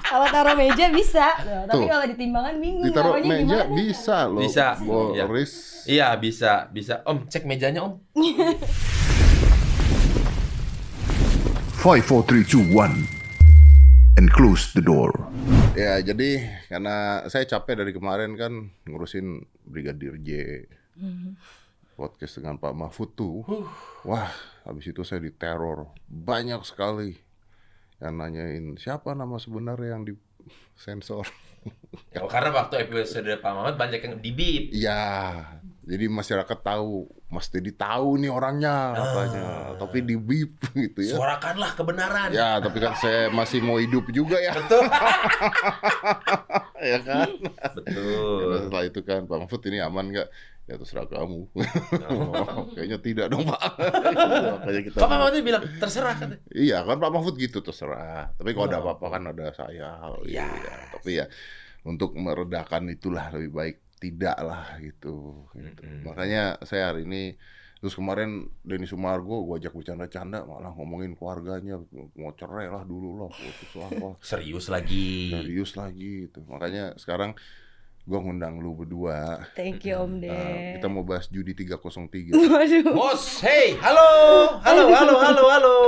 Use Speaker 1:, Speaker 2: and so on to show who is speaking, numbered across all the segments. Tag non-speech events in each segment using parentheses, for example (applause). Speaker 1: Kalau taruh meja bisa. Loh, tapi
Speaker 2: Tuh.
Speaker 1: kalau di timbangan bingung
Speaker 2: Ditaruh
Speaker 1: taruhnya
Speaker 2: meja
Speaker 1: gimana.
Speaker 2: bisa loh.
Speaker 3: Bisa, iya.
Speaker 2: Boris.
Speaker 3: Iya bisa, bisa. Om cek mejanya om.
Speaker 4: 5, 4, 3, 2, 1. And close the door.
Speaker 2: Ya jadi karena saya capek dari kemarin kan ngurusin Brigadir J podcast dengan Pak Mahfud tuh. Wah, habis itu saya diteror banyak sekali yang nanyain siapa nama sebenarnya yang disensor. (laughs)
Speaker 3: Ya, karena waktu episode Pak Mamat banyak yang dibip.
Speaker 2: Iya, jadi masyarakat tahu, Mas Deddy tahu nih orangnya katanya, tapi di beep gitu ya.
Speaker 3: Suarakanlah kebenaran.
Speaker 2: Ya, tapi kan saya masih mau hidup juga ya.
Speaker 3: Betul.
Speaker 2: (laughs)
Speaker 3: (laughs)
Speaker 2: ya kan. Karena
Speaker 3: Betul.
Speaker 2: setelah itu kan Pak Mahfud ini aman nggak? Ya terserah kamu. (laughs) Kayaknya tidak dong Pak. Oh. Makanya kita.
Speaker 3: Pak Mamat itu bilang terserah kan.
Speaker 2: Iya kan Pak Mahfud gitu terserah. Tapi kalau ada apa-apa kan ada saya.
Speaker 3: Iya.
Speaker 2: Iya. Tapi ya untuk meredakan itulah lebih baik tidak lah gitu. gitu.
Speaker 3: Mm-mm.
Speaker 2: Makanya saya hari ini terus kemarin Denny Sumargo gua ajak bercanda-canda malah ngomongin keluarganya mau cerai lah dulu lah putus lah wah,
Speaker 3: Serius lagi.
Speaker 2: serius lagi gitu. Makanya sekarang gua ngundang lu berdua.
Speaker 1: Thank you Om Den.
Speaker 2: Nah, kita mau bahas judi 303.
Speaker 3: Uh,
Speaker 1: Waduh.
Speaker 3: Bos, hey, halo, halo, halo, halo, halo.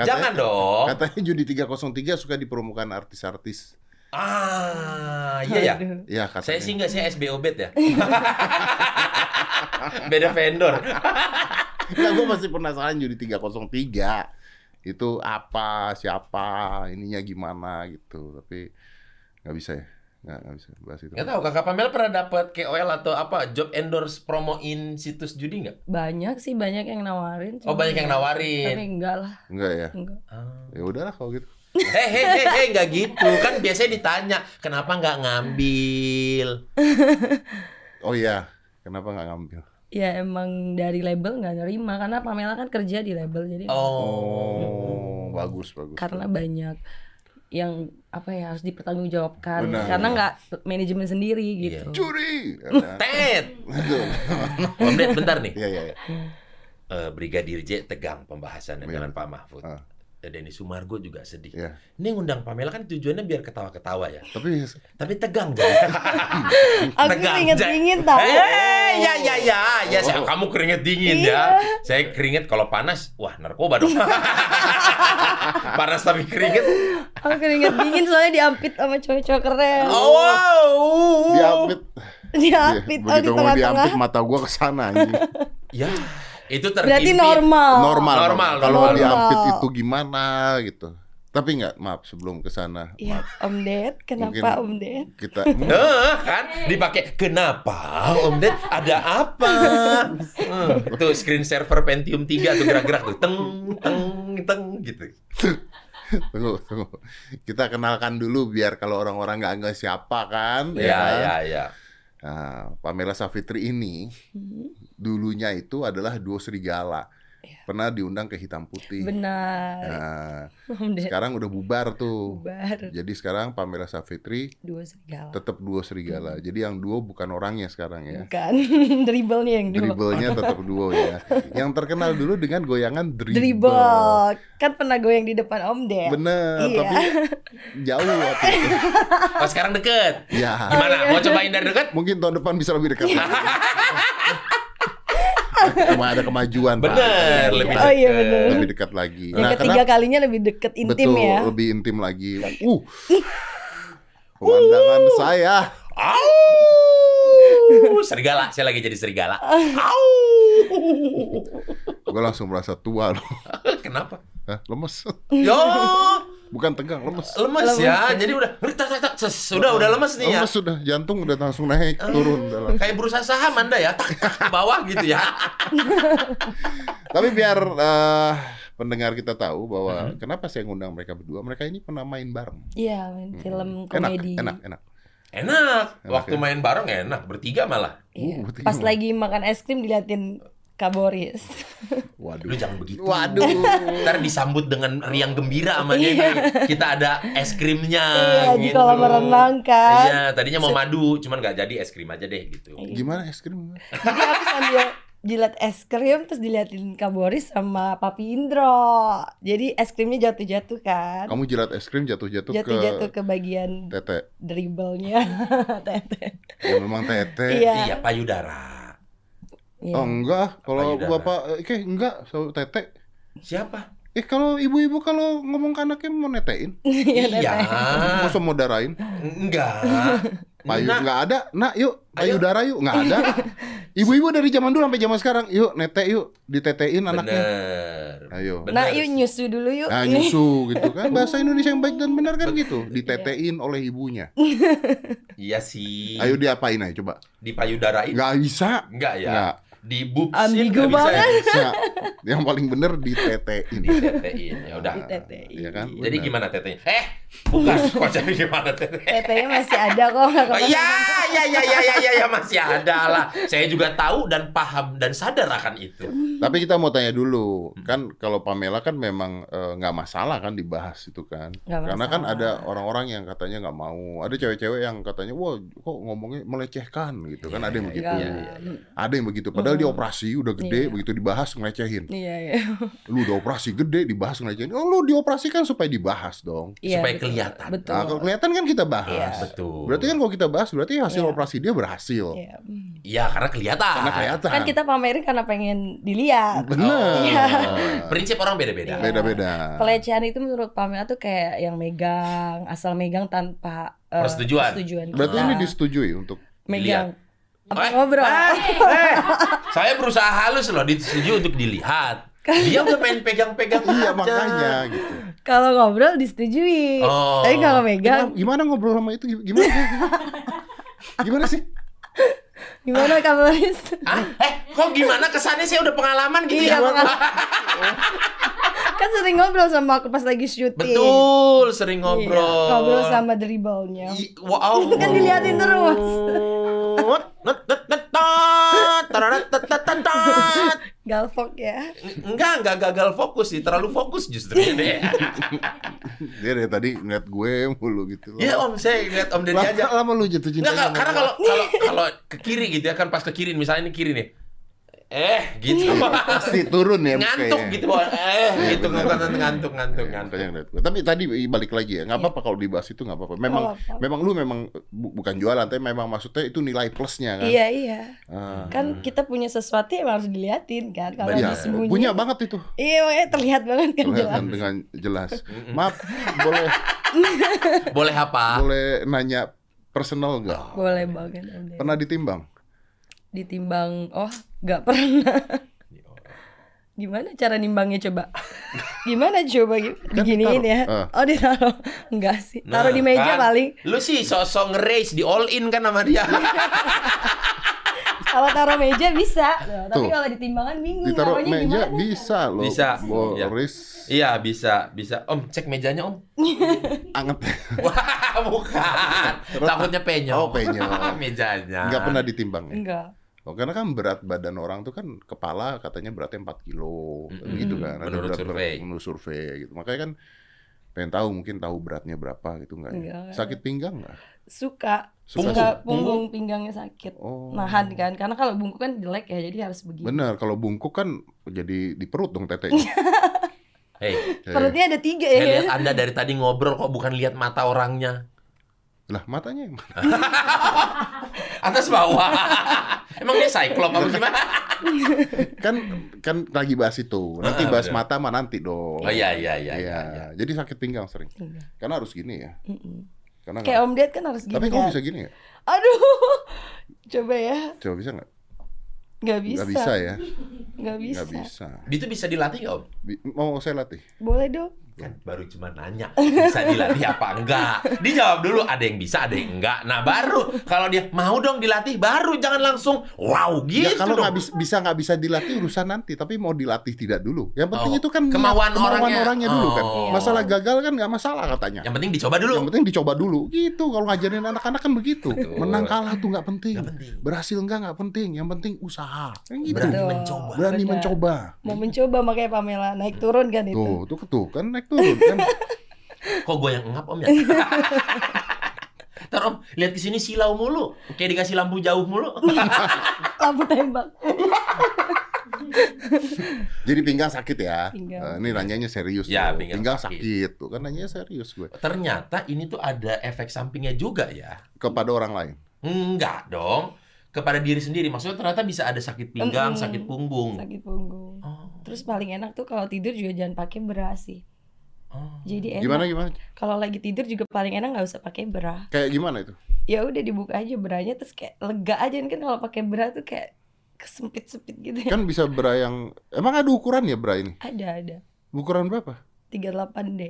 Speaker 3: Jangan dong.
Speaker 2: Katanya judi 303 suka dipermukaan artis-artis.
Speaker 3: Ah, iya ya.
Speaker 1: Aduh.
Speaker 2: Iya katanya.
Speaker 3: Saya
Speaker 2: (laughs)
Speaker 3: sih nggak, saya SBO bet ya. (laughs) Beda vendor.
Speaker 2: Nah, gue masih penasaran judi 303 itu apa, siapa, ininya gimana gitu. Tapi nggak bisa ya, nggak nggak bisa bahas itu.
Speaker 3: Nggak tahu Kakak Pamela pernah dapat KOL atau apa job endorse promoin situs judi nggak?
Speaker 1: Banyak sih banyak yang nawarin.
Speaker 3: Oh,
Speaker 1: cuma-
Speaker 3: banyak yang nawarin.
Speaker 1: Tapi enggak lah,
Speaker 2: Enggak ya.
Speaker 1: enggak.
Speaker 3: Ah.
Speaker 2: Ya udahlah kalau gitu.
Speaker 3: Hei, hei, hei, hei, nggak gitu. Kan biasanya ditanya, kenapa nggak ngambil?
Speaker 2: Oh iya, kenapa nggak ngambil?
Speaker 1: Ya emang dari label nggak nerima karena Pamela kan kerja di label jadi
Speaker 3: Oh.
Speaker 2: Oh, bagus bagus.
Speaker 1: karena banyak yang apa ya harus dipertanggungjawabkan
Speaker 2: Benar.
Speaker 1: karena nggak manajemen sendiri
Speaker 3: Iya.
Speaker 1: gitu.
Speaker 2: curi. Ya kan?
Speaker 3: Ted.
Speaker 2: Betul.
Speaker 3: Om Ded, bentar nih.
Speaker 2: Iya iya. iya.
Speaker 3: Eh, Brigadir J tegang pembahasannya
Speaker 2: Iya.
Speaker 3: dengan Pak Mahfud.
Speaker 2: Ah.
Speaker 3: Eh, Denny Sumargo juga sedih.
Speaker 2: Iya.
Speaker 3: Ini ngundang Pamela kan tujuannya biar ketawa-ketawa ya.
Speaker 2: Tapi
Speaker 3: Tapi tegang jadi.
Speaker 1: Aku
Speaker 3: Tegang,
Speaker 1: inget-inget
Speaker 3: Jack.
Speaker 1: (laughs) tahu.
Speaker 3: Eh, ya ya ya, ya
Speaker 2: Oh.
Speaker 3: saya- kamu keringet
Speaker 1: Iya.
Speaker 3: dingin ya. Saya keringet kalau panas, wah narkoba
Speaker 1: (laughs)
Speaker 3: dong. panas tapi keringet.
Speaker 1: Aku keringet dingin soalnya diampit sama cowok-cowok keren.
Speaker 3: Oh, wow.
Speaker 2: diapit.
Speaker 1: Diampit oh di
Speaker 2: Iya, Begitu ngomong
Speaker 1: tengah-tengah.
Speaker 2: diapit mata gua kesana
Speaker 1: (laughs)
Speaker 2: anjing.
Speaker 3: Ya, itu
Speaker 1: Berarti
Speaker 3: terhimpit.
Speaker 1: normal.
Speaker 2: normal.
Speaker 3: Normal,
Speaker 2: Kalau
Speaker 1: normal.
Speaker 2: diapit itu gimana gitu. Tapi nggak, maaf sebelum ke sana.
Speaker 1: Ya, Om Ded, kenapa Om Ded?
Speaker 2: Kita Hmm,
Speaker 3: Heeh, kan dipakai kenapa Om Ded ada apa hmm, tuh screen server Pentium 3 tuh gerak-gerak tuh teng teng teng gitu
Speaker 2: tunggu, tunggu. Kita kenalkan dulu biar kalau orang-orang nggak nggak siapa kan.
Speaker 3: ya
Speaker 2: kan?
Speaker 3: ya ya
Speaker 2: Nah, Pamela Savitri ini
Speaker 1: Hmm,
Speaker 2: dulunya itu adalah duo serigala. Pernah diundang ke Hitam Putih.
Speaker 1: Iya. Benar.
Speaker 2: Nah,
Speaker 1: Om Ded
Speaker 2: Iya. sekarang udah bubar tuh.
Speaker 1: bubar
Speaker 2: Jadi sekarang Pamela Savitri
Speaker 1: dua serigala.
Speaker 2: tetap duo serigala.
Speaker 1: Hmm.
Speaker 2: Jadi yang duo bukan orangnya sekarang ya.
Speaker 1: Bukan (laughs) dribblenya yang dua.
Speaker 2: Dribblenya tetap duo
Speaker 1: (laughs)
Speaker 2: ya. Yang terkenal dulu dengan goyangan dribble.
Speaker 1: Dribble. Kan pernah goyang di depan Om Ded.
Speaker 2: Bener,
Speaker 1: Iya.
Speaker 2: tapi jauh ya waktu itu.
Speaker 1: (laughs)
Speaker 3: oh sekarang deket
Speaker 2: Ya,
Speaker 3: gimana mau cobain dari deket
Speaker 2: mungkin tahun depan bisa lebih
Speaker 1: (laughs)
Speaker 2: dekat. Cuma ada kemajuan, Pak.
Speaker 3: bener lebih
Speaker 1: Oh, iya,
Speaker 3: deket.
Speaker 1: bener.
Speaker 2: Lebih dekat lagi. Nah,
Speaker 1: Yang ketiga kalinya lebih deket intim
Speaker 2: betul,
Speaker 1: ya.
Speaker 2: lebih intim lagi. Uh. Pemandangan saya.
Speaker 3: Au! serigala saya lagi jadi serigala Au!
Speaker 2: Gue langsung merasa tua loh.
Speaker 3: kenapa
Speaker 2: Hah, lemes.
Speaker 3: yo
Speaker 2: Bukan tegang, lemes.
Speaker 3: lemes, ya jadi udah tak, tak, tak, ses, udah udah lemes nih ya
Speaker 2: Lemes sudah, jantung udah langsung naik, turun. udah lah.
Speaker 3: kayak bursa saham anda ya tak, tak, ke bawah gitu ya
Speaker 2: Tapi biar eh, pendengar kita tahu
Speaker 3: Mm-hmm.
Speaker 2: bahwa kenapa saya ngundang mereka berdua. Mereka ini pernah main bareng.
Speaker 1: Iya, main film
Speaker 2: Hmm. Enak,
Speaker 1: komedi.
Speaker 2: enak, enak.
Speaker 3: Enak.
Speaker 2: Enak,
Speaker 3: Waktu
Speaker 2: ya?
Speaker 3: main bareng enak, bertiga malah.
Speaker 1: Iya.
Speaker 2: Uh, bertiga
Speaker 1: Pas
Speaker 2: malah.
Speaker 1: lagi makan es krim diliatin Kak Boris.
Speaker 3: Lu
Speaker 2: Waduh.
Speaker 3: jangan gitu. begitu.
Speaker 1: (laughs)
Speaker 2: Waduh.
Speaker 3: Ntar disambut dengan riang gembira sama dia. nih. Kita ada es krimnya.
Speaker 1: (laughs)
Speaker 2: Ah,
Speaker 1: Iya, di
Speaker 3: gitu.
Speaker 1: kolam renang, kan?
Speaker 3: Iya, tadinya mau madu, cuman nggak jadi es krim aja deh gitu.
Speaker 1: Iya.
Speaker 2: Gimana es krim?
Speaker 1: Jadi aku sambil jilat es krim terus diliatin Kak Boris sama Papi Indro. Jadi es krimnya jatuh-jatuh kan.
Speaker 2: Kamu jilat es krim jatuh-jatuh ke
Speaker 1: Jatuh-jatuh ke bagian
Speaker 2: tete.
Speaker 1: dribblenya. (laughs) Tete.
Speaker 2: Ya memang tete.
Speaker 1: Iya.
Speaker 3: Iya payudara.
Speaker 1: Iya.
Speaker 2: Oh enggak, kalau
Speaker 3: Payudara.
Speaker 2: bapak, eh enggak, sama tete.
Speaker 3: Siapa?
Speaker 2: Eh kalau ibu-ibu kalau ngomong ke anaknya mau netein,
Speaker 1: (laughs) Iya,
Speaker 3: iya.
Speaker 1: Tete.
Speaker 2: masa mau darain? (laughs)
Speaker 3: Enggak.
Speaker 2: Payu
Speaker 3: Nah,
Speaker 2: nggak ada, nak yuk
Speaker 3: Ayo.
Speaker 2: payudara yuk nggak
Speaker 1: (laughs)
Speaker 2: ada. Ibu-ibu dari zaman dulu sampai zaman sekarang, yuk nete yuk ditetein anaknya.
Speaker 3: Bener.
Speaker 2: Ayo.
Speaker 3: Bener.
Speaker 1: Nah, yuk nyusu dulu yuk.
Speaker 2: Nah,
Speaker 1: Ini. (laughs)
Speaker 2: nyusu gitu
Speaker 3: (laughs)
Speaker 2: kan bahasa Indonesia yang baik dan benar kan gitu ditetein oleh ibunya.
Speaker 3: Iya sih.
Speaker 2: Ayo diapain aja coba?
Speaker 3: Di payudara itu.
Speaker 2: Nggak bisa.
Speaker 3: Enggak ya.
Speaker 2: Nggak.
Speaker 3: Di boobsin
Speaker 1: Ambigu
Speaker 3: nggak bisa ya.
Speaker 2: bisa. Yang paling benar ditetein.
Speaker 3: Ditetein. Ya udah.
Speaker 1: Ditetein.
Speaker 2: Iya kan?
Speaker 3: Jadi
Speaker 2: Benar.
Speaker 3: gimana tetenya? Eh, bukan. Kok jadi gimana tetenya?
Speaker 1: Tetenya masih ada Eh, kok nggak
Speaker 3: Oh, ya,
Speaker 1: kemana-mana.
Speaker 3: ya, ya, ya, ya, ya, ya, masih ada lah. Saya juga tahu dan paham dan sadar akan itu.
Speaker 2: Tapi kita mau tanya dulu,
Speaker 3: Hmm.
Speaker 2: kan kalau Pamela kan memang eh, nggak masalah kan dibahas itu kan,
Speaker 1: Nggak
Speaker 2: karena kan
Speaker 1: masalah.
Speaker 2: ada orang-orang yang katanya nggak mau, ada cewek-cewek yang katanya, wah kok ngomongnya melecehkan gitu kan, ada yang
Speaker 3: Iya,
Speaker 2: begitu,
Speaker 1: Nggak.
Speaker 3: iya, Hmm. iya.
Speaker 2: ada yang begitu, padahal dia operasi udah gede,
Speaker 1: Iya.
Speaker 2: begitu dibahas ngelecehin,
Speaker 1: Iya, iya.
Speaker 2: lu udah operasi gede dibahas ngelecehin, oh lu dioperasikan supaya dibahas dong,
Speaker 1: Iya,
Speaker 3: Supaya
Speaker 1: betul.
Speaker 3: kelihatan.
Speaker 1: Betul.
Speaker 2: nah kalau kelihatan kan kita bahas,
Speaker 1: Iya.
Speaker 3: Betul.
Speaker 2: berarti kan kalau kita bahas berarti hasil
Speaker 1: Iya.
Speaker 2: operasi dia berhasil,
Speaker 1: Iya.
Speaker 3: Iya, karena kelihatan.
Speaker 2: karena kelihatan,
Speaker 1: Kan kita pamerin karena pengen dilihat.
Speaker 2: benar,
Speaker 1: Iya.
Speaker 3: Oh. Prinsip orang beda-beda.
Speaker 1: Iya.
Speaker 2: beda-beda,
Speaker 1: Pelecehan itu menurut Pamela tuh kayak yang megang, asal megang tanpa eh,
Speaker 3: Persetujuan.
Speaker 1: persetujuan
Speaker 2: berarti
Speaker 1: kita.
Speaker 2: ini disetujui untuk
Speaker 1: megang. Apa
Speaker 3: Eh,
Speaker 1: ngobrol?
Speaker 3: eh, eh. saya berusaha halus loh, disetujui untuk dilihat. Dia udah pengen pegang-pegang
Speaker 2: Iya
Speaker 3: aja.
Speaker 2: makanya gitu.
Speaker 1: (laughs) Kalau ngobrol disetujui.
Speaker 3: Oh.
Speaker 1: Tapi kalau
Speaker 2: Gimana,
Speaker 1: megang
Speaker 2: gimana ngobrol sama itu gimana? gimana sih?
Speaker 1: gimana Kak (laughs) Boris?
Speaker 3: Ah, eh, kok gimana kesannya saya udah pengalaman gitu
Speaker 1: Iya,
Speaker 3: ya?
Speaker 1: pengalaman.
Speaker 2: Oh.
Speaker 1: kan sering ngobrol sama aku pas lagi syuting.
Speaker 3: Betul, sering
Speaker 1: Iya,
Speaker 3: ngobrol.
Speaker 1: ngobrol sama dribblenya.
Speaker 3: I- Wow.
Speaker 1: Kan diliatin terus. Galvok ya.
Speaker 3: Enggak, enggak gagal fokus sih, terlalu fokus justru
Speaker 2: (laughs)
Speaker 3: ini.
Speaker 2: Dia dari tadi ngeliat gue mulu gitu.
Speaker 3: Ya Om, saya lihat Om Deddy aja.
Speaker 2: Lama, lama lu jatuh cinta.
Speaker 3: Enggak, kalau-
Speaker 2: sama
Speaker 3: karena
Speaker 2: gua.
Speaker 3: kalau kalau kalau ke kiri gitu ya kan pas ke kiri misalnya ini kiri nih. Eh, gitu.
Speaker 1: Iya.
Speaker 2: pasti turun ya
Speaker 3: ngantuk
Speaker 2: mukanya.
Speaker 3: gitu. Eh,
Speaker 2: Iya,
Speaker 3: gitu
Speaker 2: bener.
Speaker 3: ngantuk ngantuk ngantuk.
Speaker 2: Ya,
Speaker 3: ngantuk.
Speaker 2: makanya ngeliat gue. Tapi tadi balik lagi ya, nggak apa-apa kalau dibahas itu nggak apa-apa. Memang,
Speaker 1: Nggak apa-apa.
Speaker 2: memang lu memang bu- bukan jualan, tapi memang maksudnya itu nilai plusnya kan.
Speaker 1: Iya iya.
Speaker 3: Hmm.
Speaker 2: Ah.
Speaker 1: Kan kita punya sesuatu yang harus diliatin kan. Kalau
Speaker 2: Iya,
Speaker 1: disembunyi.
Speaker 2: punya banget itu.
Speaker 1: Iya makanya terlihat banget kan jelas.
Speaker 2: Kelihatan dengan jelas. Maaf,
Speaker 3: (laughs)
Speaker 2: boleh
Speaker 3: Boleh apa?
Speaker 2: boleh nanya personal
Speaker 3: Oh.
Speaker 2: nggak?
Speaker 1: Boleh banget. Om Deddy.
Speaker 2: Pernah ditimbang?
Speaker 1: Ditimbang. Oh nggak pernah. Gimana cara nimbangnya coba?
Speaker 2: (laughs)
Speaker 1: Gimana coba gim- diginiin ya?
Speaker 2: Kan ditaruh. Ah.
Speaker 1: Oh ditaruh. (laughs) Enggak sih. Taruh di
Speaker 3: Nah,
Speaker 1: meja
Speaker 3: kan.
Speaker 1: paling.
Speaker 3: Lu sih sosok nge-race di all in kan sama
Speaker 1: (laughs)
Speaker 3: dia.
Speaker 1: Kalau taruh meja bisa. Loh, tapi
Speaker 2: Tuh.
Speaker 1: kalau ditimbangan bingung
Speaker 2: Ditaruh
Speaker 1: taruhnya
Speaker 2: meja
Speaker 1: Iya, gimana.
Speaker 2: bisa loh.
Speaker 3: Bisa, iya.
Speaker 2: Boris
Speaker 3: Iya, bisa, bisa. Om, cek mejanya, Om.
Speaker 2: anget.
Speaker 3: Wah, bukan.
Speaker 2: Terus-
Speaker 3: Takutnya penyok.
Speaker 2: Oh,
Speaker 3: (laughs)
Speaker 2: penyok.
Speaker 3: Mejanya.
Speaker 2: Nggak pernah ditimbang ya?
Speaker 1: Enggak.
Speaker 2: Oh, karena kan berat badan orang tuh kan kepala katanya beratnya 4 kilo
Speaker 3: Mm-mm.
Speaker 2: gitu kan. Ada
Speaker 3: Menurut
Speaker 2: berat-
Speaker 3: survei.
Speaker 2: Menurut survei gitu. Makanya kan pengen tahu mungkin tahu beratnya berapa gitu enggak ya?
Speaker 1: Enggak.
Speaker 2: Sakit pinggang enggak?
Speaker 1: Suka.
Speaker 2: Suka
Speaker 1: Suka
Speaker 3: punggung.
Speaker 1: punggung pinggangnya sakit.
Speaker 2: Oh.
Speaker 1: Nahan kan. Karena kalau bungkuk kan jelek ya. Jadi harus begini.
Speaker 2: Bener, kalau bungkuk kan jadi di perut dong tetenya.
Speaker 3: Hei,
Speaker 2: Eh,
Speaker 1: Iya, Perutnya ada tiga
Speaker 3: saya
Speaker 1: ya.
Speaker 3: lihat Anda dari tadi ngobrol kok bukan lihat mata orangnya.
Speaker 2: Lah, matanya yang mana?
Speaker 3: Atas bawah. (laughs) Emang dia cyclop apa gimana?
Speaker 2: kan kan lagi bahas itu. Nanti
Speaker 3: Ah,
Speaker 2: bahas
Speaker 3: bener.
Speaker 2: mata mah nanti dong.
Speaker 3: Oh iya iya iya.
Speaker 2: Iya.
Speaker 3: iya.
Speaker 2: Jadi sakit pinggang sering.
Speaker 1: Enggak.
Speaker 2: Karena harus gini ya.
Speaker 1: Mm-mm.
Speaker 2: Karena
Speaker 1: Kayak
Speaker 2: nggak-
Speaker 1: Om Ded kan harus gini
Speaker 2: Tapi kamu
Speaker 1: kan.
Speaker 2: bisa gini ya?
Speaker 1: Aduh. (laughs) Coba ya.
Speaker 2: Coba bisa nggak?
Speaker 1: Nggak bisa.
Speaker 2: Nggak bisa ya?
Speaker 1: Nggak bisa.
Speaker 2: Nggak bisa.
Speaker 3: Itu bisa dilatih nggak, Om?
Speaker 2: Bi- Mau saya latih?
Speaker 1: Boleh dong.
Speaker 3: Kan baru cuma nanya, bisa dilatih apa enggak? Dijawab dulu, ada yang bisa, ada yang enggak. Nah, baru kalau dia mau dong dilatih, baru jangan langsung wow gitu.
Speaker 2: Ya kalau
Speaker 3: dong.
Speaker 2: nggak bisa, bisa nggak bisa dilatih urusan nanti, tapi mau dilatih tidak dulu. Yang penting
Speaker 3: Oh,
Speaker 2: itu kan niat,
Speaker 3: kemauan orangnya.
Speaker 2: dulu kan.
Speaker 3: Oh.
Speaker 2: Masalah gagal kan nggak masalah katanya.
Speaker 3: yang penting dicoba dulu.
Speaker 2: Yang penting dicoba dulu. Gitu kalau ngajarin anak-anak kan begitu.
Speaker 3: Betul.
Speaker 2: Menang kalah tuh nggak penting.
Speaker 3: Nggak penting.
Speaker 2: Berhasil nggak nggak penting. Yang penting usaha. Kan gitu.
Speaker 3: Berani
Speaker 1: Betul.
Speaker 3: mencoba.
Speaker 2: Berani
Speaker 1: Benar.
Speaker 2: mencoba.
Speaker 1: Mau mencoba makanya Pamela naik turun kan itu.
Speaker 2: Tuh, tuh, tuh kan naik turun kan.
Speaker 3: Kok gue yang ngap
Speaker 1: (laughs)
Speaker 3: om ya? Ntar om, lihat ke
Speaker 1: (laughs)
Speaker 3: sini silau mulu. Kayak dikasih lampu jauh mulu.
Speaker 1: Lampu tembak.
Speaker 2: Jadi pinggang sakit ya.
Speaker 1: Pinggang.
Speaker 2: Eh, ini nanyanya serius.
Speaker 3: Ya,
Speaker 2: tuh.
Speaker 3: pinggang sakit.
Speaker 2: sakit tuh. Kan nanyanya serius gue.
Speaker 3: Ternyata ini tuh ada efek sampingnya juga ya.
Speaker 2: Kepada
Speaker 1: Iya.
Speaker 2: orang lain.
Speaker 3: Enggak dong. Kepada diri sendiri. Maksudnya ternyata bisa ada sakit pinggang,
Speaker 1: Mm-mm.
Speaker 3: sakit punggung.
Speaker 1: sakit punggung.
Speaker 3: Oh,
Speaker 1: Terus paling enak tuh kalau tidur juga jangan pakai beras sih.
Speaker 3: oh.
Speaker 1: Jadi enak.
Speaker 2: Gimana gimana?
Speaker 1: Kalau lagi tidur juga paling enak nggak usah pakai bra.
Speaker 2: Kayak gimana itu?
Speaker 1: Ya udah dibuka aja beranya terus kayak lega aja kan kalau pakai bra tuh kayak kesempit-sempit gitu. ya.
Speaker 2: Kan bisa bra yang emang ada ukuran ya bra ini?
Speaker 1: Ada ada.
Speaker 2: Ukuran berapa?
Speaker 1: 38 D.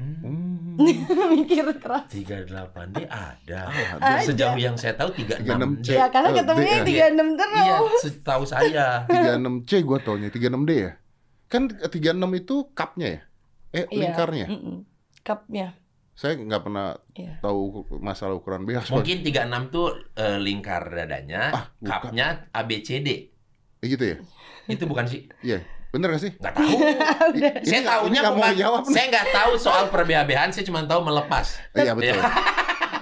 Speaker 3: Hmm.
Speaker 2: Hmm.
Speaker 1: (laughs) Mikir keras.
Speaker 3: 38 dia ada.
Speaker 1: (laughs) Ada.
Speaker 3: Sejauh yang saya tahu
Speaker 2: 36 C.
Speaker 3: 36
Speaker 1: Ya
Speaker 3: Iya,
Speaker 1: karena
Speaker 2: Eh,
Speaker 1: ketemunya
Speaker 2: D,
Speaker 1: tiga enam terus.
Speaker 3: setahu saya.
Speaker 2: 36C gua taunya 36D ya. Kan 36 itu cupnya ya? Eh
Speaker 1: Iya.
Speaker 2: lingkarnya.
Speaker 1: Mm-mm. Cupnya.
Speaker 2: Saya nggak pernah
Speaker 1: Iya.
Speaker 2: tahu uku- masalah ukuran BH. soalnya.
Speaker 3: Mungkin 36 tuh eh, lingkar dadanya,
Speaker 2: Ah, bukan.
Speaker 3: cupnya ABCD.
Speaker 2: Eh, gitu ya?
Speaker 3: Itu bukan sih?
Speaker 2: Iya. Bener gak sih?
Speaker 3: Nggak tahu.
Speaker 1: (laughs) Udah.
Speaker 2: Ini nggak-
Speaker 3: saya
Speaker 2: ini
Speaker 3: tahunya
Speaker 2: nggak mau
Speaker 3: bukan.
Speaker 2: jawab nih.
Speaker 3: Saya nggak tahu soal perbehah-behan, saya cuma tahu melepas.
Speaker 2: Iya betul.
Speaker 3: Iya.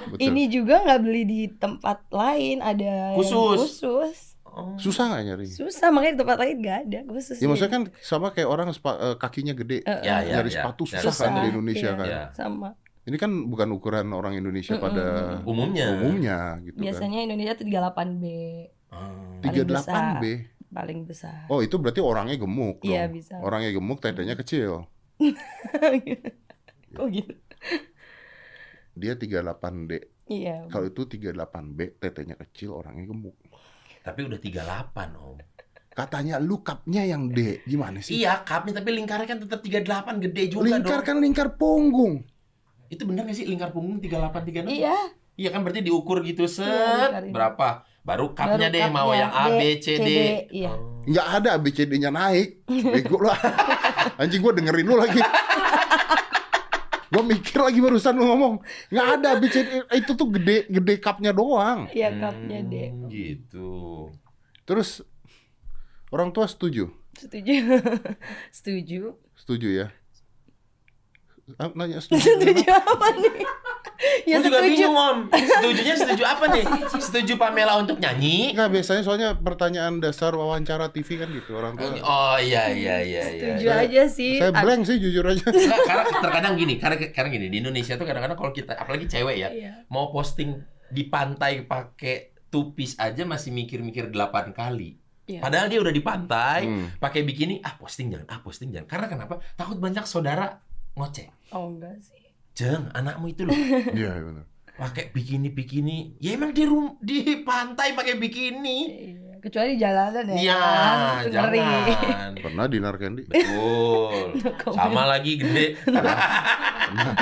Speaker 2: betul.
Speaker 1: (laughs) Ini juga nggak beli di tempat lain ada yang
Speaker 3: Khusus.
Speaker 1: khusus.
Speaker 3: Oh.
Speaker 2: Susah nggak nyari?
Speaker 1: Susah makanya di tempat lain nggak ada khusus.
Speaker 2: Ya maksudnya kan sama kayak orang sepa- eh, kakinya gede.
Speaker 1: Iya. Eh,
Speaker 3: Ya, ya,
Speaker 2: nyari
Speaker 3: ya.
Speaker 2: sepatu susah
Speaker 3: Ya,
Speaker 2: kan
Speaker 1: susah.
Speaker 2: dari Indonesia
Speaker 1: Iya.
Speaker 2: kan.
Speaker 3: Ya.
Speaker 1: sama.
Speaker 2: Ini kan bukan ukuran orang Indonesia
Speaker 1: Mm-mm.
Speaker 2: pada
Speaker 3: Umumnya.
Speaker 2: umumnya gitu kan.
Speaker 1: Biasanya Indonesia tuh 38 B
Speaker 3: Oh.
Speaker 1: Tiga- paling besar.
Speaker 2: 38B.
Speaker 1: paling besar.
Speaker 2: Oh, itu berarti orangnya gemuk dong.
Speaker 1: Iya bisa.
Speaker 2: Orangnya gemuk, tendanya kecil.
Speaker 1: (laughs) Kok gitu?
Speaker 2: Dia 38D.
Speaker 1: Iya.
Speaker 2: Kalau itu 38B, tetenya kecil, orangnya gemuk.
Speaker 3: Tapi udah 38, Om.
Speaker 2: Katanya lu cupnya yang D. Gimana sih?
Speaker 3: Iya, cupnya tapi lingkarnya kan tetap 38 gede juga
Speaker 2: lingkar
Speaker 3: dong.
Speaker 2: kan lingkar punggung.
Speaker 3: Itu benar nggak sih lingkar punggung 38 36?
Speaker 1: Iya.
Speaker 3: Iya kan berarti diukur gitu set
Speaker 1: Iya, lingkarin.
Speaker 3: berapa baru cupnya
Speaker 1: Baru
Speaker 3: deh mau
Speaker 1: cupnya.
Speaker 3: yang A
Speaker 1: D,
Speaker 3: B C D.
Speaker 1: D, iya.
Speaker 3: Oh.
Speaker 2: Nggak ada ABCD-nya naik. Bego lah. Anjing gua dengerin lu lagi. Gua mikir lagi barusan lu ngomong. Nggak ada ABCD. Itu tuh gede, gede cupnya doang.
Speaker 1: Iya cupnya D.
Speaker 3: Hmm, Gitu.
Speaker 2: Terus orang tua setuju.
Speaker 1: Setuju. (laughs) Setuju.
Speaker 2: Setuju ya? Ah,
Speaker 1: (laughs)
Speaker 2: Nanya (laughs) setuju.
Speaker 1: Setuju apa nih? ya
Speaker 3: Gua juga
Speaker 1: setuju.
Speaker 3: bingung om. Setujunya setuju apa nih? Setuju Pamela untuk nyanyi?
Speaker 2: Enggak, biasanya soalnya pertanyaan dasar wawancara TV kan gitu orang tua.
Speaker 3: Oh iya iya iya. iya.
Speaker 1: Setuju
Speaker 2: Saya-
Speaker 1: aja sih.
Speaker 2: Saya
Speaker 1: Ad-
Speaker 2: blank sih jujur aja.
Speaker 3: Nggak, karena terkadang gini, karena karena gini di Indonesia tuh kadang-kadang kalau kita apalagi cewek ya
Speaker 1: Iya.
Speaker 3: mau posting di pantai pakai tupis aja masih mikir-mikir 8 kali.
Speaker 1: Iya.
Speaker 3: Padahal dia udah di pantai,
Speaker 2: Hmm.
Speaker 3: pakai bikini, ah posting jangan, ah posting jangan. Karena kenapa? Takut banyak saudara ngoceh.
Speaker 1: Oh enggak sih.
Speaker 3: Jeng, anakmu itu loh
Speaker 2: (laughs) Iya, benar.
Speaker 3: pakai bikini-bikini. Ya emang di rum di pantai pakai bikini.
Speaker 1: Iya. Kecuali di jalanan ya.
Speaker 3: Iya,
Speaker 1: Itu ngeri. (laughs)
Speaker 3: jangan.
Speaker 2: Pernah dinar candy.
Speaker 3: Betul. Sama lagi gede.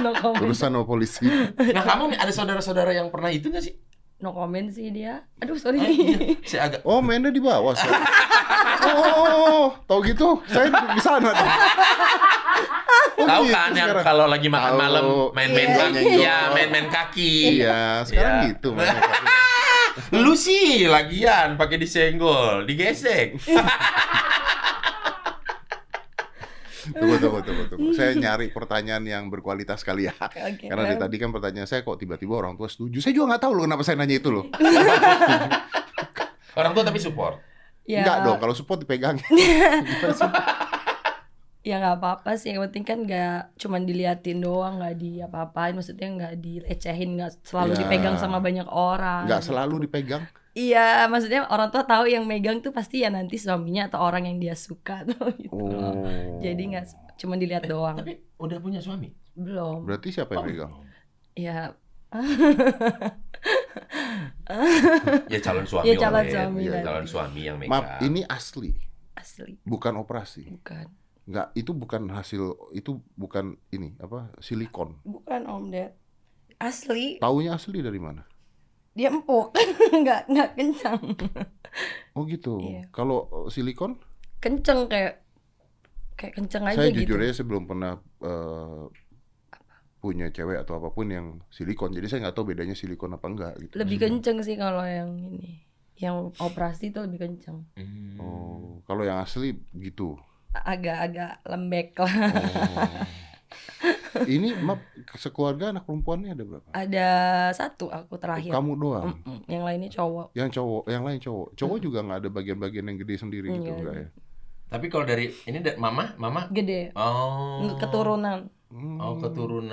Speaker 1: No comment.
Speaker 2: Urusan sama polisi.
Speaker 3: Nah, kamu ada saudara-saudara yang pernah itu gak sih?
Speaker 1: No comment sih dia. Aduh sorry.
Speaker 3: Ah, iya. Saya agak
Speaker 2: Oh, mainnya di bawah. Saya. Oh, tau gitu? Saya di sana. tuh. Oh,
Speaker 3: tahu
Speaker 2: gitu
Speaker 3: kan yang
Speaker 2: sekarang.
Speaker 3: kalau lagi makan
Speaker 2: Tahu.
Speaker 3: malam main-main
Speaker 2: Iya,
Speaker 3: kaki,
Speaker 2: nyenggol.
Speaker 3: ya main-main kaki.
Speaker 2: Iya, sekarang
Speaker 3: Iya.
Speaker 2: gitu. mainnya.
Speaker 3: Lu sih lagian pakai disenggol, digesek.
Speaker 2: Tunggu, tunggu, tunggu, tunggu. Saya nyari pertanyaan yang berkualitas kali ya.
Speaker 1: Oke.
Speaker 2: (laughs) Karena dari tadi kan pertanyaan saya kok tiba-tiba orang tua setuju. Saya juga nggak tahu loh kenapa saya nanya itu loh.
Speaker 3: Orang tua tapi support.
Speaker 1: Ya,
Speaker 2: Enggak dong, kalau support
Speaker 1: (laughs)
Speaker 2: dipegang. Gimana sih?
Speaker 1: ya nggak apa-apa sih yang penting kan nggak cuman diliatin doang nggak di apa-apain maksudnya nggak dilecehin nggak selalu
Speaker 2: Iya.
Speaker 1: dipegang sama banyak orang
Speaker 2: Nggak selalu dipegang.
Speaker 1: iya maksudnya orang tua tahu yang megang tuh pasti ya nanti suaminya atau orang yang dia suka (laughs) tuh gitu
Speaker 2: Oh.
Speaker 1: jadi nggak s- cuman dilihat
Speaker 2: (laughs)
Speaker 1: doang
Speaker 3: Tapi udah punya suami. Oh.
Speaker 1: belum
Speaker 2: Berarti siapa yang pegang?
Speaker 1: ya
Speaker 3: Ya
Speaker 1: (laughs)
Speaker 3: calon
Speaker 1: Ya,
Speaker 3: suami.
Speaker 1: calon
Speaker 3: Om,
Speaker 1: suami
Speaker 3: Ya,
Speaker 1: berarti.
Speaker 3: calon suami yang megang.
Speaker 2: Iya, Maaf, ini asli,
Speaker 1: asli
Speaker 2: bukan operasi.
Speaker 1: bukan
Speaker 2: Nggak, itu bukan hasil, itu bukan ini apa silikon.
Speaker 1: bukan om ded asli
Speaker 2: Taunya asli dari mana?
Speaker 1: dia empuk (laughs) nggak nggak kencang
Speaker 2: Oh gitu.
Speaker 1: Iya.
Speaker 2: Kalau eh, silikon,
Speaker 1: kenceng kayak kayak kenceng aja
Speaker 2: saya
Speaker 1: gitu
Speaker 2: jujur ya. aja saya belum pernah eh, punya cewek atau apapun yang silikon. Jadi saya nggak tahu bedanya silikon apa enggak gitu.
Speaker 1: lebih kenceng sih kalau yang ini yang operasi itu lebih kenceng
Speaker 3: Hmm.
Speaker 2: Oh, kalau yang asli gitu.
Speaker 1: agak-agak lembek lah
Speaker 2: Oh. Ini map sekeluarga anak perempuannya ada berapa?
Speaker 1: Ada satu aku terakhir. Mm.
Speaker 2: Kamu doang.
Speaker 1: Mm-mm, Yang lainnya cowok.
Speaker 2: Yang cowok, yang lain cowok. Cowok
Speaker 1: Mm.
Speaker 2: juga nggak ada bagian-bagian yang gede sendiri gitu
Speaker 1: Nggak
Speaker 2: enggak
Speaker 1: ada.
Speaker 2: ya?
Speaker 3: Tapi kalau dari ini da- mama, mama.
Speaker 1: Gede.
Speaker 3: Oh.
Speaker 1: Keturunan.
Speaker 2: Hmm.
Speaker 3: Oh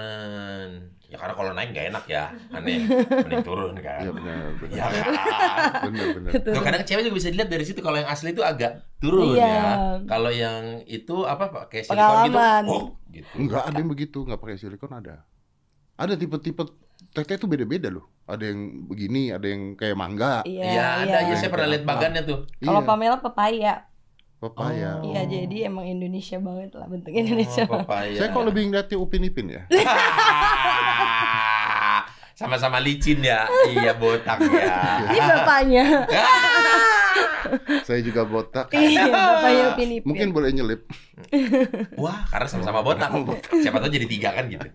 Speaker 3: keturunan. Ya karena kalau naik nggak enak ya,
Speaker 1: (laughs)
Speaker 3: aneh. Mending turun kan.
Speaker 2: Iya benar, benar.
Speaker 3: Ya kan.
Speaker 2: Benar, benar.
Speaker 3: Tuh, kadang cewek juga bisa dilihat dari situ kalau yang asli itu agak turun
Speaker 1: Gitu. Iya.
Speaker 3: ya. Kalau yang itu apa pakai silikon gitu.
Speaker 1: Pengalaman.
Speaker 3: Oh, gitu.
Speaker 2: Enggak ada yang begitu, nggak pakai silikon ada. Ada tipe-tipe teteh itu beda-beda loh. Ada yang begini, ada yang kayak mangga.
Speaker 1: Iya,
Speaker 3: Iya, ada aja
Speaker 1: iya.
Speaker 3: saya pernah lihat bagannya tuh.
Speaker 1: Kalau
Speaker 2: iya,
Speaker 1: Pamela pepaya.
Speaker 2: papaya.
Speaker 3: Oh.
Speaker 1: Iya, jadi emang Indonesia banget lah bentuk Indonesia.
Speaker 3: Oh, papaya.
Speaker 2: Saya kalau lebih ngeliatnya Upin Ipin
Speaker 1: (laughs)
Speaker 2: ya.
Speaker 3: (laughs) Sama-sama licin ya. Iya, botak ya.
Speaker 1: Ini bapaknya.
Speaker 2: Saya juga botak.
Speaker 1: Iya, bapaknya Upin Ipin.
Speaker 2: Mungkin boleh nyelip.
Speaker 3: (laughs) Wah, karena sama-sama botak. Siapa tahu jadi tiga kan gitu.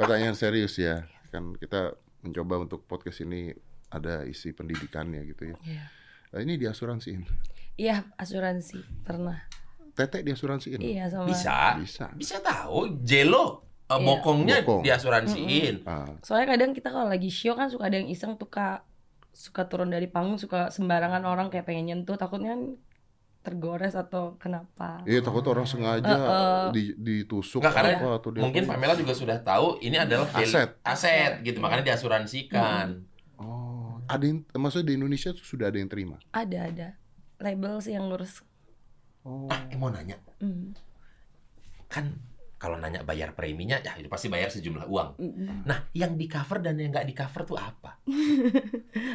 Speaker 2: Pertanyaan serius ya. Kan kita mencoba untuk podcast ini ada isi pendidikannya gitu ya.
Speaker 1: Iya.
Speaker 2: Nah, ini diasuransiin.
Speaker 1: Iya, asuransi pernah.
Speaker 2: Tetek diasuransiin.
Speaker 1: Iya sama.
Speaker 3: Bisa.
Speaker 2: Bisa.
Speaker 3: Bisa tahu jelo eh,
Speaker 1: Iya.
Speaker 3: bokongnya
Speaker 2: Bokong.
Speaker 3: diasuransiin.
Speaker 2: Ah,
Speaker 1: Soalnya kadang kita kalau lagi show kan suka ada yang iseng tuh Kak. suka turun dari panggung, suka sembarangan orang kayak pengen nyentuh, takutnya kan tergores atau kenapa.
Speaker 2: Iya takut orang sengaja
Speaker 1: Uh-uh.
Speaker 2: di- ditusuk
Speaker 3: Enggak, karena
Speaker 2: apa atau dia-
Speaker 3: Mungkin Pamela juga sudah tahu ini adalah fil-
Speaker 2: Aset.
Speaker 3: aset
Speaker 1: Iya.
Speaker 3: gitu, makanya diasuransikan.
Speaker 2: Oh, ada yang, maksudnya di Indonesia tuh sudah ada yang terima.
Speaker 1: Ada ada label sih yang ngurus.
Speaker 2: Oh.
Speaker 3: Ah, eh, mau nanya.
Speaker 1: Mm.
Speaker 3: Kan kalau nanya bayar preminya, ya itu pasti bayar sejumlah uang.
Speaker 1: Mm.
Speaker 3: Nah, yang di cover dan yang nggak di cover tuh apa?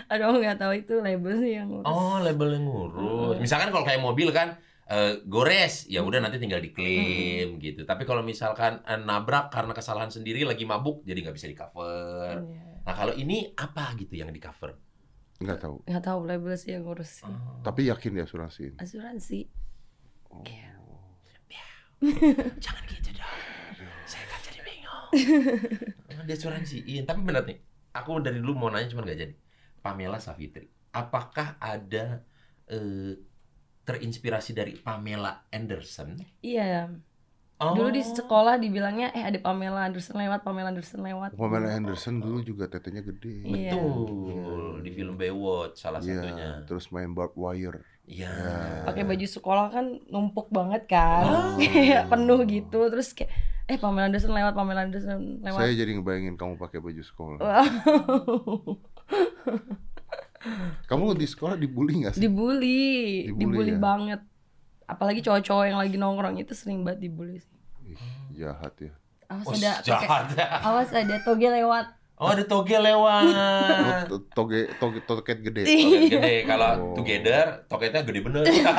Speaker 1: Aduh aku nggak tahu itu label sih yang ngurus.
Speaker 3: Oh, label yang ngurus. Hmm. Misalkan kalau kayak mobil kan eh, gores, ya udah nanti tinggal diklaim gitu. Tapi kalau misalkan eh, nabrak karena kesalahan sendiri lagi mabuk, jadi nggak bisa di cover.
Speaker 1: Iya.
Speaker 3: Nah, kalau ini apa gitu yang di cover?
Speaker 2: Nggak tahu.
Speaker 1: Nggak tahu label sih yang ngurus
Speaker 3: Oh.
Speaker 1: sih.
Speaker 2: Tapi yakin diasuransiin.
Speaker 1: Asuransi.
Speaker 3: Jangan gitu dong. Saya kan jadi bingung. (laughs) Emang Diasuransiin. Tapi benar nih. Aku dari dulu mau nanya cuman gak jadi. Pamela Savitri. Apakah ada eh, terinspirasi dari Pamela Anderson?
Speaker 1: Iya.
Speaker 3: Oh.
Speaker 1: Dulu di sekolah dibilangnya eh ada Pamela Anderson lewat, Pamela Anderson lewat.
Speaker 2: Oh. Pamela Anderson dulu juga tetenya gede.
Speaker 1: Iya.
Speaker 3: Betul. Di film Baywatch salah satunya.
Speaker 2: Iya, terus main barbed wire.
Speaker 3: Iya.
Speaker 1: pakai baju sekolah kan numpuk banget kan (laughs)
Speaker 2: Ah.
Speaker 1: kayak penuh gitu terus kayak eh Pamela Anderson lewat Pamela Anderson lewat
Speaker 2: Saya jadi ngebayangin kamu pakai baju sekolah. Kamu di sekolah dibully nggak sih?
Speaker 1: (laughs) dibully
Speaker 2: Dibully,
Speaker 1: dibully
Speaker 2: ya?
Speaker 1: banget apalagi cowok-cowok yang lagi nongkrong itu sering banget dibully sih
Speaker 2: Ih, jahat ya.
Speaker 1: awas
Speaker 3: Oh,
Speaker 1: ada pakai-
Speaker 3: jahat.
Speaker 1: awas ada toge lewat
Speaker 3: Oh, ada toge
Speaker 1: Ah.
Speaker 2: (laughs)
Speaker 3: lewat.
Speaker 2: Lo Oh, toge, Iya, toge, toket gede.
Speaker 3: Toget gede kalau together, togetnya gede bener. (laughs)
Speaker 1: Iya,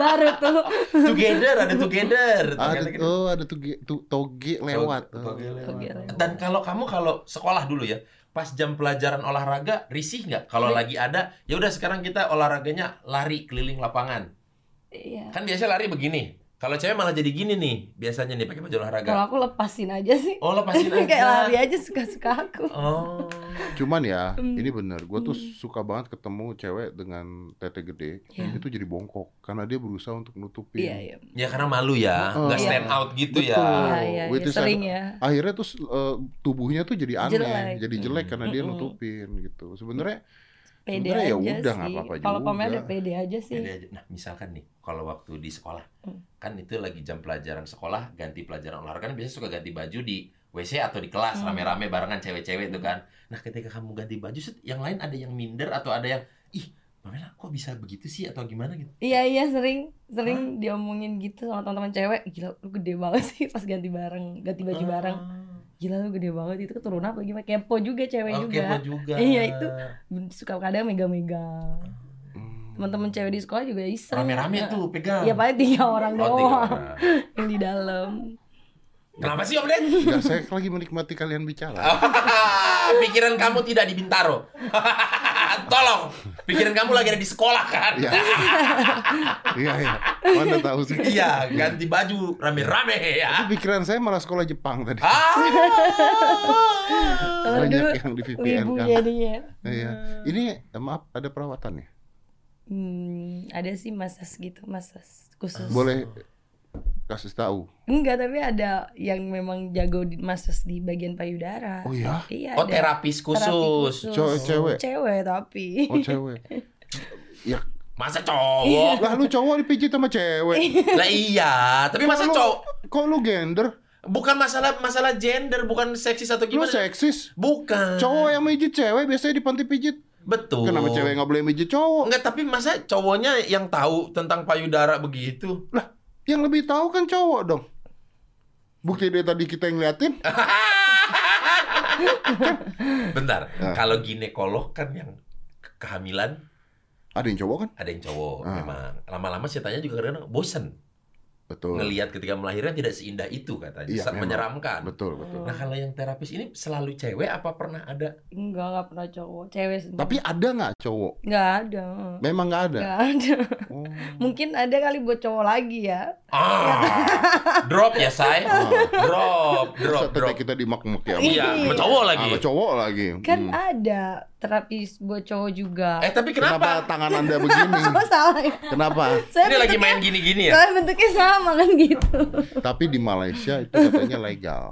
Speaker 1: baru tuh
Speaker 3: together ada together.
Speaker 2: Ada,
Speaker 3: Togetnya gede.
Speaker 2: oh, ada toge, tu- toge lewat. Oh.
Speaker 3: Toge lewat.
Speaker 1: toge lewat
Speaker 3: Dan kalau kamu kalau sekolah dulu ya, pas jam pelajaran olahraga risih nggak? Kalau
Speaker 1: Hmm.
Speaker 3: lagi ada, ya udah sekarang kita olahraganya lari keliling lapangan.
Speaker 1: iya
Speaker 3: Kan biasa lari begini. Kalau cewek malah jadi gini nih, biasanya nih pakai baju olahraga.
Speaker 1: kalau aku lepasin aja sih
Speaker 3: Oh, lepasin aja.
Speaker 1: Oh. (laughs) kayak lari aja suka-suka aku
Speaker 3: Oh.
Speaker 2: Cuman ya,
Speaker 1: Hmm.
Speaker 2: ini bener. Gue tuh suka banget ketemu cewek dengan tete gede.
Speaker 1: Iya.
Speaker 2: Itu jadi bongkok karena dia berusaha untuk nutupin.
Speaker 1: iya iya
Speaker 3: Ya karena malu ya, nggak
Speaker 1: Iya.
Speaker 3: stand out gitu ya.
Speaker 2: Betul.
Speaker 1: Iya, iya,
Speaker 2: Which
Speaker 1: iya,
Speaker 2: is
Speaker 1: sering
Speaker 2: ada-
Speaker 1: ya.
Speaker 2: Akhirnya tuh eh, tubuhnya tuh jadi aneh,
Speaker 1: Jelek.
Speaker 2: jadi jelek karena dia
Speaker 1: Mm-mm.
Speaker 2: nutupin gitu. Sebenarnya
Speaker 1: pede
Speaker 2: Sebenarnya ya
Speaker 1: aja
Speaker 2: udah, nggak
Speaker 1: sih
Speaker 2: apa-apa
Speaker 1: kalau
Speaker 2: juga.
Speaker 1: Pamela udah pede aja sih
Speaker 3: Beda aja. Nah, misalkan nih, kalau waktu di sekolah,
Speaker 1: Hmm.
Speaker 3: kan itu lagi jam pelajaran sekolah, ganti pelajaran olahraga, kan biasanya suka ganti baju di WC atau di kelas
Speaker 1: Hmm.
Speaker 3: rame-rame barengan cewek-cewek itu kan. Nah, ketika kamu ganti baju, set, yang lain ada yang minder atau ada yang, ih, Pamela kok bisa begitu sih atau gimana gitu.
Speaker 1: Iya iya sering sering diomongin gitu sama teman-teman cewek gila lu gede banget sih pas ganti bareng ganti baju
Speaker 3: Ah,
Speaker 1: bareng gila lu gede banget itu keturunan apa gimana kepo juga cewek
Speaker 3: Oke,
Speaker 1: juga
Speaker 3: gua juga.
Speaker 1: Iya, itu. suka kadang megang-megang teman-teman cewek di sekolah juga iseng
Speaker 3: Rame-rame tuh pegang.
Speaker 1: ya paling tiga orang
Speaker 3: Oh,
Speaker 1: doang
Speaker 3: tiga orang.
Speaker 1: (laughs) yang di dalam
Speaker 3: Kenapa sih Om Den?
Speaker 2: (laughs)
Speaker 3: (laughs)
Speaker 2: nggak saya lagi menikmati kalian bicara.
Speaker 3: pikiran kamu tidak di Bintaro. (laughs) Tolong, pikiran kamu lagi ada di sekolah kan?
Speaker 2: Iya. Iya, iya. Mana tahu sih.
Speaker 3: Iya, ganti baju rame-rame ya.
Speaker 2: Pikiran saya malah sekolah Jepang tadi.
Speaker 3: Ah.
Speaker 1: Kalau
Speaker 2: Banyak
Speaker 1: dulu,
Speaker 2: yang di VPN
Speaker 1: wibu
Speaker 2: kan.
Speaker 1: jadinya
Speaker 2: Iya. Ini eh, maaf ada perawatan ya.
Speaker 1: hmm, ada sih masas gitu masas khusus
Speaker 2: Boleh kasih tahu.
Speaker 1: Enggak, tapi ada yang memang jago di masters di bagian payudara.
Speaker 2: Oh iya?
Speaker 1: Iya.
Speaker 3: Oh,
Speaker 1: ada
Speaker 3: terapis
Speaker 1: terapi
Speaker 3: khusus.
Speaker 2: Cewek- cewek?
Speaker 1: Cewek tapi.
Speaker 2: Oh cewek. ya
Speaker 3: Masa cowok?
Speaker 2: lah lu cowok dipijit sama cewek.
Speaker 3: lah iya, tapi masa
Speaker 2: Kok lu-
Speaker 3: cowok?
Speaker 2: Kok lu gender?
Speaker 3: Bukan masalah masalah gender, bukan seksis atau
Speaker 2: Lu
Speaker 3: gimana.
Speaker 2: seksis.
Speaker 3: Bukan.
Speaker 2: Cowok yang mijit cewek biasanya di panti pijit.
Speaker 3: Betul.
Speaker 2: Kenapa cewek nggak boleh mijit cowok?
Speaker 3: Enggak, tapi masa cowoknya yang tahu tentang payudara begitu?
Speaker 2: Lah, yang lebih tahu kan cowok dong. Bukti dari tadi kita yang ngeliatin.
Speaker 3: Bentar,
Speaker 2: Ah.
Speaker 3: kalau ginekolog kan yang ke- kehamilan
Speaker 2: Ada yang cowok kan?
Speaker 3: ada yang cowok
Speaker 2: Ah.
Speaker 3: memang. Lama-lama saya tanya juga kadang bosen
Speaker 2: Betul.
Speaker 3: ngelihat ketika melahirkan tidak seindah itu katanya.
Speaker 2: Iya,
Speaker 3: Sa-
Speaker 2: memang.
Speaker 3: menyeramkan.
Speaker 2: Betul, betul.
Speaker 3: Nah, kalau yang terapis ini selalu cewek apa pernah ada?
Speaker 1: (laughs) Enggak, enggak pernah cowok. Cewek sendiri.
Speaker 2: Tapi ada nggak cowok?
Speaker 1: enggak ada.
Speaker 2: Memang nggak ada.
Speaker 1: Enggak ada. (laughs)
Speaker 2: Oh.
Speaker 1: Mungkin ada kali buat cowok lagi ya.
Speaker 3: (laughs) Ah, drop ya, Say.
Speaker 2: Ah. (laughs)
Speaker 3: Drop, drop,
Speaker 2: Masa tete
Speaker 3: drop.
Speaker 2: kita dimak-mak
Speaker 1: Iya,
Speaker 2: ya?
Speaker 3: Iya, sama cowok lagi.
Speaker 2: Sama cowok lagi.
Speaker 1: Kan
Speaker 2: Hmm.
Speaker 1: ada terapis buat cowok juga.
Speaker 3: Eh, tapi
Speaker 2: Kenapa
Speaker 3: kenapa?
Speaker 2: tangan anda
Speaker 1: (laughs)
Speaker 2: begini?
Speaker 1: Oh, salah ya.
Speaker 2: Kenapa?
Speaker 1: Saya
Speaker 3: Ini lagi
Speaker 1: bentuknya-
Speaker 3: main gini-gini ya?
Speaker 1: Saya bentuknya sama kan gitu.
Speaker 2: Tapi di Malaysia itu katanya legal.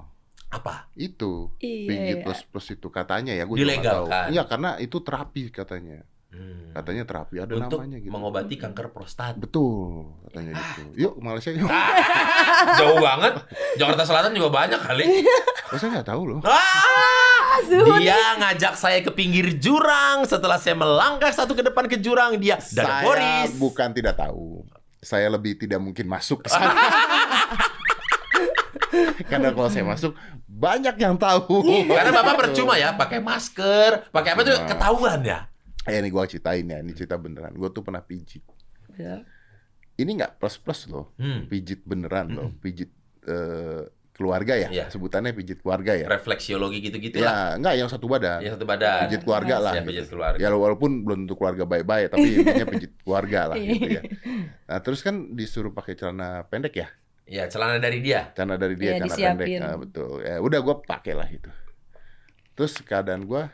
Speaker 3: Apa?
Speaker 2: Itu
Speaker 1: Iya,
Speaker 2: pijit
Speaker 1: iya.
Speaker 2: plus plus itu katanya ya gue
Speaker 3: Dilegalkan.
Speaker 2: Iya karena itu terapi katanya.
Speaker 3: Hmm.
Speaker 2: Katanya terapi ada
Speaker 3: Untuk
Speaker 2: namanya gitu.
Speaker 3: mengobati kanker prostat. (laughs)
Speaker 2: Betul katanya gitu. Yuk ke Malaysia yuk.
Speaker 3: Ah, jauh banget. Jakarta Selatan juga banyak kali.
Speaker 2: (laughs) Oh, saya nggak tahu loh.
Speaker 3: Ah,
Speaker 1: Zuhud.
Speaker 3: dia ngajak saya ke pinggir jurang. Setelah saya melangkah satu ke depan ke jurang, dia
Speaker 2: saya
Speaker 3: dan Boris.
Speaker 2: bukan tidak tahu. Saya lebih tidak mungkin masuk ke
Speaker 3: (laughs)
Speaker 2: sana. Karena kalau saya masuk banyak yang tahu.
Speaker 3: (laughs) Oh. Karena bapak percuma ya, pakai masker, pakai apa tuh
Speaker 2: Nah.
Speaker 3: ketahuan ya.
Speaker 2: Eh ini gue ceritain ya, ini cerita beneran. Gue tuh pernah pijit.
Speaker 1: Ya.
Speaker 2: Ini nggak plus plus loh,
Speaker 3: Hmm.
Speaker 2: pijit beneran loh, pijit eh, keluarga ya,
Speaker 3: Iya.
Speaker 2: sebutannya pijit keluarga ya.
Speaker 3: Refleksiologi gitu-gitu lah.
Speaker 2: Ya nggak yang satu badan.
Speaker 3: Yang satu badan.
Speaker 2: pijit keluarga lah.
Speaker 3: Ya,
Speaker 2: gitu.
Speaker 3: Iya. pijit keluarga.
Speaker 2: Ya, walaupun belum tentu keluarga baik-baik, tapi intinya pijit keluarga lah gitu
Speaker 3: (laughs)
Speaker 2: ya. Nah terus kan disuruh pakai celana pendek ya,
Speaker 3: Ya, celana dari dia.
Speaker 2: celana dari dia
Speaker 1: Iya,
Speaker 2: celana
Speaker 1: disiapin.
Speaker 2: pendek. Nah, betul. Ya udah gue pakai lah itu. Terus keadaan gue,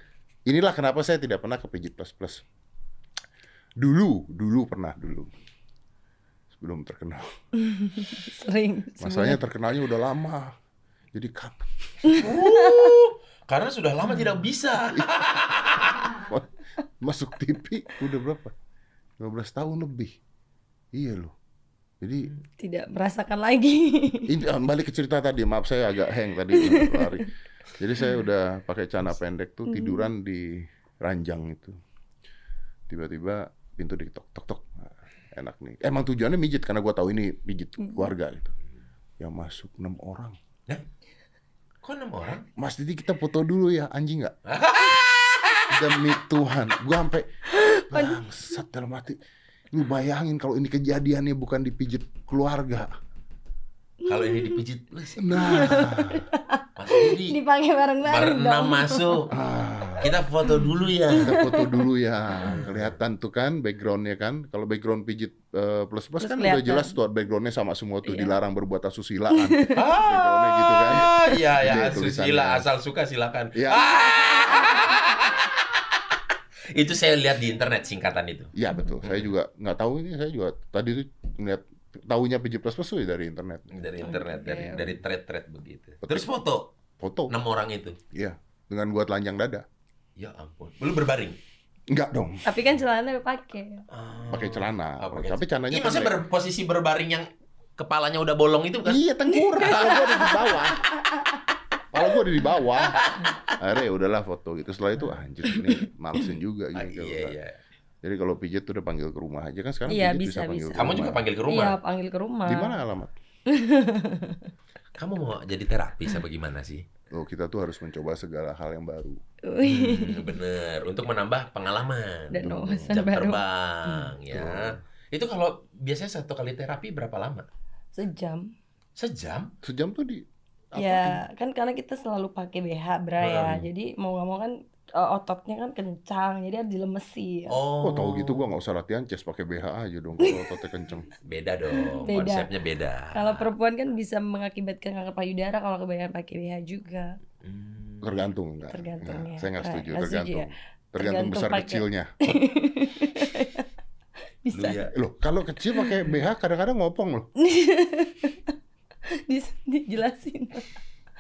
Speaker 2: inilah kenapa saya tidak pernah kepijit plus plus. Dulu, dulu pernah dulu. Sebelum terkenal.
Speaker 1: Sering.
Speaker 2: Masalahnya terkenalnya udah lama. Jadi kapan?
Speaker 3: Uh, karena sudah lama tidak bisa.
Speaker 2: masuk TV udah berapa? 15 tahun lebih. Iya loh. Jadi
Speaker 1: tidak merasakan lagi.
Speaker 2: ini ah, balik ke cerita tadi, maaf saya agak hang tadi lari. Jadi saya udah pakai celana pendek tuh tiduran di ranjang itu. Tiba-tiba pintu diketok tok tok. Nah, Enak nih. Emang tujuannya mijit karena gua tahu ini mijit keluarga gitu. Yang masuk enam orang.
Speaker 3: Kok enam orang?
Speaker 2: Mas Didi kita foto dulu ya anjing nggak? Demi Tuhan, gua sampai bangsat dalam hati. Lu bayangin kalau ini kejadiannya bukan dipijit keluarga.
Speaker 3: Kalau ini dipijit, Mas
Speaker 2: Nah,
Speaker 3: Didi
Speaker 1: Dipakai bareng-bareng
Speaker 3: berenam
Speaker 1: dong.
Speaker 3: masuk.
Speaker 2: ah,
Speaker 3: Kita foto dulu ya.
Speaker 2: kita foto dulu ya. Kelihatan tuh kan backgroundnya kan. Kalau background pijit eh, plus plus
Speaker 1: Terus
Speaker 2: kan udah
Speaker 1: kelihatan.
Speaker 2: jelas tuh backgroundnya sama semua tuh
Speaker 1: Iya.
Speaker 2: dilarang berbuat asusila
Speaker 1: (laughs)
Speaker 2: kan. Backgroundnya
Speaker 3: Ah,
Speaker 2: gitu kan.
Speaker 3: Iya, ya,
Speaker 2: Gede tulisannya.
Speaker 3: susila asal suka silakan.
Speaker 2: Iya.
Speaker 3: itu saya lihat di internet singkatan itu.
Speaker 2: Iya betul. Saya juga nggak tahu ini. Saya juga tadi tuh ngeliat tahunya pijit plus plus tuh dari internet.
Speaker 3: Dari internet, dari
Speaker 2: iya.
Speaker 1: Oke.
Speaker 3: dari thread-thread begitu.
Speaker 2: Betul.
Speaker 3: Terus foto
Speaker 2: Foto.
Speaker 3: enam orang itu.
Speaker 2: Iya. Dengan gua telanjang dada.
Speaker 3: Ya ampun. Belum berbaring.
Speaker 2: Enggak dong.
Speaker 1: Tapi kan celananya dipakai.
Speaker 2: Pakai celana.
Speaker 3: Ah, pakai
Speaker 2: Tapi celananya
Speaker 3: Iya, maksudnya
Speaker 2: pendek.
Speaker 3: berposisi berbaring yang kepalanya udah bolong itu kan?
Speaker 2: Iya, tengkurap.
Speaker 3: (laughs)
Speaker 2: Kalau gua ada di bawah. Kalau gua ada di bawah. Akhirnya ya udahlah foto gitu. Setelah itu ah, anjir ini malesin juga gitu."
Speaker 3: Ah,
Speaker 2: gini kalau
Speaker 3: iya,
Speaker 2: nggak.
Speaker 3: iya.
Speaker 2: Jadi kalau pijit tuh udah panggil ke rumah aja kan sekarang
Speaker 1: Iya,
Speaker 2: pijit
Speaker 1: bisa,
Speaker 2: panggil
Speaker 1: bisa.
Speaker 2: ke
Speaker 3: Kamu
Speaker 2: rumah.
Speaker 3: juga panggil ke
Speaker 1: Iya,
Speaker 3: rumah.
Speaker 1: panggil ke rumah.
Speaker 2: Di mana alamat?
Speaker 1: Iya.
Speaker 3: Kamu mau jadi terapis apa gimana
Speaker 1: (laughs)
Speaker 3: sih?
Speaker 2: Oh, kita tuh harus mencoba segala hal yang baru.
Speaker 1: Wih,
Speaker 3: Hmm, bener. Untuk menambah pengalaman.
Speaker 1: Iya. Dan wawasan
Speaker 3: Hmm. Jam
Speaker 1: baru.
Speaker 3: terbang,
Speaker 2: Hmm.
Speaker 3: ya. Itu kalau biasanya satu kali terapi berapa lama?
Speaker 1: Sejam.
Speaker 3: Sejam?
Speaker 2: Sejam tuh di apa?
Speaker 1: Ya, kan karena kita selalu pakai BH, Bra ya.
Speaker 3: Hmm.
Speaker 1: Jadi mau nggak mau kan eh, ototnya kan kencang, jadi harus dilemesi. Ya.
Speaker 2: Oh, tahu gitu gua nggak usah latihan chest pakai BH aja dong kalau ototnya kenceng.
Speaker 3: Beda dong,
Speaker 1: Beda.
Speaker 3: konsepnya beda.
Speaker 1: Kalau perempuan kan bisa mengakibatkan kanker payudara kalau kebanyakan pakai BH juga.
Speaker 3: Hmm.
Speaker 2: Tergantung enggak?
Speaker 1: Tergantung, ya.
Speaker 2: Saya nggak
Speaker 1: Eh,
Speaker 2: setuju,
Speaker 1: nggak setuju,
Speaker 2: tergantung.
Speaker 1: ya.
Speaker 2: Tergantung
Speaker 1: Tergantung
Speaker 2: besar
Speaker 1: pakai.
Speaker 2: kecilnya. Eh,
Speaker 3: Lu
Speaker 1: Bisa.
Speaker 3: ya.
Speaker 2: ya.
Speaker 1: (laughs)
Speaker 2: Loh, kalau kecil pakai BH kadang-kadang ngopong loh.
Speaker 1: dis- dijelasin.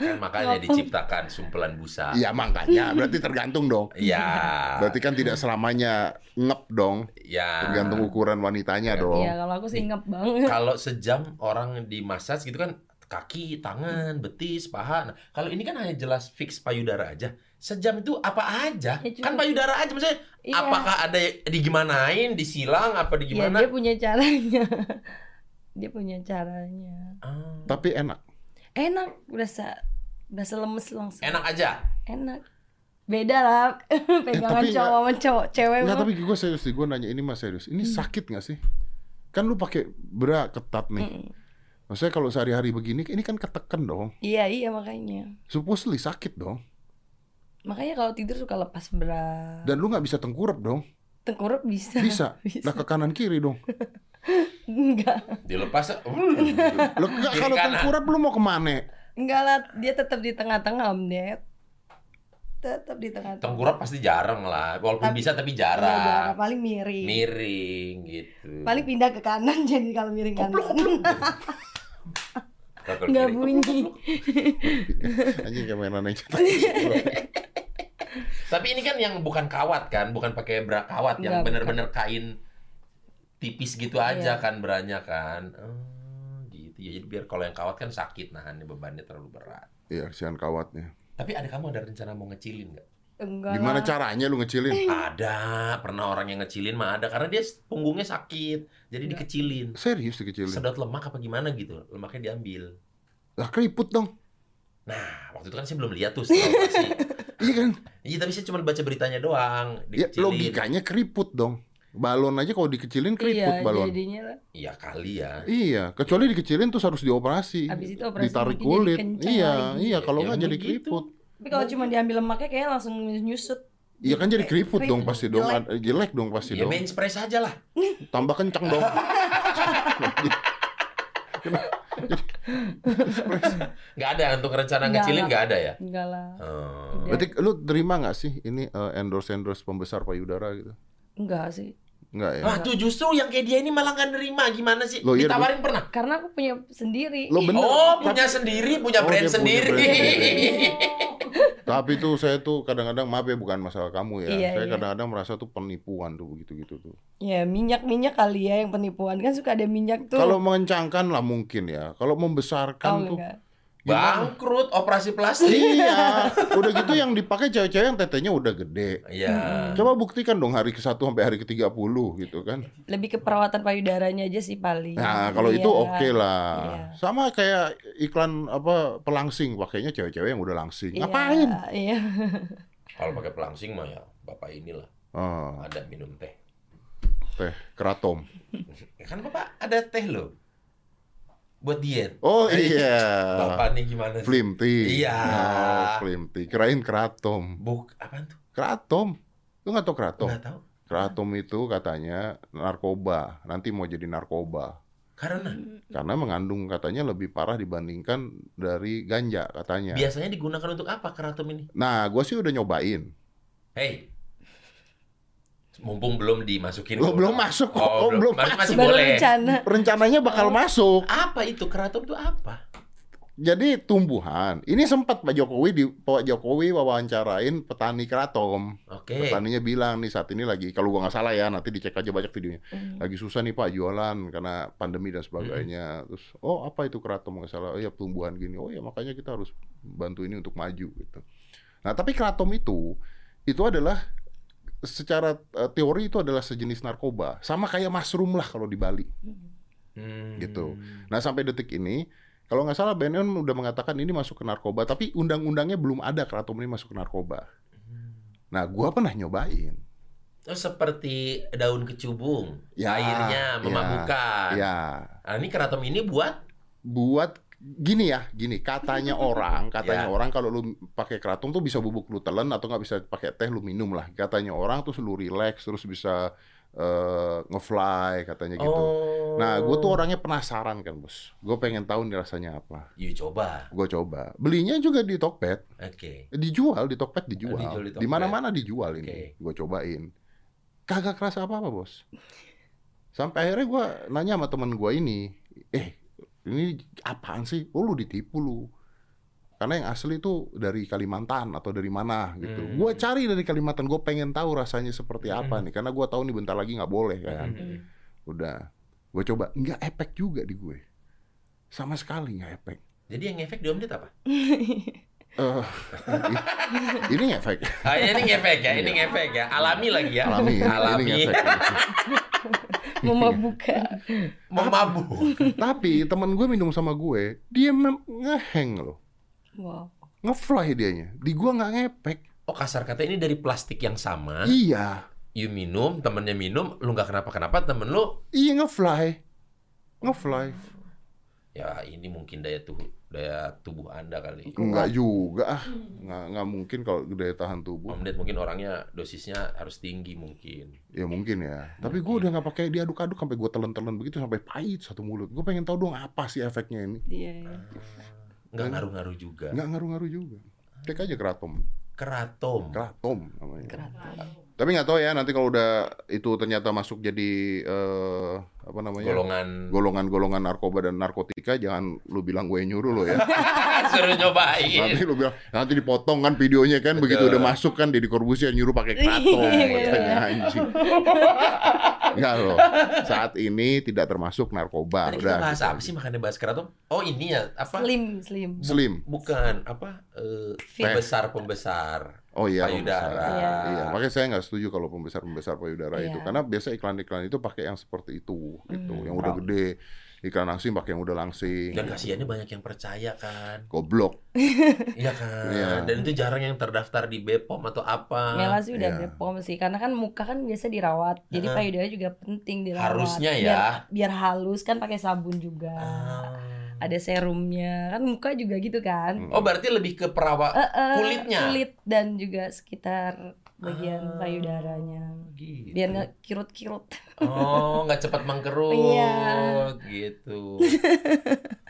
Speaker 3: Kan makanya
Speaker 1: Kenapa?
Speaker 3: diciptakan sumpelan busa.
Speaker 2: Iya makanya berarti tergantung dong.
Speaker 3: Iya.
Speaker 2: Berarti kan tidak selamanya ngep dong,
Speaker 3: Iya.
Speaker 2: tergantung ukuran wanitanya dong.
Speaker 1: Iya, kalau aku sih ngap banget.
Speaker 3: Kalau sejam orang di massage gitu kan kaki, tangan, betis, paha. Nah, kalau ini kan hanya jelas fix payudara aja. Sejam itu apa aja?
Speaker 1: Ya, cuma-
Speaker 3: kan payudara aja maksudnya.
Speaker 1: Iya.
Speaker 3: Apakah ada yang digimanain, disilang
Speaker 1: Iya,
Speaker 3: apa digimana?
Speaker 1: dia punya caranya. (laughs) dia punya caranya.
Speaker 3: Ah.
Speaker 2: Tapi enak.
Speaker 1: Enak, berasa berasa lemes langsung.
Speaker 3: Enak aja.
Speaker 1: Enak. Beda lah (laughs) pegangan
Speaker 2: tapi
Speaker 1: cowok sama cowok cewek.
Speaker 2: Enggak
Speaker 1: mah.
Speaker 2: tapi gue serius sih, gue nanya ini mas serius. Ini sakit nggak sih? Kan lu pakai bra ketat nih.
Speaker 1: Mm-mm.
Speaker 2: Maksudnya kalau sehari-hari begini, ini kan ketekan dong.
Speaker 1: Iya, iya makanya.
Speaker 2: Supposedly sakit dong.
Speaker 1: Makanya kalau tidur suka lepas berat.
Speaker 2: Dan lu nggak bisa tengkurap dong.
Speaker 1: Tengkurap bisa.
Speaker 2: Bisa.
Speaker 1: Bisa.
Speaker 2: Nah ke kanan kiri dong.
Speaker 1: (laughs) Enggak.
Speaker 3: Dilepas. (laughs)
Speaker 2: Lo nggak
Speaker 3: Kiri
Speaker 2: kalau
Speaker 3: kanan.
Speaker 2: tengkurap lu mau kemana?
Speaker 1: Enggak lah, dia tetap di tengah-tengah, Om Ded. Tetap di tengah-tengah.
Speaker 3: Tengkurap pasti jarang lah. Walaupun
Speaker 1: Tapi-
Speaker 3: bisa tapi
Speaker 1: Iya, jarang.
Speaker 3: jarang.
Speaker 1: paling miring.
Speaker 3: Miring gitu.
Speaker 1: Paling pindah ke kanan (laughs) jadi kalau miring kanan. (laughs)
Speaker 3: Kalau
Speaker 1: Nggak
Speaker 3: kiri,
Speaker 1: bunyi.
Speaker 2: Anjing kayak aja.
Speaker 3: Tapi ini kan yang bukan kawat kan, bukan pakai bra kawat, yang
Speaker 1: Enggak,
Speaker 3: bener-bener kain tipis gitu aja
Speaker 1: Iya.
Speaker 3: kan beranya kan. Oh, gitu. Ya, jadi biar kalau yang kawat kan sakit nahannya bebannya terlalu berat.
Speaker 2: Iya, kasihan kawatnya.
Speaker 3: Tapi ada kamu ada rencana mau ngecilin nggak?
Speaker 1: Enggak. lah.
Speaker 2: Gimana Ah, caranya lu ngecilin?
Speaker 1: (laughs)
Speaker 3: Ada, pernah orang yang ngecilin mah ada karena dia punggungnya sakit,
Speaker 1: Iya.
Speaker 3: jadi dikecilin.
Speaker 2: Serius dikecilin.
Speaker 3: Sedot lemak apa gimana gitu, lemaknya diambil.
Speaker 2: Lah keriput dong.
Speaker 3: Nah, waktu itu kan saya belum lihat tuh setelah operasi.
Speaker 1: (laughs)
Speaker 2: Iya kan?
Speaker 3: Iya, tapi saya cuma baca beritanya doang,
Speaker 2: Ya,
Speaker 3: dikecilin. Ya,
Speaker 2: logikanya keriput dong. Balon aja kalau dikecilin keriput
Speaker 1: iya,
Speaker 2: balon.
Speaker 1: jadinya lah.
Speaker 3: Iya kali ya.
Speaker 2: Iya, kecuali dikecilin terus harus dioperasi.
Speaker 1: Abis itu operasi
Speaker 2: Ditarik
Speaker 1: bikinnya
Speaker 2: kulit.
Speaker 1: dikencang
Speaker 2: Iya,
Speaker 1: lagi.
Speaker 2: iya kalau
Speaker 3: Ya,
Speaker 2: nggak jadi
Speaker 3: begitu.
Speaker 2: keriput.
Speaker 1: Tapi kalau cuma diambil lemaknya kayaknya langsung nyusut.
Speaker 2: Iya kan jadi keriput dong pasti dong.
Speaker 1: Eh, Jelek.
Speaker 2: Jelek, jelek dong pasti dong.
Speaker 3: Ya main spray saja lah.
Speaker 2: Tambah kencang
Speaker 3: (laughs)
Speaker 2: dong. Gitu.
Speaker 3: Nggak ada untuk rencana
Speaker 1: Nggak,
Speaker 3: ngecilin
Speaker 1: nggak.
Speaker 3: nggak ada ya.
Speaker 1: Enggak lah.
Speaker 3: Oh.
Speaker 1: Tidak.
Speaker 2: Berarti lu terima nggak sih ini endorse endorse pembesar payudara gitu?
Speaker 1: Enggak sih.
Speaker 2: Nggak ya?
Speaker 3: Wah tuh justru yang kayak dia ini malah nggak nerima gimana sih?
Speaker 2: Loh, iya,
Speaker 3: Ditawarin pernah?
Speaker 1: Karena aku punya sendiri.
Speaker 2: Lo bener.
Speaker 3: Oh punya sendiri,
Speaker 2: Oh,
Speaker 3: punya
Speaker 2: dia
Speaker 3: brand
Speaker 2: punya
Speaker 3: sendiri.
Speaker 2: brand sendiri. Tapi tuh saya tuh kadang-kadang maaf ya bukan masalah kamu ya.
Speaker 1: Iya,
Speaker 2: saya
Speaker 1: iya.
Speaker 2: kadang-kadang merasa tuh penipuan tuh begitu-gitu tuh.
Speaker 1: Ya minyak-minyak kali ya yang penipuan kan suka ada minyak tuh. Oh,
Speaker 2: Kalau mengencangkan lah mungkin ya. Kalau membesarkan
Speaker 1: Tahu
Speaker 2: tuh
Speaker 1: nggak?
Speaker 2: gimana?
Speaker 3: (laughs) Bangkrut operasi plastik.
Speaker 2: iya. Udah gitu yang dipakai cewek-cewek yang tetenya udah gede.
Speaker 3: Iya.
Speaker 2: Coba buktikan dong hari ke-1 sampai hari ke-30 gitu kan.
Speaker 1: Lebih ke perawatan payudaranya aja sih paling.
Speaker 2: Nah, kalau itu
Speaker 1: Iya.
Speaker 2: oke lah.
Speaker 1: Iya.
Speaker 2: Sama kayak iklan apa pelangsing pakainya cewek-cewek yang udah langsing.
Speaker 1: Iya,
Speaker 2: Ngapain?
Speaker 1: Iya.
Speaker 3: Kalau pakai pelangsing mah ya bapak inilah
Speaker 2: Ah,
Speaker 3: ada minum teh.
Speaker 2: teh keratom.
Speaker 3: Ya kan bapak ada teh loh buat diet.
Speaker 2: Oh
Speaker 3: Eh,
Speaker 2: iya.
Speaker 3: Bapak nih gimana sih?
Speaker 2: Flim tea.
Speaker 3: Iya.
Speaker 2: Oh, flim tea. Kirain keratom.
Speaker 3: Buk apaan tuh?
Speaker 2: Keratom. Lu nggak tau keratom?
Speaker 3: Nggak tahu.
Speaker 2: Keratom itu katanya narkoba. Nanti mau jadi narkoba.
Speaker 3: Karena
Speaker 2: Karena mengandung katanya lebih parah dibandingkan dari ganja katanya.
Speaker 3: biasanya digunakan untuk apa keratom ini?
Speaker 2: Nah, gue sih udah nyobain.
Speaker 3: Hei, mumpung belum dimasukin.
Speaker 2: Lo
Speaker 3: ke
Speaker 2: belum
Speaker 3: undang-
Speaker 2: masuk kok.
Speaker 3: Oh,
Speaker 2: Oh, belum
Speaker 3: belum. Masih, masih
Speaker 1: Baru
Speaker 3: boleh.
Speaker 1: rencana.
Speaker 2: Rencananya bakal masuk.
Speaker 3: Apa itu keratom itu apa?
Speaker 2: Jadi tumbuhan. Ini sempat Pak Jokowi di Pak Jokowi wawancarain petani keratom.
Speaker 3: Oke.
Speaker 2: Petaninya bilang nih saat ini lagi kalau gua nggak salah ya nanti dicek aja banyak videonya.
Speaker 1: Hmm. (laughs)
Speaker 2: Lagi susah nih Pak jualan karena pandemi dan sebagainya. Terus oh apa itu keratom nggak salah? Oh ya tumbuhan gini. Oh ya makanya kita harus bantu ini untuk maju gitu. Nah tapi keratom itu itu adalah secara eh, teori itu adalah sejenis narkoba. Sama kayak mushroom lah kalau di Bali.
Speaker 3: Hmm.
Speaker 2: gitu. Nah sampai detik ini kalau nggak salah BNN udah mengatakan ini masuk ke narkoba, tapi undang-undangnya belum ada keratom ini masuk ke narkoba. Nah, gua pernah nyobain.
Speaker 3: Hmm. Oh, seperti daun kecubung,
Speaker 2: Ya, ya,
Speaker 3: airnya memabukkan.
Speaker 2: Ya,
Speaker 3: Nah, ini keratom ini buat
Speaker 2: buat gini ya, gini
Speaker 3: (laughs)
Speaker 2: katanya orang, katanya
Speaker 3: Ya.
Speaker 2: orang kalau lu pakai keratom tuh bisa bubuk lu telan atau nggak bisa pakai teh lu minum lah. Katanya orang terus lu relax terus bisa eh, ngefly katanya gitu.
Speaker 3: Oh.
Speaker 2: Nah, gua tuh orangnya penasaran kan, Bos. Gua pengen tahu nih rasanya apa.
Speaker 3: Yuk coba.
Speaker 2: Gua coba. Belinya juga di Tokped.
Speaker 3: Oke.
Speaker 2: dijual di Tokped dijual,
Speaker 3: Dijual di Tokped.
Speaker 2: di mana-mana dijual ini
Speaker 3: Oke.
Speaker 2: gue cobain kagak kerasa apa apa bos sampai akhirnya gue nanya sama temen gue ini eh ini apaan sih? Oh lu ditipu lu. Karena yang asli itu dari Kalimantan atau dari mana gitu.
Speaker 3: Hmm.
Speaker 2: Gua cari dari Kalimantan, gue pengen tahu rasanya seperti apa
Speaker 3: Hmm.
Speaker 2: nih. Karena gua tahu nih bentar lagi nggak boleh kan.
Speaker 3: Hmm.
Speaker 2: Udah, gue coba nggak efek juga di gue. Sama sekali nggak efek.
Speaker 3: Jadi yang ngefek dua menit apa?
Speaker 2: Eh, (laughs) i- ini ngefek
Speaker 3: Ah, ini ngefek ya, ini
Speaker 2: Iya.
Speaker 3: ngefek ya. Alami lagi ya.
Speaker 2: (laughs) alami, ini-
Speaker 3: Alami.
Speaker 2: ini ngefek.
Speaker 1: (laughs) Memabukkan.
Speaker 3: Mau mabuk.
Speaker 2: Tapi teman gue minum sama gue, dia mem- ngeheng loh,
Speaker 1: Wow.
Speaker 2: ngefly dianya. Di gue nggak ngepek.
Speaker 3: Oh kasar kata ini dari plastik yang sama.
Speaker 2: Iya,
Speaker 3: You minum, temennya minum, lu nggak kenapa-kenapa, temen lu
Speaker 2: iya ngefly, ngefly.
Speaker 3: ya ini mungkin daya tubuh daya tubuh anda kali.
Speaker 2: Enggak juga ah, nggak nggak mungkin kalau daya tahan tubuh.
Speaker 3: Om Ded mungkin orangnya dosisnya harus tinggi mungkin.
Speaker 2: Ya mungkin ya. Tapi gue udah nggak pakai diaduk-aduk sampai gue telan-telan begitu sampai pahit satu mulut. Gue pengen tahu dong apa sih efeknya ini.
Speaker 1: Iya. iya.
Speaker 3: Nggak ngaruh-ngaruh juga.
Speaker 2: Nggak ngaruh-ngaruh juga. Cek aja keratom,
Speaker 3: Keratom.
Speaker 2: keratom namanya.
Speaker 1: Keraton.
Speaker 2: Tapi nggak tahu ya nanti kalau udah itu ternyata masuk jadi eh, apa namanya
Speaker 3: Golongan (laughs)
Speaker 2: golongan-golongan narkoba dan narkotika jangan lu bilang gue yang nyuruh lo
Speaker 3: (laughs)
Speaker 2: ya.
Speaker 3: suruh Ah, nyobain.
Speaker 2: nanti lu bilang nanti dipotong kan videonya kan begitu
Speaker 3: Betul.
Speaker 2: udah masuk kan Deddy Corbuzier nyuruh pakai
Speaker 3: (laughs)
Speaker 2: kraton
Speaker 1: Iya.
Speaker 2: katanya anjing. Enggak loh. Saat ini tidak termasuk narkoba.
Speaker 3: Tadi kita
Speaker 2: Udah. gitu.
Speaker 3: bahas apa sih makanya bahas keratom? Oh ini ya apa?
Speaker 1: Slim, slim.
Speaker 2: Slim.
Speaker 3: Bukan apa? eh,
Speaker 1: Fit.
Speaker 3: pembesar pembesar.
Speaker 2: Oh iya,
Speaker 3: Payudara.
Speaker 2: pembesar.
Speaker 1: Iya.
Speaker 2: Iya, makanya saya nggak setuju kalau pembesar-pembesar payudara
Speaker 1: Iya.
Speaker 2: itu karena biasa iklan-iklan itu pakai yang seperti itu gitu,
Speaker 1: Hmm.
Speaker 2: yang udah gede. Iklan langsing pakai yang udah langsing.
Speaker 3: Dan kasihannya banyak yang percaya kan.
Speaker 2: (laughs) Goblok.
Speaker 3: Iya kan.
Speaker 2: Iya.
Speaker 3: Dan itu jarang yang terdaftar di Bepom atau apa.
Speaker 1: Mela sih udah
Speaker 2: Iya.
Speaker 1: Bepom sih karena kan muka kan biasa dirawat. Jadi
Speaker 3: Heeh.
Speaker 1: payudara juga penting dirawat. Iya.
Speaker 3: Harusnya ya.
Speaker 1: Biar, biar halus kan pakai sabun juga.
Speaker 3: Ah.
Speaker 1: Ada serumnya. Kan muka juga gitu kan.
Speaker 2: Hmm.
Speaker 3: Oh berarti lebih ke perawat
Speaker 1: Eh, eh,
Speaker 3: kulitnya?
Speaker 1: Kulit dan juga sekitar bagian
Speaker 3: Ah.
Speaker 1: payudaranya.
Speaker 3: gitu.
Speaker 1: Eh, Biar nggak kirut-kirut.
Speaker 3: Oh nggak cepat mengkerut
Speaker 1: Iya.
Speaker 3: gitu.
Speaker 1: (laughs)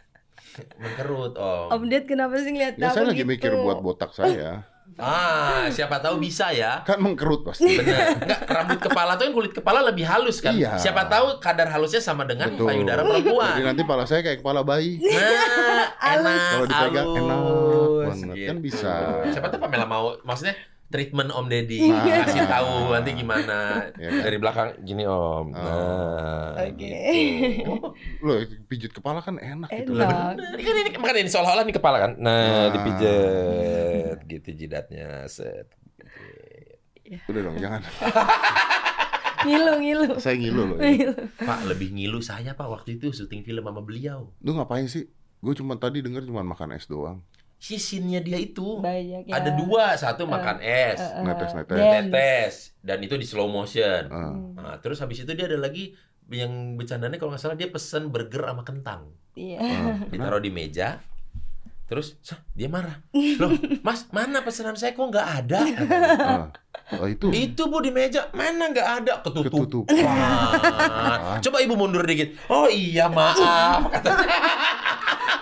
Speaker 3: mengkerut om.
Speaker 1: Oh. Om Ded kenapa sih ngeliat
Speaker 2: Ya
Speaker 1: aku
Speaker 2: saya lagi
Speaker 1: gitu?
Speaker 2: mikir buat botak saya.
Speaker 3: Ah siapa tahu bisa ya.
Speaker 2: Kan mengkerut pasti.
Speaker 3: Bener. Nggak, rambut kepala tuh kan kulit kepala lebih halus kan.
Speaker 2: Iya.
Speaker 3: Siapa tahu kadar halusnya sama dengan
Speaker 2: Betul.
Speaker 3: payudara
Speaker 2: Jadi
Speaker 3: perempuan.
Speaker 2: nanti kepala saya kayak kepala bayi.
Speaker 3: Nah,
Speaker 1: (laughs)
Speaker 3: enak,
Speaker 2: Kalau dipegang
Speaker 3: halus,
Speaker 2: enak banget. Kan bisa.
Speaker 3: Siapa tahu Pamela mau, maksudnya treatment Om Deddy,
Speaker 2: Nah.
Speaker 1: Iya.
Speaker 3: kasih tahu nanti gimana.
Speaker 2: Ya kan?
Speaker 3: Dari belakang gini Om. Nah,
Speaker 1: Oke.
Speaker 3: gitu.
Speaker 2: (laughs) Loh, pijit kepala kan enak, gitu.
Speaker 1: Enak.
Speaker 2: Lah,
Speaker 3: Nah, ini kan ini makanya ini seolah-olah ini kepala kan. Nah,
Speaker 2: Nah.
Speaker 3: dipijet gitu jidatnya set.
Speaker 2: Udah dong, jangan.
Speaker 1: Ngilu, ngilu.
Speaker 2: Saya ngilu loh. Ya.
Speaker 1: Ngilu.
Speaker 3: Pak, lebih ngilu saya Pak waktu itu syuting film sama beliau.
Speaker 2: Lu ngapain sih? Gue cuma tadi denger cuma makan es doang.
Speaker 3: Sisinnya dia itu
Speaker 1: Banyak ya.
Speaker 3: ada dua, satu makan es,
Speaker 1: Eh, eh,
Speaker 2: Netes-netes.
Speaker 1: dance.
Speaker 3: tetes, dan itu di slow motion.
Speaker 2: Ah.
Speaker 1: Hmm,
Speaker 3: Nah, terus habis itu dia ada lagi yang bercandanya kalau nggak salah dia pesan burger sama kentang.
Speaker 1: Iya. (laughs)
Speaker 2: ah, kenapa?
Speaker 3: Ditaruh di meja. Terus "Sah," dia marah. Loh, Mas, mana pesanan saya kok nggak ada?
Speaker 2: Ah. Oh, itu.
Speaker 3: Itu Bu di meja, mana nggak ada? Ketutup.
Speaker 2: Ketutup.
Speaker 3: Wah. Coba Ibu mundur dikit. Oh iya, maaf. Katanya.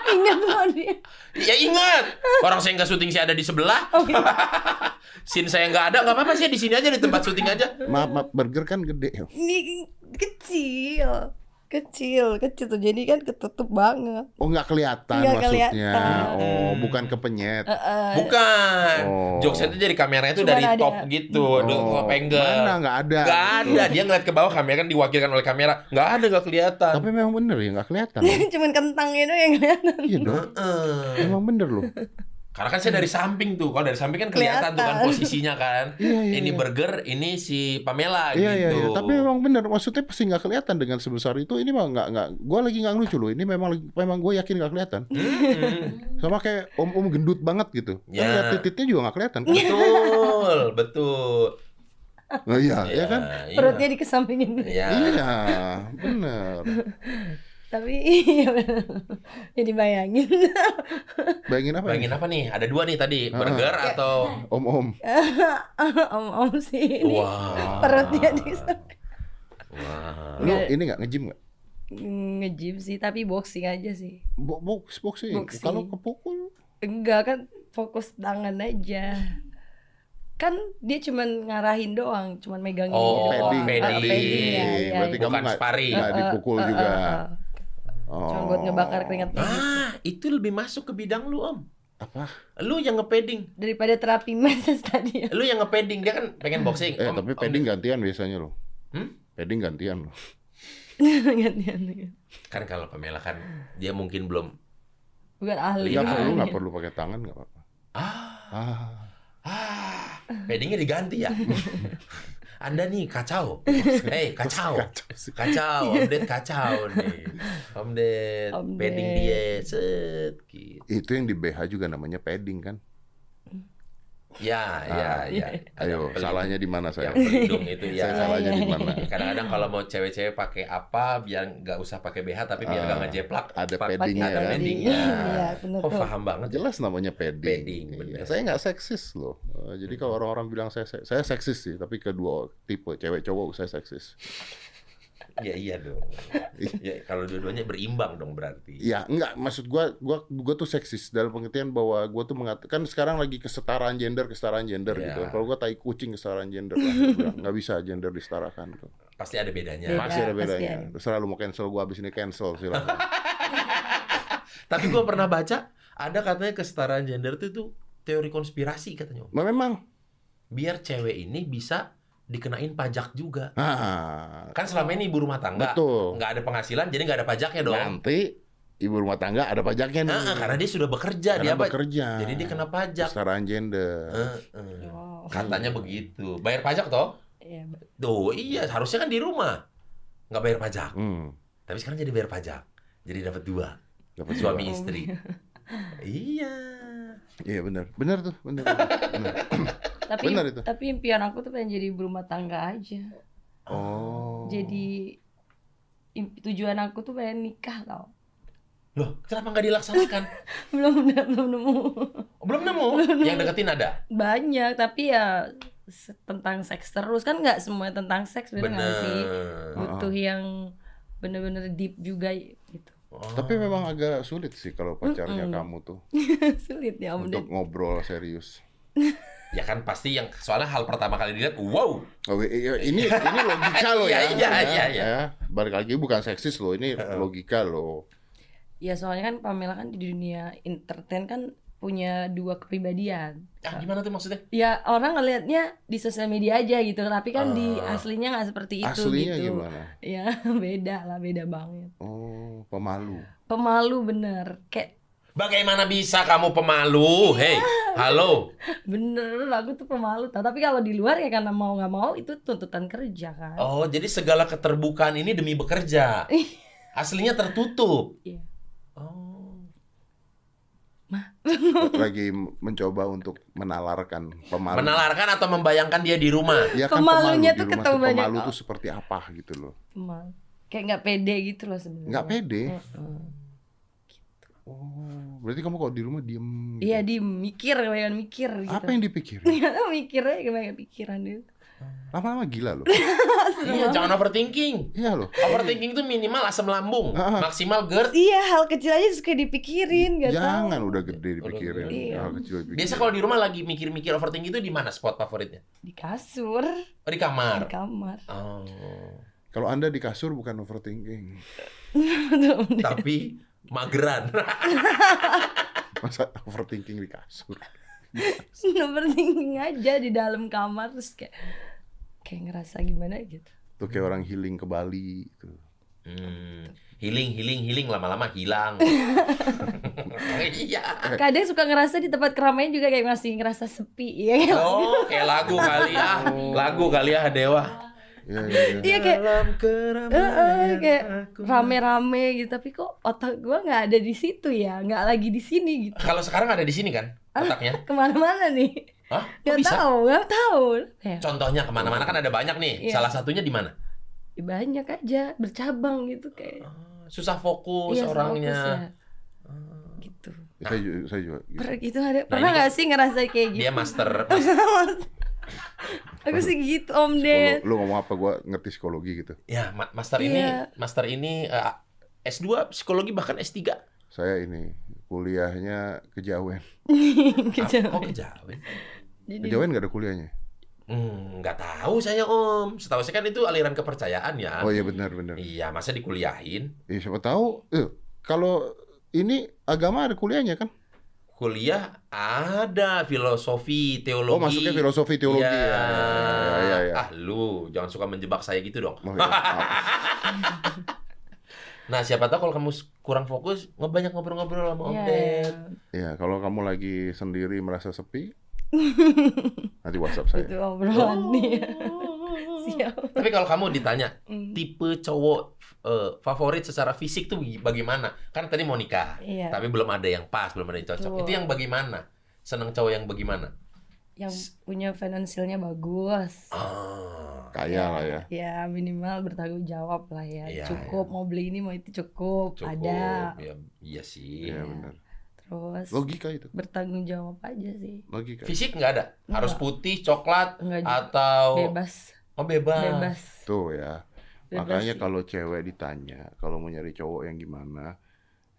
Speaker 1: Ingat loh dia.
Speaker 3: Ya ingat, orang saya nggak syuting saya ada di sebelah.
Speaker 1: Oke.
Speaker 3: Scene saya nggak ada, nggak apa-apa sih di sini aja di tempat syuting aja.
Speaker 2: Maaf, maaf, burger kan gede. ya.
Speaker 1: Ini kecil. Kecil, kecil tuh. Jadi kan ketutup banget.
Speaker 2: Oh, nggak kelihatan
Speaker 1: Nggak
Speaker 2: maksudnya.
Speaker 1: kelihatan.
Speaker 2: Oh, bukan kepenyet.
Speaker 1: Heeh.
Speaker 3: Bukan.
Speaker 2: Oh.
Speaker 3: Jokes itu dari kameranya itu
Speaker 1: Cuman
Speaker 3: dari
Speaker 1: ada-
Speaker 3: top gitu, ada top angle.
Speaker 2: mana nggak ada. Gitu.
Speaker 3: Gak ada, dia ngeliat ke bawah kamera kan diwakilkan oleh kamera. Gak ada, gak kelihatan.
Speaker 2: Tapi memang bener ya, nggak
Speaker 1: (laughs)
Speaker 2: kelihatan.
Speaker 1: Cuman kentangnya doang yang kelihatan.
Speaker 2: Iya dong.
Speaker 3: Heeh.
Speaker 2: Emang bener loh.
Speaker 3: Karena kan saya dari samping tuh. Kalau dari samping kan kelihatan, tuh kan
Speaker 1: Kelihatan.
Speaker 3: posisinya kan.
Speaker 2: Iya, iya,
Speaker 3: ini
Speaker 2: iya.
Speaker 3: burger, ini si Pamela
Speaker 2: Iya iya
Speaker 3: gitu.
Speaker 2: iya, tapi memang benar maksudnya pasti nggak kelihatan dengan sebesar itu. Ini mah nggak nggak, gue lagi nggak lucu loh. Ini memang lagi- memang gue yakin nggak kelihatan.
Speaker 3: Mm-mm.
Speaker 2: Sama kayak om om gendut banget gitu. Kan
Speaker 3: Ya.
Speaker 2: lihat titiknya juga nggak kelihatan.
Speaker 1: Ya.
Speaker 2: Kan?
Speaker 3: Betul, betul.
Speaker 2: Nah, iya iya kan.
Speaker 3: iya.
Speaker 1: Perutnya dikesampingin.
Speaker 3: Iya.
Speaker 2: Iya bener.
Speaker 1: Tapi iya bener. Jadi bayangin. (laughs)
Speaker 2: Bayangin apa?
Speaker 3: Bayangin
Speaker 2: ya?
Speaker 3: apa nih? Ada dua nih tadi, burger
Speaker 1: Iya.
Speaker 3: atau
Speaker 2: Om om.
Speaker 1: Om-om sih ini.
Speaker 3: Wah.
Speaker 1: Perutnya dikesampingin.
Speaker 3: Wah.
Speaker 2: Lu
Speaker 1: Nggak.
Speaker 2: ini nggak ngejim nggak?
Speaker 1: Nge-gym sih, tapi boxing aja sih.
Speaker 2: Bo- Box boxing.
Speaker 1: Boxing.
Speaker 2: Kalau kepukul.
Speaker 1: Enggak kan fokus tangan aja. Kan dia cuman ngarahin doang, cuman megangin doang.
Speaker 3: Oh,
Speaker 2: padding,
Speaker 1: Ah,
Speaker 3: padding.
Speaker 1: ya, ya,
Speaker 2: Berarti
Speaker 1: ya.
Speaker 2: kamu
Speaker 3: Bukan
Speaker 2: nggak
Speaker 3: sparring.
Speaker 2: nggak dipukul
Speaker 1: Eh, eh,
Speaker 2: juga.
Speaker 1: eh, eh.
Speaker 2: Oh.
Speaker 1: Cuma buat ngebakar keringat
Speaker 3: Ah, itu lebih masuk ke bidang lu, Om.
Speaker 2: Apa?
Speaker 3: Lu yang ngepadding.
Speaker 1: daripada terapi meses
Speaker 3: (laughs)
Speaker 1: tadi.
Speaker 3: Lu yang ngepadding. Dia kan pengen boxing.
Speaker 2: Eh,
Speaker 3: Om-
Speaker 2: tapi
Speaker 3: Om-
Speaker 2: padding gantian biasanya loh.
Speaker 3: Hmm?
Speaker 2: Padding gantian loh.
Speaker 1: Gantian gantian.
Speaker 3: Kan kalau Pamela kan dia mungkin belum
Speaker 1: Bukan ahli.
Speaker 3: Iya,
Speaker 2: Enggak perlu,
Speaker 1: Ahli.
Speaker 2: enggak perlu pakai tangan enggak apa-apa.
Speaker 3: ah,
Speaker 2: Ah.
Speaker 3: ah, paddingnya diganti ya. (laughs) Anda nih kacau. Hei, kacau.
Speaker 2: Kacau sih.
Speaker 3: Kacau, Om Ded kacau nih. Om Ded,
Speaker 1: Om
Speaker 3: padding
Speaker 1: Ded.
Speaker 3: dia set gitu.
Speaker 2: Itu yang di BH juga namanya padding kan?
Speaker 3: Ya, ya,
Speaker 2: Ah,
Speaker 3: ya. Ada
Speaker 2: Ayo,
Speaker 3: pelindung-
Speaker 2: salahnya di mana saya?
Speaker 3: Yang pelindung itu ya.
Speaker 2: Saya salahnya di mana?
Speaker 3: (laughs) Kadang-kadang kalau mau cewek-cewek pakai apa biar nggak usah pakai BH tapi biar nggak
Speaker 2: Ah,
Speaker 3: ngejeplak.
Speaker 2: ada
Speaker 3: pakai-
Speaker 2: paddingnya
Speaker 3: ada
Speaker 2: kan?
Speaker 3: paddingnya.
Speaker 1: Iya, bener
Speaker 3: Oh,
Speaker 1: tuh.
Speaker 3: paham banget. ya.
Speaker 2: Jelas namanya padding.
Speaker 3: Padding,
Speaker 2: Iya.
Speaker 3: bener. Iya.
Speaker 2: Saya nggak seksis loh. Eh, Jadi kalau orang-orang bilang saya se- saya seksis sih, tapi kedua tipe cewek cowok saya seksis.
Speaker 3: Ya iya
Speaker 2: (laughs)
Speaker 3: dong. ya, kalau dua-duanya berimbang dong berarti.
Speaker 2: Ya nggak maksud gua gua gua tuh seksis dalam pengertian bahwa gua tuh mengatakan sekarang lagi kesetaraan gender kesetaraan gender
Speaker 3: Iya.
Speaker 2: gitu. Kalau gua tai kucing kesetaraan gender lah. Gua bilang, nggak bisa gender disetarakan. tuh.
Speaker 3: Pasti ada
Speaker 1: Iya,
Speaker 3: bedanya.
Speaker 2: Pasti ada
Speaker 1: pasti
Speaker 2: bedanya.
Speaker 1: ada.
Speaker 2: Terserah lu mau cancel gua abis ini cancel silakan.
Speaker 3: Tapi gua pernah baca ada katanya kesetaraan gender itu tuh teori konspirasi katanya. Om.
Speaker 2: Nah, memang.
Speaker 3: Biar cewek ini bisa dikenain pajak juga.
Speaker 2: Ah,
Speaker 3: Kan selama ini ibu rumah tangga
Speaker 2: betul.
Speaker 3: nggak ada penghasilan jadi nggak ada pajaknya dong.
Speaker 2: Nanti ibu rumah tangga ada pajaknya nih.
Speaker 3: Ah, ah, karena dia sudah bekerja dia
Speaker 2: Nah, iya. Karena
Speaker 3: apa?
Speaker 2: bekerja.
Speaker 3: Jadi dia kena pajak.
Speaker 2: kesetaraan gender.
Speaker 3: Eh, eh.
Speaker 1: Wow.
Speaker 2: Iya.
Speaker 3: Katanya begitu. Bayar pajak toh?
Speaker 1: Iya, Mbak.
Speaker 3: Tuh, iya harusnya kan di rumah. Nggak bayar pajak.
Speaker 2: Hmm.
Speaker 3: Tapi sekarang jadi bayar pajak. Jadi dapat dua
Speaker 2: Dapat
Speaker 3: suami
Speaker 2: dua.
Speaker 3: istri. iya.
Speaker 2: Iya benar. Benar tuh, benar. benar, benar.
Speaker 1: Tapi
Speaker 2: Benar itu.
Speaker 1: tapi impian aku tuh pengen jadi ibu rumah tangga aja.
Speaker 2: Oh.
Speaker 1: Jadi imp- tujuan aku tuh pengen nikah tau. (laughs)
Speaker 3: Loh, kenapa nggak dilaksanakan?
Speaker 1: belum belum nemu
Speaker 3: Oh, (laughs) belum nemu. Yang deketin ada.
Speaker 1: banyak tapi ya se- tentang seks terus kan nggak semuanya tentang seks bener nggak sih
Speaker 3: Bener.
Speaker 1: butuh yang bener-bener deep juga gitu (laughs)
Speaker 3: Oh.
Speaker 2: Tapi memang agak sulit sih kalau pacarnya
Speaker 1: Mm-mm.
Speaker 2: kamu tuh
Speaker 1: sulit ya om
Speaker 2: untuk
Speaker 1: Ded.
Speaker 2: ngobrol serius.
Speaker 3: ya kan pasti yang soalnya hal pertama kali dilihat, wow.
Speaker 2: Oh, i- i- ini ini logika loh ya.
Speaker 3: Iya, iya,
Speaker 2: Ya,
Speaker 3: iya, iya.
Speaker 2: ya. Balik lagi bukan seksis loh, ini logika loh.
Speaker 1: ya soalnya kan Pamela kan di dunia entertain kan punya dua kepribadian
Speaker 3: Ah, gimana tuh maksudnya?
Speaker 1: ya orang ngelihatnya di sosial media aja gitu tapi kan di
Speaker 3: Ah.
Speaker 1: aslinya nggak seperti itu
Speaker 2: Aslinya
Speaker 1: gitu
Speaker 2: gimana?
Speaker 1: ya (laughs) beda lah beda banget
Speaker 2: Oh, pemalu.
Speaker 1: pemalu bener kayak (laughs)
Speaker 3: Bagaimana bisa kamu pemalu? Hei, halo.
Speaker 1: Bener, aku tuh pemalu tau. Tapi kalau di luar ya karena mau nggak mau itu tuntutan kerja kan.
Speaker 3: Oh, jadi segala keterbukaan ini demi bekerja.
Speaker 2: Oh.
Speaker 1: (laughs)
Speaker 3: Aslinya tertutup.
Speaker 1: Iya.
Speaker 3: Oh.
Speaker 2: Lagi mencoba untuk menalarkan pemalu.
Speaker 3: Menalarkan atau membayangkan dia di rumah.
Speaker 2: Ya kan
Speaker 1: Pemalunya
Speaker 2: pemalu
Speaker 1: tuh
Speaker 2: di rumah
Speaker 1: ketemu
Speaker 2: tuh
Speaker 1: banyak
Speaker 2: pemalu
Speaker 1: orang.
Speaker 2: tuh seperti apa gitu loh.
Speaker 1: Pemalu. Kayak nggak pede gitu loh sebenarnya.
Speaker 2: Nggak pede.
Speaker 1: Heeh.
Speaker 2: Oh, berarti kamu kalau di rumah diem. gitu.
Speaker 1: Iya di mikir, kebanyakan mikir gitu.
Speaker 2: Apa
Speaker 1: (laughs)
Speaker 2: Iya, yang dipikirin?
Speaker 1: mikirnya kebanyakan pikiran itu.
Speaker 2: Lama-lama gila loh.
Speaker 3: Iya, jangan overthinking.
Speaker 2: Iya loh.
Speaker 3: Overthinking itu minimal asam lambung,
Speaker 2: Ah.
Speaker 3: maksimal GERD.
Speaker 1: Iya, hal kecil aja suka dipikirin, (laughs) nggak tahu.
Speaker 2: Jangan udah gede dipikirin.
Speaker 3: Udah
Speaker 1: gede.
Speaker 2: Hal kecil dipikirin.
Speaker 3: Biasa kalau di rumah lagi mikir-mikir overthinking itu di mana spot favoritnya?
Speaker 1: Di kasur,
Speaker 3: Oh, di
Speaker 1: di
Speaker 3: kamar.
Speaker 1: kamar. (laughs)
Speaker 3: Oh.
Speaker 2: Kalau Anda di kasur bukan overthinking. (laughs)
Speaker 1: Tuh, Om Ded.
Speaker 3: Tapi mageran. (laughs)
Speaker 2: Masa overthinking di kasur?
Speaker 1: Nomor thinking aja di dalam kamar terus kayak kayak ngerasa gimana gitu.
Speaker 2: Tuh kayak orang healing ke Bali
Speaker 1: Gitu.
Speaker 2: gitu.
Speaker 3: Hmm. Healing, healing, healing lama-lama hilang. iya.
Speaker 2: Eh.
Speaker 1: Kadang suka ngerasa di tempat keramaian juga kayak masih ngerasa sepi ya. kan?
Speaker 3: (laughs) Oh, kayak lagu kali ya. Lagu kali ya Dewa.
Speaker 2: Iya, iya, iya.
Speaker 1: (laughs) Iya kayak
Speaker 3: Dalam
Speaker 1: eh, eh,
Speaker 3: keramaian
Speaker 1: kayak
Speaker 3: aku.
Speaker 1: rame-rame gitu tapi kok otak gua nggak ada di situ ya nggak lagi di sini gitu
Speaker 3: Kalau sekarang ada di sini kan otaknya?
Speaker 1: kemana-mana nih
Speaker 3: Hah? Kok
Speaker 1: nggak
Speaker 3: bisa?
Speaker 1: tahu nggak tahu ya,
Speaker 3: Contohnya kemana-mana kan ada banyak nih.
Speaker 1: Iya.
Speaker 3: Salah satunya di mana?
Speaker 1: banyak aja bercabang gitu kayak
Speaker 3: Susah fokus
Speaker 1: Iya, fokus
Speaker 3: orangnya.
Speaker 1: ya. gitu
Speaker 2: Saya juga, saya juga gitu.
Speaker 1: pernah gitu ada pernah nggak sih ngerasa kayak gitu
Speaker 3: Nah, Dia master.
Speaker 1: (laughs) aku sih gitu om
Speaker 2: Kalau
Speaker 3: Ah,
Speaker 1: (laughs) ded
Speaker 2: lu ngomong apa gua ngerti psikologi gitu.
Speaker 3: ya, ma- master ini,
Speaker 1: Iya.
Speaker 3: master ini eh, S2 psikologi bahkan S3.
Speaker 2: Saya ini kuliahnya kejawen.
Speaker 1: Kejawen.
Speaker 3: oh, Kok ya? kejawen?
Speaker 1: Gitu. Jadi
Speaker 2: Kejawen gak ada kuliahnya.
Speaker 3: Hmm, nggak tahu saya om. Setahu saya kan itu aliran kepercayaan ya.
Speaker 2: Oh iya benar benar.
Speaker 3: Iya, masa dikuliahin?
Speaker 2: Iya siapa tahu eh, kalau ini agama ada kuliahnya kan?
Speaker 3: Kuliah ada filosofi, teologi.
Speaker 2: Oh masuknya filosofi teologi
Speaker 3: Iya.
Speaker 2: ya. Ya, ya,
Speaker 3: (laughs)
Speaker 2: ya.
Speaker 3: Ah, lu jangan suka menjebak saya gitu dong.
Speaker 2: Oh, iya. Maaf.
Speaker 3: Nah, siapa tahu kalau kamu s- kurang fokus, ngebanyak ngobrol-ngobrol sama Om
Speaker 1: Iya.
Speaker 3: Ded.
Speaker 2: Iya, kalau kamu lagi sendiri merasa sepi, nanti WhatsApp saya.
Speaker 1: Itu
Speaker 3: Oh.
Speaker 1: obrolan dia. (laughs) Siap.
Speaker 3: Tapi kalau kamu ditanya
Speaker 1: Mm.
Speaker 3: tipe cowok eh, favorit secara fisik tuh bagi- bagaimana? Kan tadi mau nikah,
Speaker 1: Iya.
Speaker 3: tapi belum ada yang pas, belum ada yang cocok.
Speaker 1: Betul.
Speaker 3: Itu yang bagaimana? Seneng cowok yang bagaimana?
Speaker 1: Yang punya finansialnya bagus.
Speaker 3: Ah,
Speaker 2: Kaya lah ya.
Speaker 1: Ya minimal bertanggung jawab lah ya.
Speaker 3: Iya,
Speaker 1: cukup
Speaker 3: iya.
Speaker 1: mau beli ini mau itu cukup,
Speaker 3: cukup.
Speaker 1: ada.
Speaker 3: Ya, iya sih.
Speaker 2: Iya benar.
Speaker 1: Terus
Speaker 2: Logika itu,
Speaker 1: bertanggung jawab aja sih.
Speaker 2: logika.
Speaker 3: Fisik nggak ada? Harus
Speaker 1: Nggak.
Speaker 3: putih, coklat,
Speaker 1: Enggak juga.
Speaker 3: atau...
Speaker 1: bebas.
Speaker 3: Oh, bebas.
Speaker 1: Bebas.
Speaker 2: Tuh ya.
Speaker 1: Bebas
Speaker 2: Makanya
Speaker 1: sih.
Speaker 2: kalau cewek ditanya, kalau mau nyari cowok yang gimana,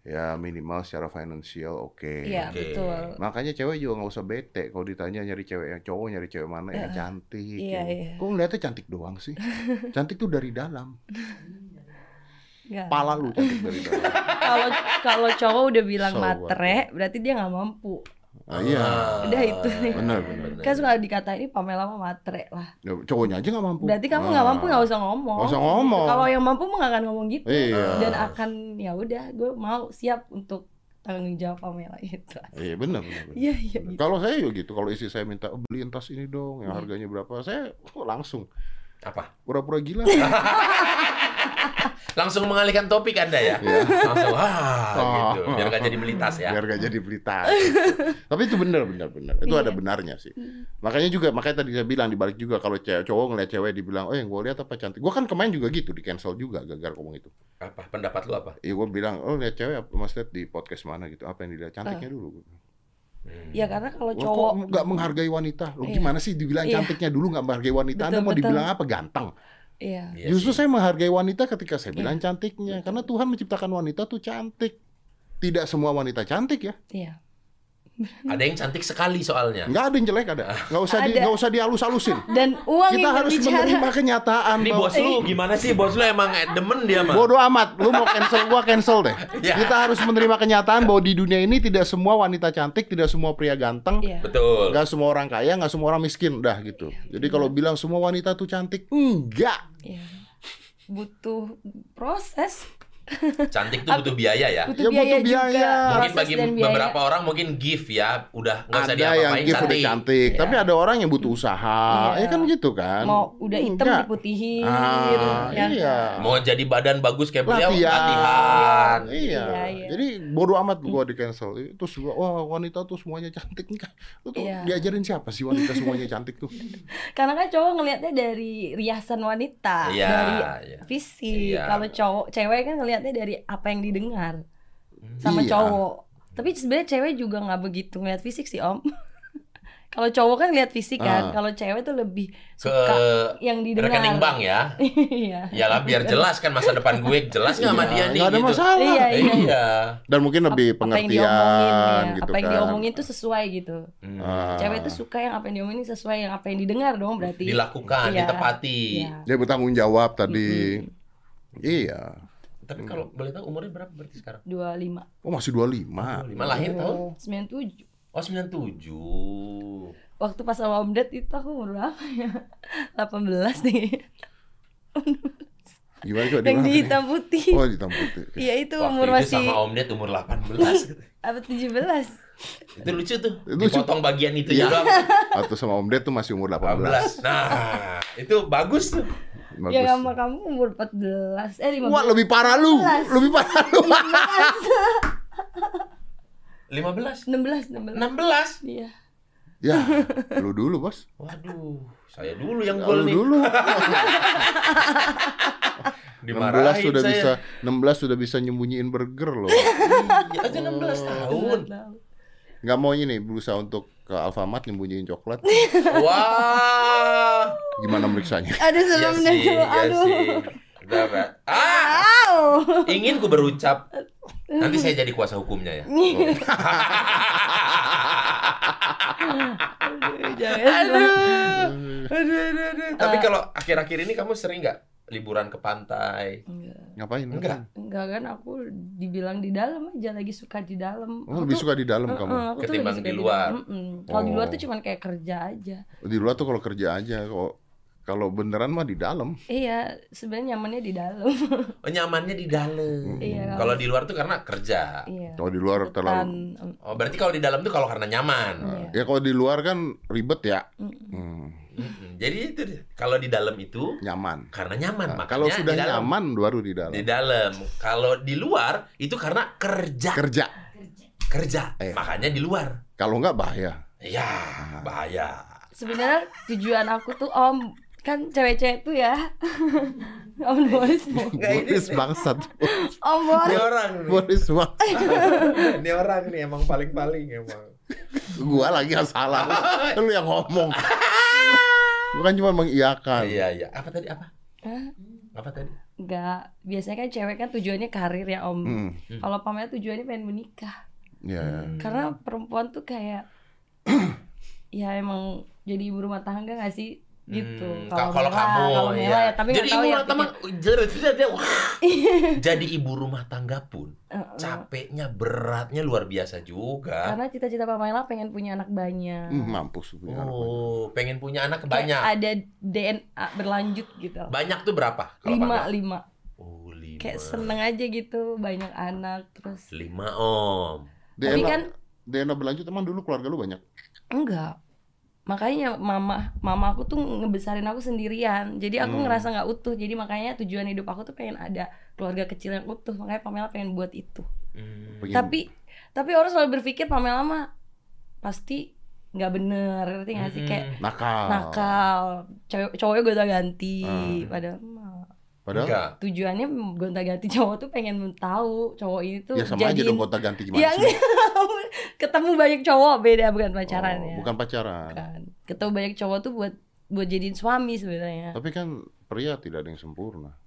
Speaker 2: ya minimal secara finansial oke.
Speaker 1: Iya,
Speaker 3: Oke.
Speaker 1: betul.
Speaker 2: Makanya cewek juga nggak usah bete kalau ditanya nyari cewek yang cowok, nyari cewek mana yang cantik.
Speaker 1: Iya,
Speaker 2: yang-
Speaker 1: iya.
Speaker 2: Kok ngeliatnya cantik doang
Speaker 1: (laughs)
Speaker 2: sih? Cantik tuh dari dalam.
Speaker 1: Nggak.
Speaker 2: Pala lu cantik dari
Speaker 1: (laughs)
Speaker 2: dalam.
Speaker 1: Kalau kalau cowok udah bilang
Speaker 2: So what?
Speaker 1: matre, berarti dia nggak mampu.
Speaker 2: Ah, iya.
Speaker 3: Ah, iya,
Speaker 1: Udah itu nih.
Speaker 2: Benar, benar.
Speaker 1: Kan suka dikatain ini Pamela mah matre lah.
Speaker 2: Ya, cowoknya aja nggak mampu.
Speaker 1: Berarti kamu nggak
Speaker 2: Ah.
Speaker 1: mampu nggak usah ngomong.
Speaker 2: Nggak usah ngomong.
Speaker 1: Kalau yang mampu mah nggak akan ngomong gitu.
Speaker 2: Iya.
Speaker 1: Dan akan ya udah, gue mau siap untuk tanggung jawab Pamela itu.
Speaker 2: Iya benar. benar,
Speaker 1: gitu?
Speaker 2: benar.
Speaker 1: Iya iya. gitu. Iya.
Speaker 2: Kalau saya juga gitu, kalau istri saya minta "Oh, beliin tas ini dong, yang harganya berapa, saya oh, langsung
Speaker 3: Apa?
Speaker 2: pura-pura
Speaker 1: (laughs)
Speaker 2: gila.
Speaker 3: Langsung mengalihkan topik Anda ya?
Speaker 2: Iya.
Speaker 3: Langsung, ah,
Speaker 2: Oh.
Speaker 3: gitu. Biar nggak jadi beli tas ya?
Speaker 2: Biar gak jadi beli
Speaker 1: (laughs)
Speaker 2: tas. Tapi itu benar, benar, benar. Itu
Speaker 1: Iya.
Speaker 2: ada benarnya sih. Makanya juga, makanya tadi saya bilang dibalik juga kalau cewek cowok ngeliat cewek dibilang, oh yang gue lihat apa cantik. Gue kan kemarin juga gitu, di cancel juga gara-gara ngomong itu.
Speaker 3: Apa? Pendapat lu apa?
Speaker 2: Ya gue bilang, oh lihat cewek apa- mas lihat di podcast mana gitu, apa yang dilihat cantiknya dulu.
Speaker 3: Hmm.
Speaker 1: Ya karena kalau
Speaker 2: Lo
Speaker 1: Ah. cowok
Speaker 2: Oh, kok nggak menghargai wanita? Lo
Speaker 1: Iya.
Speaker 2: gimana sih dibilang
Speaker 1: Iya.
Speaker 2: cantiknya dulu nggak menghargai wanita?
Speaker 1: Betul,
Speaker 2: Anda mau
Speaker 1: betul.
Speaker 2: dibilang apa? Ganteng.
Speaker 1: iya.
Speaker 3: Iya
Speaker 2: Justru
Speaker 3: sih.
Speaker 2: saya menghargai wanita ketika saya bilang cantiknya, karena Tuhan menciptakan wanita tuh cantik. Tidak semua wanita cantik ya.
Speaker 1: Iya.
Speaker 3: Ada yang cantik sekali soalnya.
Speaker 2: Nggak ada yang jelek ada. Nggak usah
Speaker 1: Ah.
Speaker 2: di,
Speaker 1: Ada.
Speaker 2: nggak usah dihalus-halusin.
Speaker 1: Dan uang
Speaker 2: Kita
Speaker 1: yang
Speaker 2: harus
Speaker 1: berbicara.
Speaker 2: menerima kenyataan
Speaker 3: Ini
Speaker 2: bahwa
Speaker 1: Oh,
Speaker 3: bos
Speaker 1: iya.
Speaker 3: lu gimana sih? Bos lu emang demen dia mah.
Speaker 2: bodoh amat. Lu mau cancel gua cancel deh.
Speaker 3: Ya.
Speaker 2: Kita harus menerima kenyataan bahwa di dunia ini tidak semua wanita cantik, tidak semua pria ganteng.
Speaker 1: Iya.
Speaker 3: Betul.
Speaker 2: Nggak semua orang kaya, nggak semua orang miskin, udah gitu. Jadi kalau bilang semua wanita tuh cantik, enggak.
Speaker 1: Iya. Butuh proses.
Speaker 3: Cantik tuh butuh biaya ya.
Speaker 1: Butuh
Speaker 2: Ya, butuh
Speaker 1: biaya,
Speaker 2: biaya.
Speaker 1: juga.
Speaker 3: Mungkin
Speaker 1: Proses
Speaker 3: bagi
Speaker 1: dan biaya.
Speaker 3: beberapa orang mungkin gift ya, udah nggak usah
Speaker 2: ada yang
Speaker 3: diapa-apain
Speaker 2: gift udah cantik, tapi ada orang yang butuh usaha.
Speaker 1: Iya.
Speaker 2: Ya kan gitu kan.
Speaker 1: mau udah hitam
Speaker 2: Enggak.
Speaker 1: diputihin
Speaker 2: Ah,
Speaker 1: ya.
Speaker 2: iya.
Speaker 3: Mau jadi badan bagus kayak beliau,
Speaker 2: Latihan.
Speaker 3: latihan.
Speaker 2: Iya.
Speaker 1: Iya, iya.
Speaker 2: Jadi bodoh amat gua di cancel. Terus gua, wah wanita tuh semuanya cantik enggak. Lu tuh
Speaker 1: Iya.
Speaker 2: diajarin siapa sih wanita semuanya cantik tuh?
Speaker 1: karena kan cowok ngelihatnya dari riasan wanita
Speaker 3: Iya,
Speaker 1: dari
Speaker 3: iya.
Speaker 1: fisik
Speaker 3: Iya.
Speaker 1: kalau cowok cewek kan ngelihatnya dari apa yang didengar sama
Speaker 2: Iya.
Speaker 1: cowok tapi sebenarnya cewek juga nggak begitu ngeliat fisik sih om (laughs) kalau cowok kan ngeliat fisik kan
Speaker 2: Ah.
Speaker 1: kalau cewek tuh lebih
Speaker 3: Ke
Speaker 1: suka yang didengar
Speaker 3: rekening bank ya.
Speaker 1: (laughs) iya
Speaker 3: Iyalah biar jelas kan masa depan gue jelas nggak sama dia
Speaker 2: Iya,
Speaker 3: nih.
Speaker 2: nggak ada
Speaker 3: gitu.
Speaker 2: masalah.
Speaker 1: Iya, iya.
Speaker 3: Iya.
Speaker 2: Dan mungkin
Speaker 1: apa
Speaker 2: lebih
Speaker 1: yang
Speaker 2: pengertian
Speaker 1: diomongin ya.
Speaker 2: gitu
Speaker 1: apa yang
Speaker 2: kan.
Speaker 1: diomongin tuh sesuai gitu
Speaker 3: Hmm.
Speaker 2: Ah.
Speaker 1: cewek tuh suka yang apa yang diomongin sesuai yang apa yang didengar dong berarti
Speaker 3: Dilakukan,
Speaker 1: Iya.
Speaker 3: ditepati.
Speaker 1: Iya.
Speaker 2: Dia bertanggung jawab tadi.
Speaker 1: Mm-hmm.
Speaker 2: Iya.
Speaker 3: Tapi
Speaker 2: Hmm.
Speaker 3: kalau boleh tahu umurnya berapa berarti sekarang?
Speaker 1: 25
Speaker 2: Oh masih 25.
Speaker 3: 25 lahir tahun?
Speaker 1: 97
Speaker 3: Oh 97.
Speaker 1: waktu pas sama Om Ded itu aku umur berapa ya? (laughs) 18 nih.
Speaker 2: Gimana coba
Speaker 1: Yang
Speaker 2: diulang
Speaker 1: di
Speaker 2: tadi?
Speaker 1: hitam putih.
Speaker 2: Oh hitam putih.
Speaker 1: Iya itu
Speaker 3: Waktu
Speaker 1: umur
Speaker 3: itu
Speaker 1: masih
Speaker 3: sama Om Ded umur
Speaker 2: (laughs)
Speaker 3: 18.
Speaker 1: apa 17.
Speaker 3: itu lucu tuh.
Speaker 2: Lucu.
Speaker 3: Dipotong bagian itu
Speaker 2: Iya.
Speaker 3: ya. juga (laughs)
Speaker 2: Atau sama Om Ded tuh masih umur 18.
Speaker 3: 18. Nah, itu bagus tuh.
Speaker 2: Bagus.
Speaker 1: Yang sama kamu umur 14. Eh 15.
Speaker 2: Wah lebih parah lu, lebih parah lu. (laughs)
Speaker 3: 15.
Speaker 1: 16 16.
Speaker 3: 16.
Speaker 1: Iya.
Speaker 2: ya, lu dulu bos.
Speaker 3: Waduh, saya dulu yang
Speaker 2: Lu
Speaker 3: gol nih. (laughs)
Speaker 2: dulu. 16
Speaker 3: Dimarahin
Speaker 2: sudah
Speaker 3: saya.
Speaker 2: bisa 16 sudah bisa nyembunyiin burger loh.
Speaker 3: Iya, aja
Speaker 1: Oh.
Speaker 3: 16 tahun.
Speaker 2: Nggak mau ini berusaha untuk ke Alfamart nyembunyiin coklat.
Speaker 3: Wah.
Speaker 2: Gimana
Speaker 3: (laughs)
Speaker 2: meriksanya?
Speaker 1: Ada
Speaker 3: Iya
Speaker 1: sebelumnya
Speaker 3: sih,
Speaker 1: dulu.
Speaker 3: iya
Speaker 1: Aduh.
Speaker 3: sih. Udah, Mbak. Ah,
Speaker 1: Au.
Speaker 3: ingin ku berucap. Nanti saya jadi kuasa hukumnya ya.
Speaker 1: Aduh, jangan.
Speaker 3: Aduh. Aduh, aduh,
Speaker 1: Eh.
Speaker 3: aduh. Tapi kalau akhir-akhir ini kamu sering nggak liburan ke pantai?
Speaker 1: Enggak.
Speaker 2: Ngapain?
Speaker 3: Enggak.
Speaker 1: Enggak kan aku dibilang di dalam aja lagi suka di dalam.
Speaker 2: Oh, lebih suka di dalam kamu.
Speaker 3: Ketimbang di luar.
Speaker 1: Kalau di luar
Speaker 2: Oh.
Speaker 1: tuh cuman kayak kerja aja.
Speaker 2: Di luar tuh kalau kerja aja kok. Kalau beneran mah di dalam.
Speaker 1: Iya, sebenarnya nyamannya di dalam.
Speaker 3: Oh, nyamannya di dalam.
Speaker 1: Iya.
Speaker 3: Kalau di luar tuh karena kerja.
Speaker 1: Iya.
Speaker 2: Kalau di luar terlalu
Speaker 1: Kan, em,
Speaker 3: Oh, berarti kalau di dalam tuh kalau karena
Speaker 1: iya.
Speaker 3: nyaman.
Speaker 2: Ya kalau di luar kan ribet ya.
Speaker 1: Mm-mm.
Speaker 2: Hmm,
Speaker 3: Mm-mm. Jadi itu dia. kalau di dalam itu
Speaker 2: nyaman.
Speaker 3: karena nyaman,
Speaker 2: Nah,
Speaker 3: makanya
Speaker 2: kalau sudah
Speaker 3: di dalam.
Speaker 2: nyaman baru di dalam.
Speaker 3: Di dalam. Kalau di luar itu karena kerja,
Speaker 2: Kerja.
Speaker 3: kerja.
Speaker 2: Iya.
Speaker 3: Makanya di luar.
Speaker 2: Kalau enggak bahaya.
Speaker 3: Ya,
Speaker 2: Ah.
Speaker 3: bahaya.
Speaker 1: Sebenarnya tujuan aku tuh om kan cewek-cewek tuh ya. (laughs) om Boris.
Speaker 3: Enggak, ini-
Speaker 2: Boris bangsat.
Speaker 1: Om Boris.
Speaker 3: Ini orang nih.
Speaker 2: Boris bang.
Speaker 3: (laughs) Ini orang nih emang paling-paling emang.
Speaker 2: Gua lagi yang salah. Kan Lu yang
Speaker 1: (laughs)
Speaker 2: ngomong. Bukan cuma mengiyakan.
Speaker 3: (laughs) Iya, iya. Apa tadi apa?
Speaker 1: Hah?
Speaker 3: Apa tadi?
Speaker 1: Enggak, biasanya kan cewek kan tujuannya karir ya om.
Speaker 2: Hmm,
Speaker 1: Kalau pamer tujuannya pengen menikah.
Speaker 2: Iya. iya.
Speaker 3: Hmm.
Speaker 1: Karena perempuan tuh kayak
Speaker 3: (clears throat)
Speaker 1: ya emang jadi ibu rumah tangga gak sih gitu.
Speaker 3: Hmm, ka- kalau
Speaker 1: Mela-
Speaker 3: kamu
Speaker 1: kalau Mela
Speaker 3: iya.
Speaker 1: ya, tapi
Speaker 3: jadi
Speaker 1: nggak tahu
Speaker 3: ibu
Speaker 1: ya.
Speaker 3: rumah
Speaker 1: (laughs)
Speaker 3: tangga
Speaker 1: pikir-
Speaker 3: jadi,
Speaker 1: (laughs)
Speaker 3: jadi ibu rumah tangga pun
Speaker 1: Heeh.
Speaker 3: capeknya beratnya luar biasa juga.
Speaker 1: eh,
Speaker 2: Iya,
Speaker 1: Karena cita-cita Pamela pengen punya anak banyak.
Speaker 2: Hmm, mampus punya anak.
Speaker 3: Oh, pengen punya anak
Speaker 1: Kayak
Speaker 3: banyak.
Speaker 1: ada DNA berlanjut gitu.
Speaker 3: Banyak tuh berapa? kalau
Speaker 1: lima,
Speaker 3: panggil?
Speaker 1: lima.
Speaker 3: Oh, lima.
Speaker 1: Kayak seneng aja gitu banyak anak terus.
Speaker 3: Lima om.
Speaker 1: Tapi
Speaker 2: DNA,
Speaker 1: kan
Speaker 2: DNA berlanjut emang dulu keluarga lu banyak.
Speaker 1: enggak makanya mama mama aku tuh ngebesarin aku sendirian jadi aku
Speaker 2: Hmm.
Speaker 1: ngerasa nggak utuh jadi makanya tujuan hidup aku tuh pengen ada keluarga kecil yang utuh makanya Pamela pengen buat itu Hmm.
Speaker 2: Pengen-
Speaker 1: tapi tapi orang selalu berpikir Pamela mah pasti nggak bener ngerti Iya nggak sih
Speaker 2: Hmm.
Speaker 1: kayak
Speaker 2: nakal.
Speaker 1: nakal cowok cowoknya gonta ganti
Speaker 2: Hmm.
Speaker 1: padahal mah
Speaker 2: Padahal
Speaker 3: Enggak.
Speaker 1: tujuannya gonta ganti cowok tuh pengen tahu cowok ini tuh
Speaker 2: ya sama aja dong gonta ganti gimana
Speaker 1: Ya,
Speaker 2: sih?
Speaker 1: (laughs) ketemu banyak cowok beda bukan pacaran
Speaker 2: Oh,
Speaker 1: ya
Speaker 2: Bukan pacaran.
Speaker 1: kan ketemu banyak cowok tuh buat buat jadiin suami sebenarnya
Speaker 2: Tapi kan pria tidak ada yang sempurna.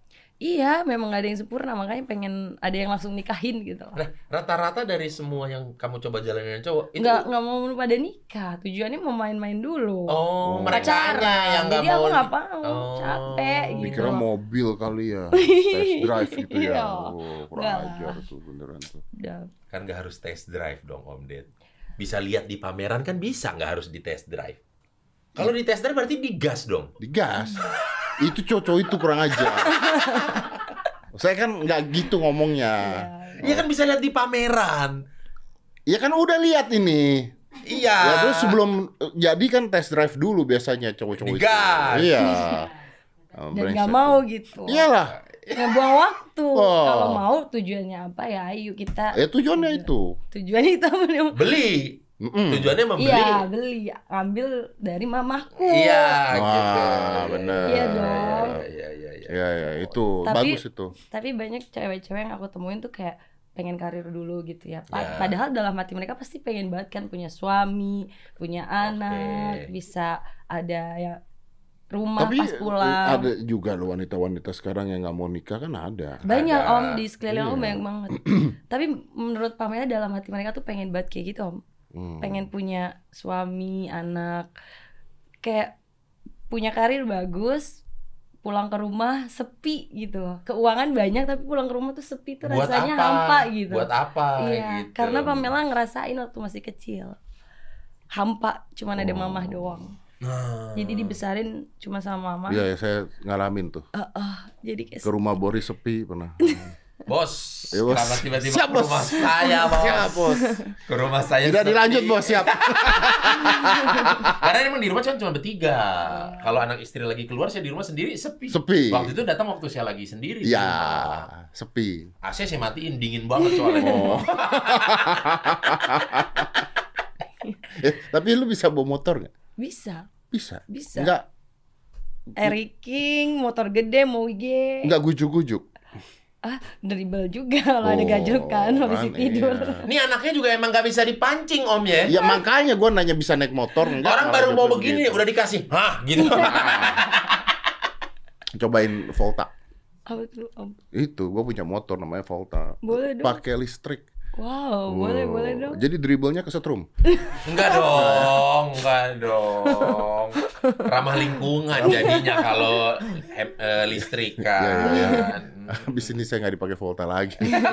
Speaker 1: iya memang gak ada yang sempurna makanya pengen ada yang langsung nikahin gitu loh
Speaker 3: Nah, rata-rata dari semua yang kamu coba jalanin dengan cowok itu
Speaker 1: nggak nggak mau pada nikah tujuannya mau main-main dulu
Speaker 3: Oh, mereka
Speaker 1: pacaran
Speaker 3: yang nggak
Speaker 1: jadi
Speaker 3: mau.
Speaker 1: aku nggak mau
Speaker 3: Oh.
Speaker 1: capek gitu
Speaker 2: Dikira
Speaker 1: loh.
Speaker 2: mobil kali
Speaker 1: (laughs)
Speaker 2: ya. Test drive gitu
Speaker 1: Iya.
Speaker 2: ya. Oh, kurang
Speaker 1: Enggak
Speaker 2: ajar tuh beneran tuh.
Speaker 1: Udah.
Speaker 3: Kan nggak harus test drive dong, Om Ded. Bisa lihat di pameran kan bisa, nggak harus di test drive. Kalau di test drive berarti digas dong.
Speaker 2: Digas. (laughs) itu cowok itu kurang
Speaker 1: (laughs)
Speaker 2: ajar. Saya kan nggak gitu ngomongnya.
Speaker 3: Iya kan bisa lihat di pameran.
Speaker 1: Iya.
Speaker 2: Ya kan udah lihat ini.
Speaker 3: Iya.
Speaker 2: Ya terus sebelum jadi kan test drive dulu biasanya cowok-cowok itu.
Speaker 3: Digas. (laughs)
Speaker 2: Iya.
Speaker 1: dan
Speaker 2: Brengsek.
Speaker 1: nggak mau gitu
Speaker 3: Iya.
Speaker 2: Iyalah.
Speaker 1: ngebuang waktu
Speaker 2: Oh.
Speaker 1: kalau mau tujuannya apa ya ayo kita
Speaker 2: Ya tujuannya itu.
Speaker 1: tujuannya itu apa nih?
Speaker 3: Beli.
Speaker 2: Mm-mm.
Speaker 3: Tujuannya membeli.
Speaker 1: iya beli ambil dari mamaku
Speaker 3: Iya,
Speaker 2: Wah,
Speaker 3: gitu.
Speaker 2: bener.
Speaker 1: Iya dong.
Speaker 3: Iya, iya, iya.
Speaker 2: Ya ya itu
Speaker 1: Tapi-
Speaker 2: bagus itu.
Speaker 1: tapi banyak cewek-cewek yang aku temuin tuh kayak pengen karir dulu gitu ya. Pa-
Speaker 3: Ya.
Speaker 1: Padahal dalam hati mereka pasti pengen banget kan punya suami, punya anak,
Speaker 3: Oke.
Speaker 1: bisa ada ya rumah
Speaker 2: Tapi
Speaker 1: pas pulang.
Speaker 2: ada juga loh wanita-wanita sekarang yang nggak mau nikah kan ada.
Speaker 1: banyak
Speaker 3: Ada.
Speaker 1: om di sekeliling aku
Speaker 2: Iya.
Speaker 1: banyak
Speaker 3: (clears throat)
Speaker 1: banget. tapi menurut Pamela dalam hati mereka tuh pengen banget kayak gitu om.
Speaker 2: Hmm.
Speaker 1: Pengen punya suami, anak, kayak punya karir bagus, pulang ke rumah sepi gitu loh. Keuangan banyak tapi pulang ke rumah tuh sepi tuh
Speaker 3: Buat
Speaker 1: rasanya
Speaker 3: apa?
Speaker 1: hampa gitu.
Speaker 3: Buat apa
Speaker 1: Iya,
Speaker 3: gitu.
Speaker 1: karena Pamela ngerasain waktu masih kecil. Hampa, cuman
Speaker 2: Oh.
Speaker 1: ada mamah doang.
Speaker 3: Nah.
Speaker 1: Jadi dibesarin cuma sama mama.
Speaker 2: Iya, ya, saya ngalamin tuh.
Speaker 1: Eh, eh, jadi kayak
Speaker 2: Ke rumah Boris sepi
Speaker 1: (laughs)
Speaker 2: pernah.
Speaker 3: Bos,
Speaker 2: Iya, bos.
Speaker 3: kenapa tiba-tiba
Speaker 2: Siap,
Speaker 3: ke
Speaker 2: bos.
Speaker 3: rumah saya, bos?
Speaker 2: (laughs) Siap, bos.
Speaker 3: Ke rumah saya.
Speaker 2: Tidak
Speaker 3: sepi.
Speaker 2: dilanjut, bos.
Speaker 3: (laughs)
Speaker 2: Siap.
Speaker 3: Karena emang di rumah cuma cuma bertiga.
Speaker 1: Hmm.
Speaker 3: Kalau anak istri lagi keluar, saya di rumah sendiri sepi.
Speaker 2: Sepi.
Speaker 3: Waktu itu datang waktu saya lagi sendiri.
Speaker 2: Iya, sepi.
Speaker 3: AC saya matiin, dingin banget
Speaker 2: (laughs)
Speaker 3: soalnya.
Speaker 2: Oh. Eh, tapi lu bisa bawa motor nggak?
Speaker 1: bisa,
Speaker 2: Bisa.
Speaker 1: bisa.
Speaker 2: Nggak,
Speaker 1: Eric King, motor gede, moge.
Speaker 2: nggak gujuk-gujuk.
Speaker 1: Ah, dribble juga kalau ada
Speaker 2: Oh,
Speaker 1: gajokan habis
Speaker 2: kan,
Speaker 1: tidur.
Speaker 2: iya.
Speaker 3: Ini anaknya juga emang gak bisa dipancing om ya.
Speaker 2: Ya makanya gua nanya bisa naik motor nggak? malah
Speaker 3: Orang baru
Speaker 2: jatuh
Speaker 3: mau begini udah dikasih, hah gitu.
Speaker 2: Cobain Volta.
Speaker 1: (laughs) Apa tuh, Om?
Speaker 2: Itu, gua punya motor namanya Volta.
Speaker 1: Boleh dong.
Speaker 2: Pakai listrik.
Speaker 1: Wow, boleh,
Speaker 2: Wow.
Speaker 1: boleh dong.
Speaker 2: Jadi dribblenya ke setrum.
Speaker 3: enggak dong, enggak dong. ramah lingkungan jadinya kalau he- eh, listrik kan.
Speaker 2: Iya, iya, (laughs) Habis ini saya nggak dipakai Volta lagi. (laughs)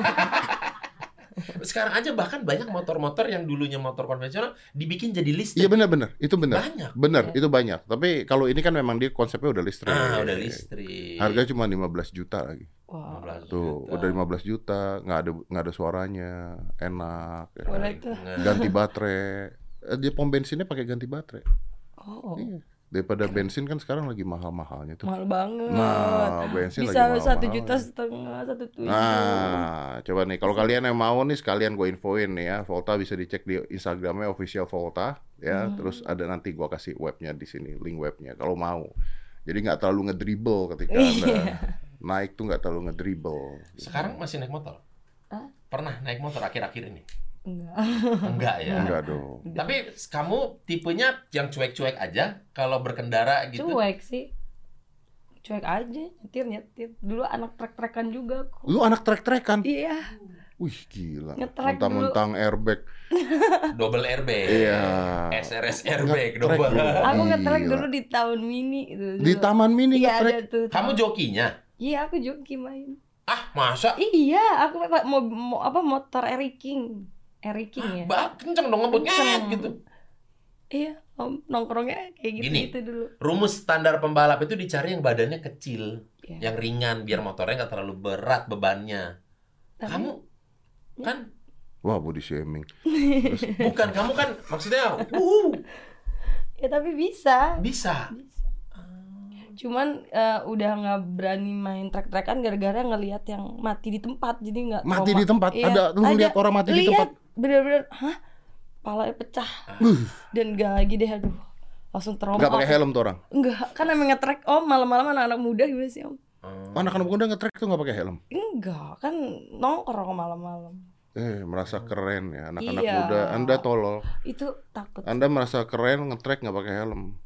Speaker 3: Sekarang aja bahkan banyak motor-motor yang dulunya motor konvensional dibikin jadi listrik.
Speaker 2: Iya benar-benar, itu benar.
Speaker 3: Banyak.
Speaker 2: Benar,
Speaker 1: Iya.
Speaker 2: itu banyak. Tapi kalau ini kan memang dia konsepnya udah listrik.
Speaker 3: Ah, udah listrik.
Speaker 2: iya, Harga cuma 15 juta lagi.
Speaker 1: Wow.
Speaker 3: 15
Speaker 2: Tuh,
Speaker 3: juta.
Speaker 2: udah 15 juta, nggak ada nggak ada suaranya, enak. ya kan.
Speaker 1: Boleh tuh.
Speaker 3: Nah,
Speaker 2: Ganti baterai. Eh, Dia pom bensinnya pakai ganti baterai.
Speaker 1: Oh,
Speaker 2: Iya. Daripada bensin kan sekarang lagi mahal-mahalnya tuh.
Speaker 1: mahal banget.
Speaker 2: Nah, bensin
Speaker 1: Bisa
Speaker 2: lagi
Speaker 1: satu
Speaker 2: mahal-mahalnya.
Speaker 1: juta setengah, satu tujuh.
Speaker 2: Nah, coba nih kalau kalian yang mau nih sekalian gue infoin nih ya. Volta bisa dicek di Instagramnya official Volta ya.
Speaker 1: Hmm.
Speaker 2: Terus ada nanti gua kasih webnya di sini, link webnya kalau mau. Jadi nggak terlalu ngedribble ketika
Speaker 1: Iya.
Speaker 2: anda naik tuh nggak terlalu ngedribble.
Speaker 3: sekarang masih naik motor?
Speaker 1: Hah?
Speaker 3: Pernah naik motor akhir-akhir
Speaker 1: (laughs)
Speaker 3: ini?
Speaker 1: Enggak.
Speaker 3: Enggak ya.
Speaker 2: enggak dong.
Speaker 3: Tapi kamu tipenya yang cuek-cuek aja kalau berkendara gitu.
Speaker 1: Cuek sih. Cuek aja, nyetir nyetir. Dulu anak trek-trekan juga kok.
Speaker 2: Lu anak trek-trekan.
Speaker 1: Iya.
Speaker 2: Wih, gila.
Speaker 1: Ngetrek
Speaker 2: Mentang-mentang airbag.
Speaker 3: Double airbag.
Speaker 2: Iya.
Speaker 3: SRS airbag
Speaker 2: Ngetrek
Speaker 3: double.
Speaker 2: dulu.
Speaker 1: Aku ngetrek
Speaker 2: Oh, Gila.
Speaker 1: dulu di tahun mini itu.
Speaker 2: Di taman mini
Speaker 1: Iya
Speaker 2: ngetrek.
Speaker 1: ada tuh.
Speaker 3: Kamu jokinya?
Speaker 1: Iya aku joki main.
Speaker 3: Ah, masa?
Speaker 1: Iya, aku apa- mau, mau apa motor Eri King. Eri King ya.
Speaker 3: Bah, kenceng dong ngebut
Speaker 1: Kenceng.
Speaker 3: "Nget," gitu.
Speaker 1: Iya, om- nongkrongnya kayak gitu
Speaker 3: Gini.
Speaker 1: gitu dulu.
Speaker 3: Rumus standar pembalap itu dicari yang badannya kecil,
Speaker 1: Iya.
Speaker 3: yang ringan biar motornya nggak terlalu berat bebannya.
Speaker 1: Tapi-
Speaker 3: Kamu
Speaker 1: Ya.
Speaker 3: kan
Speaker 2: Wah, body
Speaker 1: (laughs)
Speaker 2: shaming.
Speaker 3: bukan kamu kan maksudnya wuhu,
Speaker 1: Ya tapi bisa.
Speaker 3: bisa.
Speaker 1: Bisa. Cuman eh, udah nggak berani main trek-trekan gara-gara ngelihat yang mati di tempat jadi nggak
Speaker 2: Mati
Speaker 1: trauma.
Speaker 2: di tempat.
Speaker 1: Iya,
Speaker 2: Ada lu
Speaker 1: ada.
Speaker 2: lihat orang mati di tempat.
Speaker 1: lihat bener-bener hah palanya pecah
Speaker 2: Uh,
Speaker 1: dan nggak lagi deh aduh langsung trauma
Speaker 2: nggak pakai helm tuh orang.
Speaker 1: enggak kan emang ngetrek om malam-malam anak-anak muda gimana sih om
Speaker 2: Oh.
Speaker 3: Hmm,
Speaker 2: Anak-anak muda ngetrek tuh nggak pakai helm.
Speaker 1: enggak kan nongkrong malam-malam
Speaker 2: Eh, merasa keren ya anak-anak
Speaker 1: Iya.
Speaker 2: muda. Anda tolol.
Speaker 1: itu takut
Speaker 2: Anda merasa keren ngetrek nggak pakai helm.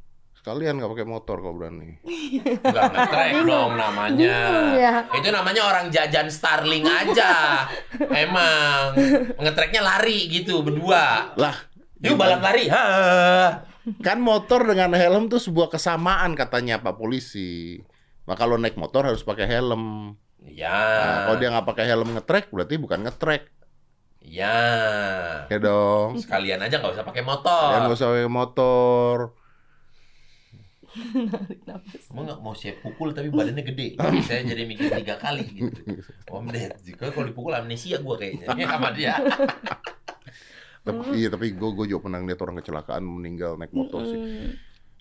Speaker 2: Sekalian nggak pakai motor kalau berani.
Speaker 3: Enggak ngetrek
Speaker 1: Iya.
Speaker 3: dong namanya.
Speaker 1: Bingung ya.
Speaker 3: Itu namanya orang jajan Starling
Speaker 1: (laughs)
Speaker 3: aja. Emang ngetreknya lari gitu berdua.
Speaker 2: Lah,
Speaker 3: Yuk balap lari. Ha.
Speaker 2: kan motor dengan helm tuh sebuah kesamaan katanya Pak Polisi. Nah kalau naik motor harus pakai helm.
Speaker 3: Ya.
Speaker 2: Nah, kalau dia nggak pakai helm ngetrek berarti bukan ngetrek.
Speaker 3: Ya.
Speaker 2: Ya dong.
Speaker 3: Sekalian aja nggak usah pakai
Speaker 2: Yang
Speaker 3: motor.
Speaker 2: Ya, nggak usah pakai motor.
Speaker 1: tarik nafas
Speaker 3: Emang nggak mau siap pukul tapi badannya gede. Saya jadi mikir tiga kali gitu. Om Ded, jika kalau dipukul amnesia gue kayaknya sama dia.
Speaker 2: Tapi,
Speaker 1: Hmm.
Speaker 2: Iya tapi gue gue juga pernah ngeliat orang kecelakaan meninggal naik motor sih.
Speaker 1: Mm-mm.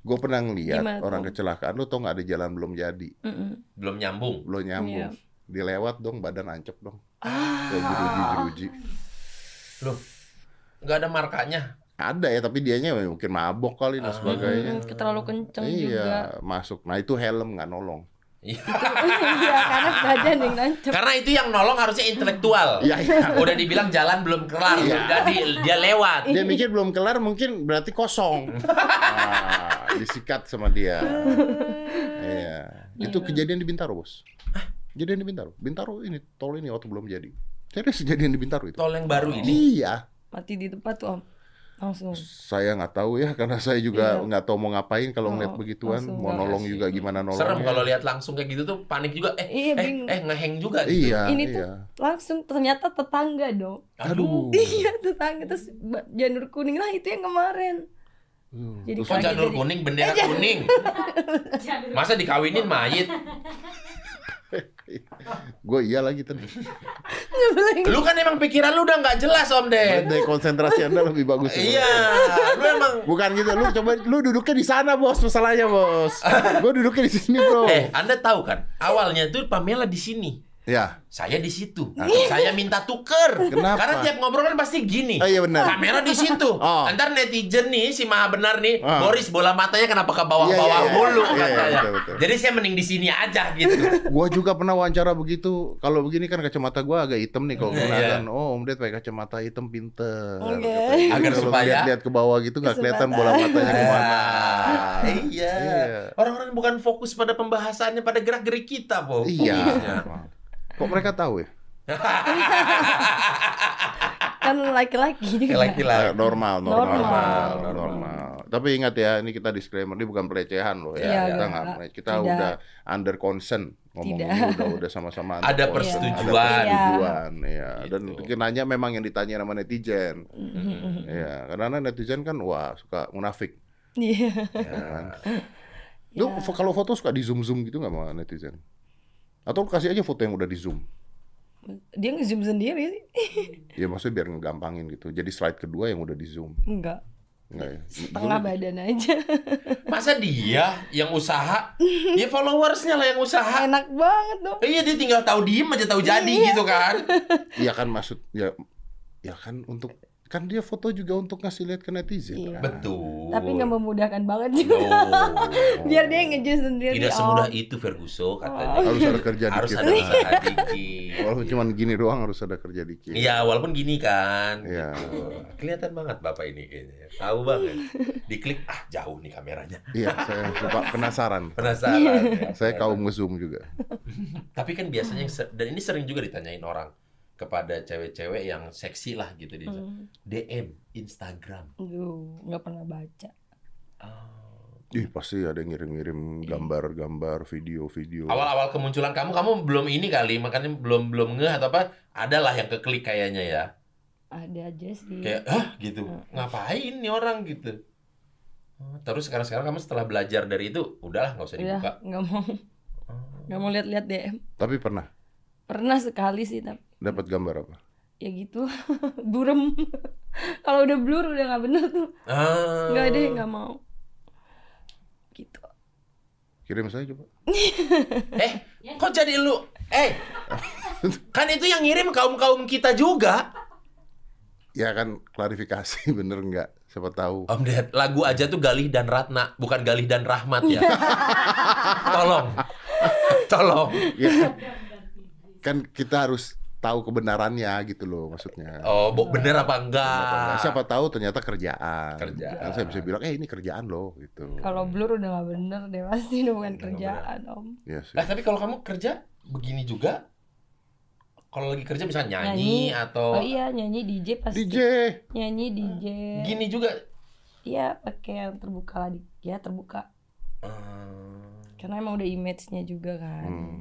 Speaker 2: Gue pernah ngeliat
Speaker 1: Hmm. Gimana tuh?
Speaker 2: orang kecelakaan lu tau nggak ada jalan belum jadi,
Speaker 1: Mm-mm.
Speaker 3: Belum nyambung.
Speaker 2: belum
Speaker 1: Iya.
Speaker 2: nyambung. Dilewat dong badan ancep dong.
Speaker 1: ah
Speaker 2: Kayak jeruji-jeruji.
Speaker 3: Loh, nggak ada markanya.
Speaker 2: Ada ya, tapi dianya mungkin mabok kali dan
Speaker 3: Ah.
Speaker 2: sebagainya.
Speaker 1: mm-mm, terlalu kenceng juga (laughs)
Speaker 2: iya, masuk. Nah itu helm nggak nolong.
Speaker 1: iya karena badan yang nancep
Speaker 3: Karena itu yang nolong harusnya intelektual.
Speaker 2: Iya, iya.
Speaker 3: Udah dibilang jalan belum kelar,
Speaker 2: Iya.
Speaker 3: udah di- dia lewat.
Speaker 2: Dia mikir belum kelar mungkin berarti kosong. Ah, disikat sama dia. Iya. Itu kejadian di Bintaro, Bos. Kejadian di Bintaro. Bintaro ini tol ini waktu belum jadi. Serius kejadian di Bintaro itu.
Speaker 3: Tol yang baru ini.
Speaker 2: Iya,
Speaker 1: mati di tempat tuh om langsung
Speaker 2: saya nggak tahu ya karena saya
Speaker 1: Iya.
Speaker 2: juga nggak tahu mau ngapain
Speaker 1: Oh,
Speaker 2: kalau ngeliat begituan,
Speaker 1: langsung
Speaker 2: mau
Speaker 1: nggak
Speaker 2: nolong ya.
Speaker 3: kasih.
Speaker 2: juga gimana nolongnya.
Speaker 3: Serem kalau lihat langsung kayak gitu tuh panik juga. Eh,
Speaker 1: Iya,
Speaker 3: eh,
Speaker 1: bingung.
Speaker 3: eh ngeheng juga gitu.
Speaker 2: Iya,
Speaker 1: Ini tuh-
Speaker 2: iya.
Speaker 1: langsung ternyata tetangga dong
Speaker 2: Aduh.
Speaker 1: Iya tetangga terus ba- janur kuning lah itu yang kemarin.
Speaker 2: Aduh.
Speaker 1: Jadi
Speaker 2: Terus
Speaker 3: Kok
Speaker 1: kaget.
Speaker 3: Hmm, janur
Speaker 1: (laughs)
Speaker 3: kuning, bendera kuning. Masa dikawinin mayit?
Speaker 2: gue iya lagi tadi.
Speaker 1: Ngebeleng.
Speaker 3: Lu kan emang pikiran lu udah nggak jelas,
Speaker 2: Berarti
Speaker 3: Om Ded.
Speaker 2: Dari konsentrasi Anda lebih bagus.
Speaker 3: Iya, lu emang
Speaker 2: Bukan gitu, lu coba lu duduknya di sana bos, masalahnya bos. Gue duduknya di sini bro.
Speaker 3: Eh, Anda tahu kan, awalnya tuh Pamela di sini.
Speaker 2: Ya,
Speaker 3: Saya di situ.
Speaker 2: (laughs)
Speaker 3: Saya minta tuker.
Speaker 2: Kenapa?
Speaker 3: Karena tiap ngobrol kan pasti gini.
Speaker 2: Oh, iya benar.
Speaker 3: Kamera di situ.
Speaker 2: (laughs) Oh.
Speaker 3: Ntar netizen nih si Maha Benar nih,
Speaker 2: Ah.
Speaker 3: Boris bola matanya kenapa ke bawah-bawah
Speaker 2: Iya, iya, iya.
Speaker 3: mulu
Speaker 2: Iya, iya,
Speaker 3: katanya.
Speaker 2: betul, betul.
Speaker 3: Jadi saya mending di sini aja
Speaker 2: (laughs)
Speaker 3: gitu.
Speaker 2: gue juga pernah wawancara begitu. Kalau begini kan kacamata gue agak hitam nih kalau
Speaker 3: Iya,
Speaker 2: kena
Speaker 3: iya.
Speaker 2: kan. Oh, Om Ded pakai kacamata hitam pinter.
Speaker 1: Oke.
Speaker 2: Katanya.
Speaker 3: Agar
Speaker 2: Kalau
Speaker 3: supaya-
Speaker 2: lihat ke bawah gitu nggak kelihatan bola matanya kemana.
Speaker 3: Ah, Nah, iya.
Speaker 2: Iya.
Speaker 3: Orang-orang bukan fokus pada pembahasannya, pada gerak-gerik kita, Bob.
Speaker 2: Iya. Kok mereka tahu ya?
Speaker 1: kan laki-laki juga. Kan
Speaker 3: Kayak laki-laki.
Speaker 2: Eh, normal, normal, normal,
Speaker 1: Normal.
Speaker 2: normal. Tapi ingat ya, ini kita disclaimer, ini bukan pelecehan loh
Speaker 1: Iya,
Speaker 2: ya. kita
Speaker 1: enggak.
Speaker 2: nggak, mere- kita
Speaker 1: Tidak.
Speaker 2: udah under consent ngomong
Speaker 1: Tidak. Iya.
Speaker 2: ini udah udah sama-sama under
Speaker 3: Ada
Speaker 2: consent,
Speaker 3: persetujuan.
Speaker 2: ada persetujuan, ya. Dan
Speaker 3: Gitu.
Speaker 2: kenanya memang yang ditanya sama netizen,
Speaker 1: Mm-hmm.
Speaker 3: Hmm.
Speaker 2: ya. Karena netizen kan wah suka munafik,
Speaker 1: Iya.
Speaker 2: ya kan. Lu
Speaker 1: Ya.
Speaker 2: fo- kalau foto suka di zoom zoom gitu nggak sama netizen? Atau lu kasih aja foto yang udah di zoom?
Speaker 1: Dia nge-zoom sendiri sih?
Speaker 2: Ya maksudnya biar ngegampangin gitu. Jadi slide kedua yang udah di zoom,
Speaker 1: Enggak.
Speaker 2: Nggak ya?
Speaker 1: Setengah
Speaker 2: Zoom-
Speaker 1: badan aja.
Speaker 3: Masa dia yang usaha? Ya followersnya lah yang usaha.
Speaker 1: Enak banget dong.
Speaker 3: Iya dia tinggal tahu diem aja tahu jadi gitu kan.
Speaker 2: Iya kan maksud ya ya kan untuk kan dia foto juga untuk ngasih lihat ke netizen.
Speaker 1: Iya.
Speaker 2: kan?
Speaker 3: Betul.
Speaker 1: Tapi nggak memudahkan banget juga.
Speaker 3: No.
Speaker 1: (laughs) Biar dia Oh. nge-zoom sendiri.
Speaker 3: Oh. Tidak
Speaker 1: Om.
Speaker 3: semudah itu Ferguso katanya.
Speaker 2: Harus ada kerja
Speaker 3: Harus
Speaker 2: dikit.
Speaker 3: ada usaha dikit.
Speaker 2: Walaupun cuma gini doang harus ada kerja dikit.
Speaker 3: Iya, walaupun gini kan.
Speaker 2: Iya.
Speaker 3: gitu. Kelihatan banget Bapak ini kayaknya. Tahu banget. Diklik, ah jauh nih kameranya.
Speaker 2: Iya, saya suka penasaran.
Speaker 3: Penasaran. ya.
Speaker 2: (laughs) Saya kaum ngezoom juga.
Speaker 3: Tapi kan biasanya yang ser- dan ini sering juga ditanyain orang kepada cewek-cewek yang seksi lah gitu di
Speaker 1: Hmm.
Speaker 3: DM Instagram.
Speaker 1: Aduh, nggak pernah baca.
Speaker 3: Oh.
Speaker 2: Ih, pasti ada yang ngirim-ngirim gambar-gambar, video-video.
Speaker 3: Awal-awal kemunculan kamu kamu belum ini kali, makanya belum belum ngeh atau apa? Adalah yang keklik kayaknya ya.
Speaker 1: Ada aja sih.
Speaker 3: Kayak hah gitu. Ngapain nih orang gitu. Oh, Terus sekarang-sekarang kamu setelah belajar dari itu, udahlah nggak usah dibuka.
Speaker 1: Udah, nggak mau. Nggak mau lihat-lihat DM.
Speaker 2: Tapi pernah
Speaker 1: Pernah sekali sih, tapi
Speaker 2: dapat gambar apa?
Speaker 1: ya gitu. (laughs) Burem. Kalau udah blur udah nggak bener tuh.
Speaker 3: Ah.
Speaker 1: Nggak deh, nggak mau. Gitu.
Speaker 2: Kirim saya coba.
Speaker 3: Eh, kok jadi lu? Eh, kan itu yang ngirim kaum kaum kita juga.
Speaker 2: Ya kan klarifikasi (laughs) bener nggak? Siapa tahu.
Speaker 3: Om Ded, lagu aja tuh Galih dan Ratna, bukan Galih dan Rahmat
Speaker 1: (laughs)
Speaker 3: ya. tolong, tolong.
Speaker 2: Ya. Kan kita harus tahu kebenarannya gitu loh maksudnya.
Speaker 3: Oh, bo- bener apa
Speaker 2: Apa enggak?
Speaker 3: enggak?
Speaker 1: Ah.
Speaker 2: Siapa tahu ternyata kerjaan.
Speaker 3: Kerjaan.
Speaker 2: Kan saya bisa bilang, eh ini kerjaan loh gitu.
Speaker 1: Kalau blur udah nggak bener deh pasti udah bukan
Speaker 3: Udah nggak
Speaker 1: kerjaan om.
Speaker 2: Iya sih.
Speaker 3: Nah, tapi kalau kamu kerja begini juga, kalau lagi kerja bisa nyanyi, atau
Speaker 1: Oh iya nyanyi DJ pasti.
Speaker 2: DJ.
Speaker 1: Nyanyi DJ.
Speaker 3: Ah. gini juga.
Speaker 1: Iya pakai yang terbuka lah di- ya terbuka.
Speaker 3: Eh, Hmm,
Speaker 1: Karena emang udah image-nya juga kan.
Speaker 2: Hmm.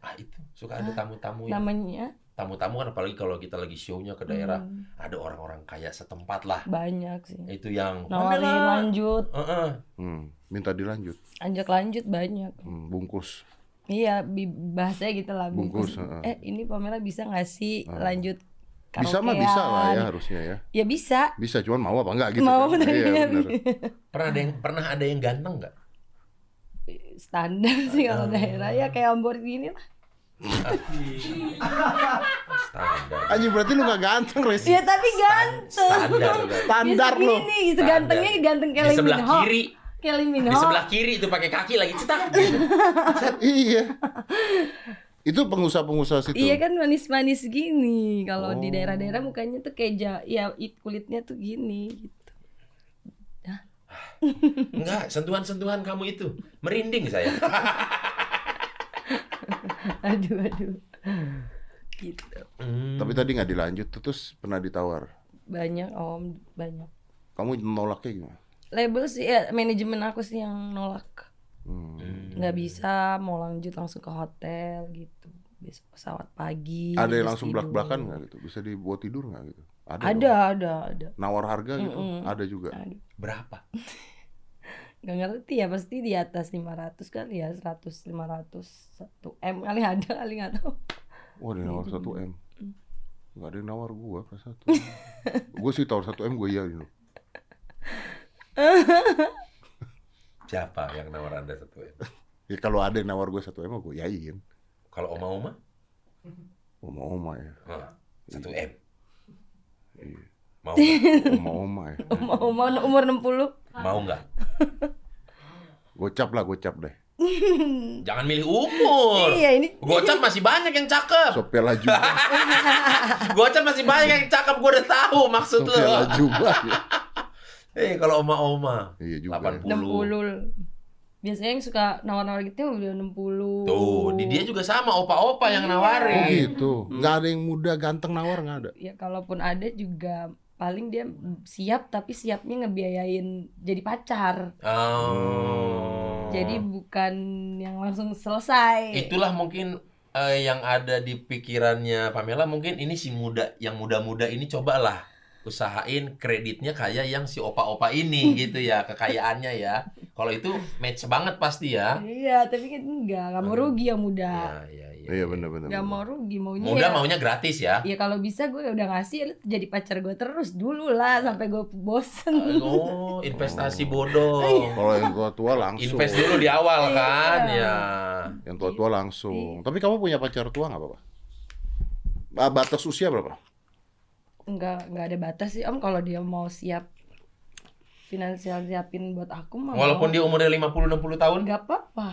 Speaker 3: ah itu suka ada tamu-tamu yang
Speaker 1: Namanya
Speaker 3: tamu-tamu kan apalagi kalau kita lagi show-nya ke daerah Eh,
Speaker 1: hmm,
Speaker 3: ada orang-orang kaya setempat lah
Speaker 1: banyak sih.
Speaker 3: itu yang
Speaker 1: Nawarin
Speaker 3: "Mandela."
Speaker 1: lanjut,
Speaker 3: Heeh.
Speaker 2: Hmm. Minta dilanjut.
Speaker 1: lanjut lanjut banyak.
Speaker 2: Hmm, bungkus.
Speaker 1: Iya, bi- bahasanya gitu lah.
Speaker 2: Bungkus, heeh.
Speaker 1: Eh, ini Pamela bisa nggak sih
Speaker 2: Heeh.
Speaker 1: lanjut
Speaker 2: Bisa mah bisa lah ya
Speaker 1: karaokean?
Speaker 2: harusnya ya.
Speaker 1: Ya bisa.
Speaker 2: Bisa cuman mau apa enggak gitu.
Speaker 1: Mau
Speaker 2: kan?
Speaker 1: tapi ya
Speaker 2: Iya, bener.
Speaker 3: pernah ada yang pernah ada yang ganteng nggak
Speaker 1: (laughs) standar sih kalau
Speaker 3: Standar.
Speaker 1: daerah ya kayak Ambon gini lah.
Speaker 3: Ah. standar
Speaker 2: Anjing berarti lu gak ganteng, Res.
Speaker 1: Ya tapi ganteng.
Speaker 3: standar
Speaker 2: Standar
Speaker 1: Biasa
Speaker 2: lu.
Speaker 1: gini, gitu
Speaker 3: Standar.
Speaker 1: gantengnya ganteng
Speaker 3: di
Speaker 1: Kelly
Speaker 3: sebelah
Speaker 1: Minho.
Speaker 3: kiri
Speaker 1: Kelly Minho.
Speaker 3: di sebelah kiri itu pakai kaki lagi cetak gitu.
Speaker 2: (laughs) Iya. Itu pengusaha-pengusaha
Speaker 3: gitu.
Speaker 2: situ.
Speaker 1: Iya kan manis-manis gini. Kalau di
Speaker 2: Oh.
Speaker 1: daerah-daerah mukanya tuh kayak ja, ya it- kulitnya tuh gini gitu. (laughs)
Speaker 3: enggak sentuhan-sentuhan kamu itu merinding saya
Speaker 1: Aduh aduh. Gitu.
Speaker 3: Hmm.
Speaker 2: Tapi tadi nggak dilanjut terus pernah ditawar.
Speaker 1: Banyak Om, banyak.
Speaker 2: Kamu nolaknya gimana?
Speaker 1: Label sih ya, manajemen aku sih yang nolak.
Speaker 2: Hmm.
Speaker 1: nggak bisa mau lanjut langsung ke hotel gitu besok pesawat pagi
Speaker 2: Ada yang
Speaker 1: terus
Speaker 2: langsung
Speaker 1: Iya, tidur.
Speaker 2: belak-belakan nggak gitu? Bisa dibuat tidur nggak gitu? Ada.
Speaker 1: ada
Speaker 2: dong.
Speaker 1: ada ada
Speaker 2: Nawar harga gitu?
Speaker 1: Mm-mm.
Speaker 2: Ada juga.
Speaker 1: aduh
Speaker 3: berapa
Speaker 1: nggak ngerti ya pasti di atas 500 kali ya 100 500 1 m kali ada kali nggak tahu
Speaker 2: Wah, ada yang nawar
Speaker 1: Iya,
Speaker 2: 1 M.
Speaker 1: Mm.
Speaker 2: Gak ada yang nawar gua pas satu. (laughs) gua sih tawar 1 M gua iya gitu. iyain loh.
Speaker 3: siapa yang nawar anda satu M?
Speaker 2: Ya kalau ada yang nawar gua 1 M gua iyain.
Speaker 3: kalau oma-oma
Speaker 2: Oma-oma ya.
Speaker 3: satu m
Speaker 2: Iya.
Speaker 3: mau nggak?
Speaker 2: Oma-oma ya.
Speaker 1: mau
Speaker 2: (laughs)
Speaker 1: mau umur 60
Speaker 3: mau nggak
Speaker 2: Gocap lah, gocap deh.
Speaker 3: jangan milih umur
Speaker 1: iya ini
Speaker 3: gocap masih banyak yang cakep
Speaker 2: Sopiala
Speaker 3: (laughs)
Speaker 2: juga.
Speaker 3: Gocap masih banyak yang cakep gue udah tahu maksud lu.
Speaker 2: Sopiala juga. ya.
Speaker 3: Eh kalau oma-oma
Speaker 2: (laughs) Iya juga.
Speaker 3: 80.
Speaker 1: 60 biasanya yang suka nawar-nawar gitu udah 60
Speaker 3: Tuh, di dia juga sama opa-opa
Speaker 1: Iya.
Speaker 3: yang
Speaker 2: Oh
Speaker 3: nawarin.
Speaker 2: gitu. Nggak ada yang muda ganteng nawar nggak ada.
Speaker 1: ya kalaupun ada juga paling dia siap tapi siapnya ngebiayain jadi pacar
Speaker 3: Oh.
Speaker 1: jadi bukan yang langsung selesai
Speaker 3: itulah mungkin eh, yang ada di pikirannya Pamela mungkin ini si muda yang muda-muda ini cobalah usahain kreditnya kayak yang si opa-opa ini gitu ya kekayaannya ya. Kalau itu match banget pasti ya.
Speaker 1: iya tapi kan enggak nggak mau
Speaker 3: Hmm.
Speaker 1: rugi ya muda
Speaker 3: Ya, ya, ya.
Speaker 2: Iya benar-benar.
Speaker 1: nggak mau rugi maunya
Speaker 3: Muda
Speaker 1: ya-
Speaker 3: maunya gratis
Speaker 1: (laughs)
Speaker 3: ya.
Speaker 1: Ya kalau bisa gue udah ngasih ya lu jadi pacar gue terus dulu lah sampai gue bosen.
Speaker 3: Oh,
Speaker 2: Oh.
Speaker 3: investasi bodoh.
Speaker 2: Kalau yang tua-tua langsung.
Speaker 3: Invest dulu di awal
Speaker 1: Iya.
Speaker 3: kan ya.
Speaker 2: Yang tua-tua langsung. Tapi kamu punya pacar tua nggak apa-apa? Ba- Batas usia berapa?
Speaker 1: Enggak enggak ada batas sih Om kalau dia mau siap finansial siapin buat aku mah.
Speaker 3: Walaupun dia umurnya 50 60 tahun. Ah,
Speaker 1: enggak apa-apa.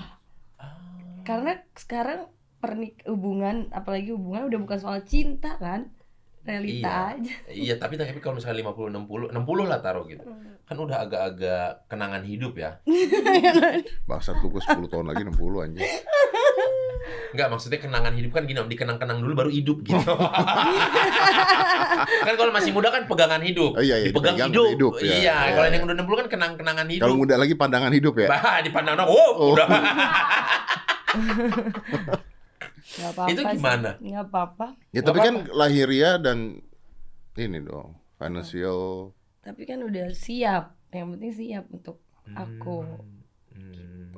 Speaker 1: Karena sekarang pernik hubungan apalagi hubungan udah bukan soal cinta kan. Realita aja.
Speaker 3: Iya, tapi tapi kalau misalnya 50 60 60 lah taruh gitu. Kan udah agak-agak kenangan hidup ya.
Speaker 2: Bangsat lu gue 10 tahun lagi 60 anjing.
Speaker 3: Enggak, maksudnya kenangan hidup kan gini, Om. dikenang-kenang dulu baru hidup gitu.
Speaker 2: Oh.
Speaker 3: (laughs) kan kalau masih muda kan pegangan hidup.
Speaker 2: Oh, iya, iya,
Speaker 3: Dipegang
Speaker 2: dipegang
Speaker 3: hidup.
Speaker 2: hidup, ya.
Speaker 3: Iya,
Speaker 2: Iya,
Speaker 3: kalau
Speaker 2: iya.
Speaker 3: yang udah 60 kan kenang-kenangan hidup.
Speaker 2: Kalau muda lagi pandangan hidup ya.
Speaker 3: Bah, dipandang orang, wow,
Speaker 2: Oh.
Speaker 3: udah.
Speaker 1: Enggak apa-apa.
Speaker 3: Itu
Speaker 1: sih.
Speaker 3: gimana?
Speaker 1: Enggak apa-apa.
Speaker 2: Ya tapi kan lahiria dan ini dong financial
Speaker 1: Tapi kan udah siap. Yang penting siap untuk aku.
Speaker 3: Hmm.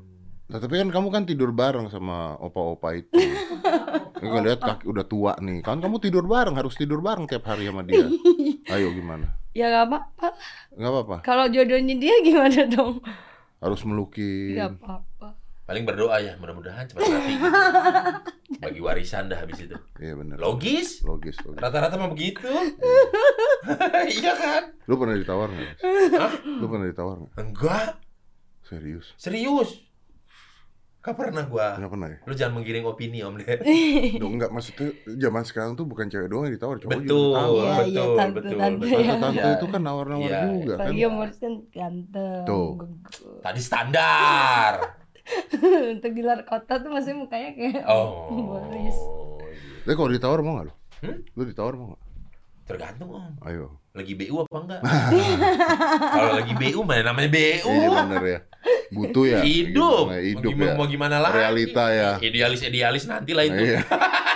Speaker 2: Nah, tapi kan kamu kan tidur bareng sama opa-opa
Speaker 3: (laughs)
Speaker 2: itu. Ini kan lihat kaki udah tua nih. Kan kamu tidur bareng, harus tidur bareng tiap hari sama dia.
Speaker 3: (laughs)
Speaker 2: Ayo gimana?
Speaker 1: Ya nggak apa-apa.
Speaker 2: Nggak apa-apa.
Speaker 1: Kalau jodohnya dia (laughs) gimana dong?
Speaker 2: Harus melukis.
Speaker 1: Gak apa-apa.
Speaker 3: Paling berdoa ya, mudah-mudahan cepat mati. gitu. Bagi warisan dah habis itu.
Speaker 2: Iya benar.
Speaker 3: Logis.
Speaker 2: Logis, logis.
Speaker 3: Rata-rata mah begitu. iya kan?
Speaker 2: Lu pernah ditawar nggak? Lu pernah ditawar nggak?
Speaker 3: Enggak,
Speaker 2: Serius?
Speaker 3: serius. Gak pernah gua.
Speaker 2: Nggak pernah ya?
Speaker 3: Lu jangan menggiring opini, Om deh.
Speaker 2: Dong nggak maksudnya zaman sekarang tuh bukan cewek doang yang ditawar, cowok juga
Speaker 3: Betul,
Speaker 2: ditawar.
Speaker 1: Iya, iya,
Speaker 3: betul,
Speaker 1: tante,
Speaker 3: betul,
Speaker 1: tante,
Speaker 3: betul.
Speaker 1: ya.
Speaker 2: Oh, Tante
Speaker 3: Iya.
Speaker 2: itu kan nawar-nawar
Speaker 3: Iya.
Speaker 2: juga kan.
Speaker 1: Apalagi Om Morris kan ganteng.
Speaker 2: Tuh.
Speaker 1: gugup. (laughs)
Speaker 3: Tadi standar.
Speaker 1: Untuk di luar kota tuh masih mukanya kayak
Speaker 3: Oh.
Speaker 1: Morris.
Speaker 3: iya.
Speaker 2: Tapi kalau ditawar mau nggak lu?
Speaker 3: Hmm?
Speaker 2: Lu ditawar mau nggak?
Speaker 3: Tergantung om.
Speaker 2: Ayo.
Speaker 3: Lagi BU apa enggak? Kalau lagi BU mana namanya BU.
Speaker 2: Iya bener ya. Butuh ya.
Speaker 3: Hidup.
Speaker 2: Gimana, Hidup
Speaker 3: mau,
Speaker 2: ya.
Speaker 3: gimana, mau gimana lagi?
Speaker 2: Realita ya.
Speaker 3: Idealis-idealis nanti lah itu.
Speaker 2: Iya.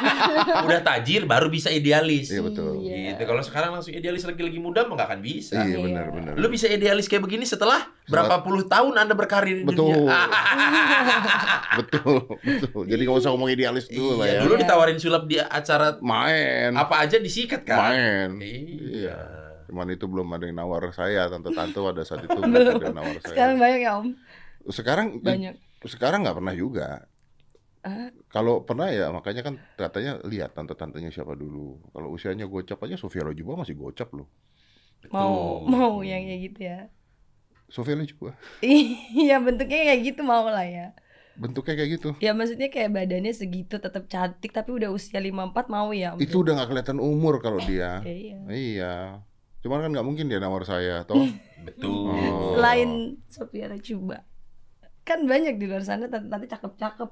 Speaker 3: (laughs) Udah tajir baru bisa idealis.
Speaker 2: Iya betul.
Speaker 1: Iya.
Speaker 3: Gitu. Kalau sekarang langsung idealis lagi-lagi muda mah nggak akan bisa.
Speaker 2: Iya
Speaker 1: Iya.
Speaker 2: benar benar.
Speaker 3: Lu bisa idealis kayak begini setelah berapa puluh tahun Anda berkarir di (laughs)
Speaker 2: Betul.
Speaker 3: dunia.
Speaker 2: betul betul. Jadi nggak usah ngomong idealis dulu lah
Speaker 3: Iya,
Speaker 2: ya.
Speaker 3: dulu
Speaker 1: Iya.
Speaker 3: ditawarin sulap di acara
Speaker 2: Main.
Speaker 3: apa aja disikat kan?
Speaker 2: Main.
Speaker 3: Iya.
Speaker 2: Cuman itu belum ada yang nawar saya, tante-tante pada saat itu belum ada yang nawar saya.
Speaker 1: Sekarang banyak ya Om?
Speaker 2: Sekarang
Speaker 1: Banyak.
Speaker 2: sekarang nggak pernah juga.
Speaker 1: Ah.
Speaker 2: Kalau pernah ya makanya kan katanya lihat tante-tantenya siapa dulu. Kalau usianya gocap aja Sofia Lajuba masih gocap loh.
Speaker 1: Mau,
Speaker 3: Betul.
Speaker 1: mau yang kayak gitu ya. (laughs)
Speaker 2: Sofia Lajuba
Speaker 1: Iya bentuknya kayak gitu mau lah ya.
Speaker 2: bentuknya kayak gitu.
Speaker 1: Ya maksudnya kayak badannya segitu tetap cantik tapi udah usia 54 mau ya Om?
Speaker 2: Itu udah nggak kelihatan umur kalau dia.
Speaker 1: Ya, iya.
Speaker 2: Iya. Cuman kan nggak mungkin dia nawar saya, toh.
Speaker 3: Betul.
Speaker 2: Oh.
Speaker 1: Selain Sophia Lajuba. Kan banyak di luar sana tante-tante cakep-cakep.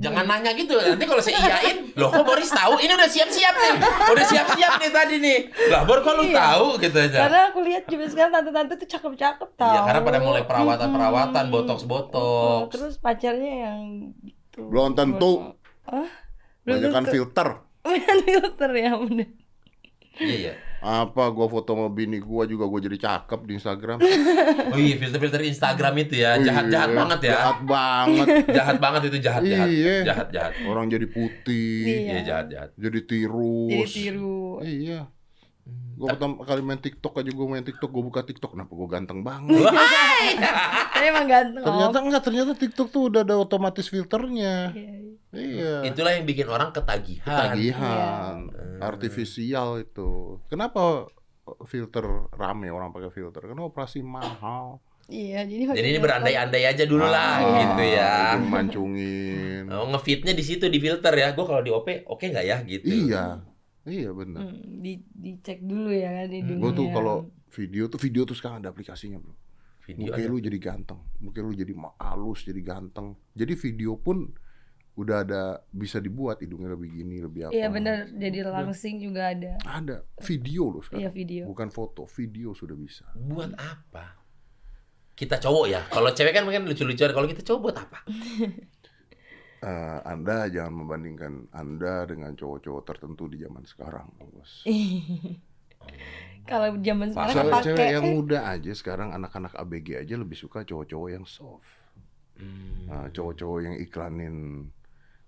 Speaker 3: Jangan nanya gitu nanti kalau saya iyain, loh kok Boris tahu? Ini udah siap-siap nih, udah siap-siap nih tadi nih. Lah Bor kok lu
Speaker 1: Iya.
Speaker 3: tahu gitu aja.
Speaker 1: Karena aku lihat juga sekarang tante-tante tuh cakep-cakep tau.
Speaker 3: Iya, karena pada mulai perawatan-perawatan,
Speaker 1: Mm-mm.
Speaker 3: botox-botox.
Speaker 1: Betul, Terus pacarnya yang gitu.
Speaker 2: Belum tentu.
Speaker 1: Ah, belum
Speaker 2: Banyak kan
Speaker 1: tentu.
Speaker 2: filter.
Speaker 1: Banyakan filter ya bener.
Speaker 3: Iya iya.
Speaker 2: Apa gua foto sama bini gua juga gua jadi cakep di Instagram.
Speaker 3: Oh iya filter-filter Instagram itu ya jahat-jahat
Speaker 2: Iya,
Speaker 3: banget ya.
Speaker 2: Jahat banget.
Speaker 3: Jahat banget itu jahat-jahat.
Speaker 2: Iya.
Speaker 3: Jahat-jahat.
Speaker 2: Orang jadi putih,
Speaker 1: Iya.
Speaker 3: Iya jahat-jahat.
Speaker 2: jadi
Speaker 1: Jadi
Speaker 2: tirus.
Speaker 1: tiru.
Speaker 2: Iya. Gua pertama kali main TikTok aja gua main TikTok, gua buka TikTok, kenapa gua ganteng banget?
Speaker 1: Tapi emang ganteng.
Speaker 2: ternyata
Speaker 1: Om.
Speaker 2: enggak, ternyata TikTok tuh udah ada otomatis filternya.
Speaker 1: Iya, iya.
Speaker 2: Iya.
Speaker 3: Itulah yang bikin orang ketagihan.
Speaker 2: Tagihan,
Speaker 1: Hmm.
Speaker 3: Iya.
Speaker 2: artifisial itu. Kenapa eh, filter rame orang pakai filter? Karena operasi mahal.
Speaker 1: Iya, jadi
Speaker 3: Jadi ini
Speaker 1: makin-
Speaker 3: berandai-andai aja dulu
Speaker 2: Ah,
Speaker 3: lah gitu ya.
Speaker 2: itu Mancungin.
Speaker 3: (laughs) Oh, ngefitnya di situ di filter ya. Gue kalau di OP oke nggak ya gitu.
Speaker 2: Iya. Iya benar.
Speaker 1: Hmm, di, dicek dulu ya kan di dunia.
Speaker 3: Hmm.
Speaker 2: Gue tuh kalau video tuh video tuh sekarang ada aplikasinya bro.
Speaker 3: Video
Speaker 2: Mungkin
Speaker 3: aja.
Speaker 2: lu jadi ganteng, mungkin lu jadi ma- halus, jadi ganteng. Jadi video pun udah ada bisa dibuat hidungnya lebih gini lebih apa
Speaker 1: Iya bener, jadi langsing juga ada.
Speaker 2: ada video loh
Speaker 1: Iya
Speaker 2: sekarang
Speaker 1: (laughs) video.
Speaker 2: bukan foto video sudah bisa
Speaker 3: Buat apa? Kita cowok ya. Kalau cewek kan mungkin lucu-lucuan. Kalau kita cowok buat apa?
Speaker 2: Eh, anda jangan membandingkan anda dengan cowok-cowok tertentu di zaman sekarang bos
Speaker 1: Kalau zaman sekarang
Speaker 3: Cewek-
Speaker 1: Iya, kan
Speaker 2: cewek-cewek
Speaker 1: pakai eh.
Speaker 2: yang muda aja sekarang anak-anak ABG aja lebih suka cowok-cowok yang soft
Speaker 3: iya.
Speaker 2: Nah, cowok-cowok yang iklanin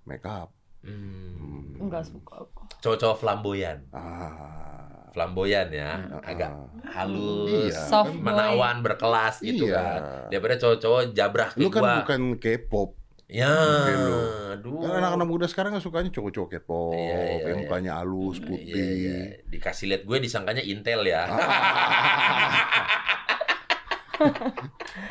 Speaker 2: makeup
Speaker 3: Hmm.
Speaker 1: enggak suka aku.
Speaker 3: Cowok-cowok flamboyan.
Speaker 2: ah
Speaker 3: Flamboyan ya. Agak halus.
Speaker 2: Iya.
Speaker 1: Soft boy.
Speaker 3: Menawan, berkelas gitu
Speaker 2: Iya.
Speaker 3: kan. Daripada cowok-cowok jabrak
Speaker 2: lu
Speaker 3: kayak
Speaker 2: kan
Speaker 3: gua.
Speaker 2: bukan K-pop
Speaker 3: Ya,
Speaker 2: Mungkin lu.
Speaker 3: aduh.
Speaker 2: Kan anak-anak muda sekarang kan sukanya cowok-cowok K-pop
Speaker 3: Oh. Iya, iya,
Speaker 2: yang
Speaker 3: iya.
Speaker 2: mukanya halus putih Ah.
Speaker 3: Iya, iya. Dikasih lihat gue disangkanya intel ya.
Speaker 2: (laughs)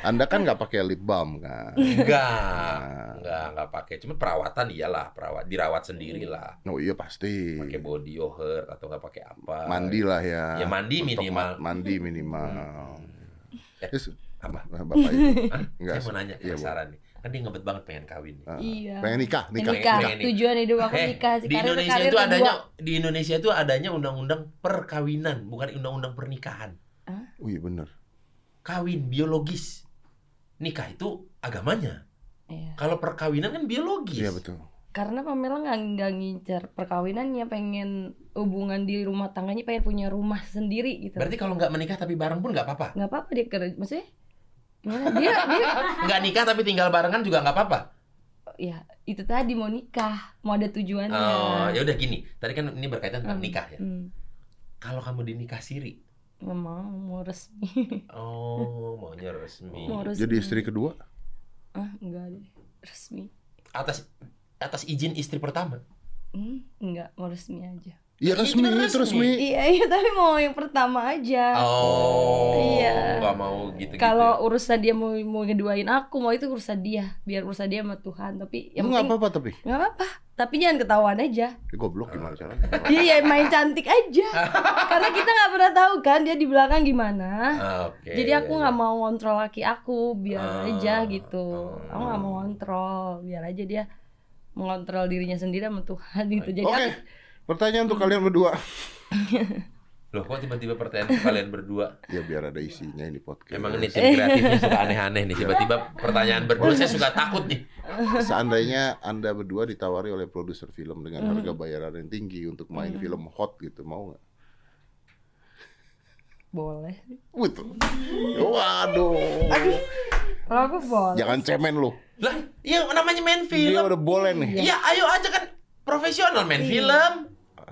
Speaker 2: anda kan nggak pakai lip balm kan
Speaker 3: enggak.
Speaker 2: Ah. Nah,
Speaker 3: Enggak, enggak pakai. Cuma perawatan iyalah, perawat dirawat sendirilah.
Speaker 2: oh iya pasti
Speaker 3: Pakai body oher atau enggak pakai apa.
Speaker 2: mandi Ah. lah ya
Speaker 3: Ya, mandi
Speaker 2: Untuk
Speaker 3: minimal.
Speaker 2: ma- mandi minimal
Speaker 3: Eh,
Speaker 2: Yes,
Speaker 3: apa?
Speaker 2: bapak
Speaker 1: (laughs)
Speaker 2: itu
Speaker 3: Hah?
Speaker 2: Enggak,
Speaker 3: Saya mau nanya
Speaker 2: iya,
Speaker 3: penasaran nih. Kan dia ngebet banget pengen kawin.
Speaker 2: Ah,
Speaker 1: Iya.
Speaker 2: pengen nikah nikah
Speaker 1: nikah.
Speaker 3: nikah.
Speaker 1: Tujuan hidup aku
Speaker 3: Eh,
Speaker 1: nikah.
Speaker 3: di
Speaker 1: Karir-
Speaker 3: Indonesia
Speaker 1: karir
Speaker 3: itu
Speaker 1: kedua.
Speaker 3: adanya di Indonesia itu adanya undang-undang perkawinan, bukan undang-undang pernikahan.
Speaker 2: oh iya bener
Speaker 3: Kawin biologis. Nikah itu agamanya.
Speaker 1: Iya.
Speaker 3: Kalau perkawinan kan biologis.
Speaker 2: iya betul
Speaker 1: Karena Pamela nggak nggak ngincer perkawinannya, pengen hubungan di rumah tangganya, pengen punya rumah sendiri gitu.
Speaker 3: Berarti kalau nggak menikah tapi bareng pun nggak apa-apa.
Speaker 1: nggak apa-apa dia kerja, maksudnya gimana?
Speaker 3: (laughs)
Speaker 1: dia dia
Speaker 3: Nggak nikah tapi tinggal barengan juga nggak apa-apa.
Speaker 1: ya itu tadi mau nikah, mau ada tujuannya.
Speaker 3: Oh, ya udah gini. Tadi kan ini berkaitan tentang
Speaker 1: Hmm.
Speaker 3: nikah ya.
Speaker 1: Hmm,
Speaker 3: Kalau kamu dinikah siri,
Speaker 1: nggak mau, mau resmi, (laughs)
Speaker 3: (laughs) oh maunya resmi.
Speaker 1: mau resmi.
Speaker 2: jadi istri kedua
Speaker 1: Ah, enggak deh, resmi.
Speaker 3: Atas atas izin istri pertama.
Speaker 1: Hmm, enggak, mau resmi aja.
Speaker 2: iya
Speaker 3: Iya,
Speaker 2: resmi
Speaker 3: bener,
Speaker 2: itu
Speaker 3: resmi.
Speaker 2: resmi
Speaker 1: Iya, iya, tapi mau yang pertama aja.
Speaker 3: Oh,
Speaker 1: Iya.
Speaker 3: nggak mau gitu.
Speaker 1: Kalau urusan dia mau mau ngeduain aku, mau itu urusan dia, biar urusan dia sama Tuhan. Tapi yang
Speaker 2: Lu nggak
Speaker 1: penting
Speaker 2: apa-apa tapi
Speaker 1: nggak apa-apa. Tapi jangan ketahuan aja.
Speaker 2: Eh,
Speaker 3: Ah.
Speaker 2: goblok gimana
Speaker 3: (laughs)
Speaker 2: caranya
Speaker 1: Iya, ya main cantik aja. Karena kita nggak pernah tahu kan dia di belakang gimana. Jadi aku nggak mau kontrol laki aku, biar
Speaker 3: Ah,
Speaker 1: aja gitu.
Speaker 3: ah.
Speaker 1: Aku nggak mau kontrol, biar aja dia mengontrol dirinya sendiri sama Tuhan gitu. Jadi
Speaker 2: oke pertanyaan untuk kalian
Speaker 1: (laughs)
Speaker 2: berdua
Speaker 3: Loh kok tiba-tiba pertanyaan ke kalian berdua?
Speaker 2: ya biar ada isinya ini podcast Eh,
Speaker 3: Emang
Speaker 1: (laughs)
Speaker 3: ini tim kreatifnya suka aneh-aneh nih. Tiba-tiba pertanyaan berdua saya suka takut nih.
Speaker 2: seandainya anda berdua ditawari oleh produser film dengan
Speaker 1: Hmm.
Speaker 2: harga bayaran yang tinggi untuk main film hot gitu mau nggak
Speaker 1: aku- boleh. (laughs)
Speaker 2: Betul. Waduh.
Speaker 1: Kalau aku boleh.
Speaker 2: Jangan cemen lu.
Speaker 3: Lah, iya namanya
Speaker 2: Dia
Speaker 3: main film.
Speaker 2: udah boleh nih.
Speaker 3: Iya, ayo aja kan profesional
Speaker 1: Iya.
Speaker 3: main film.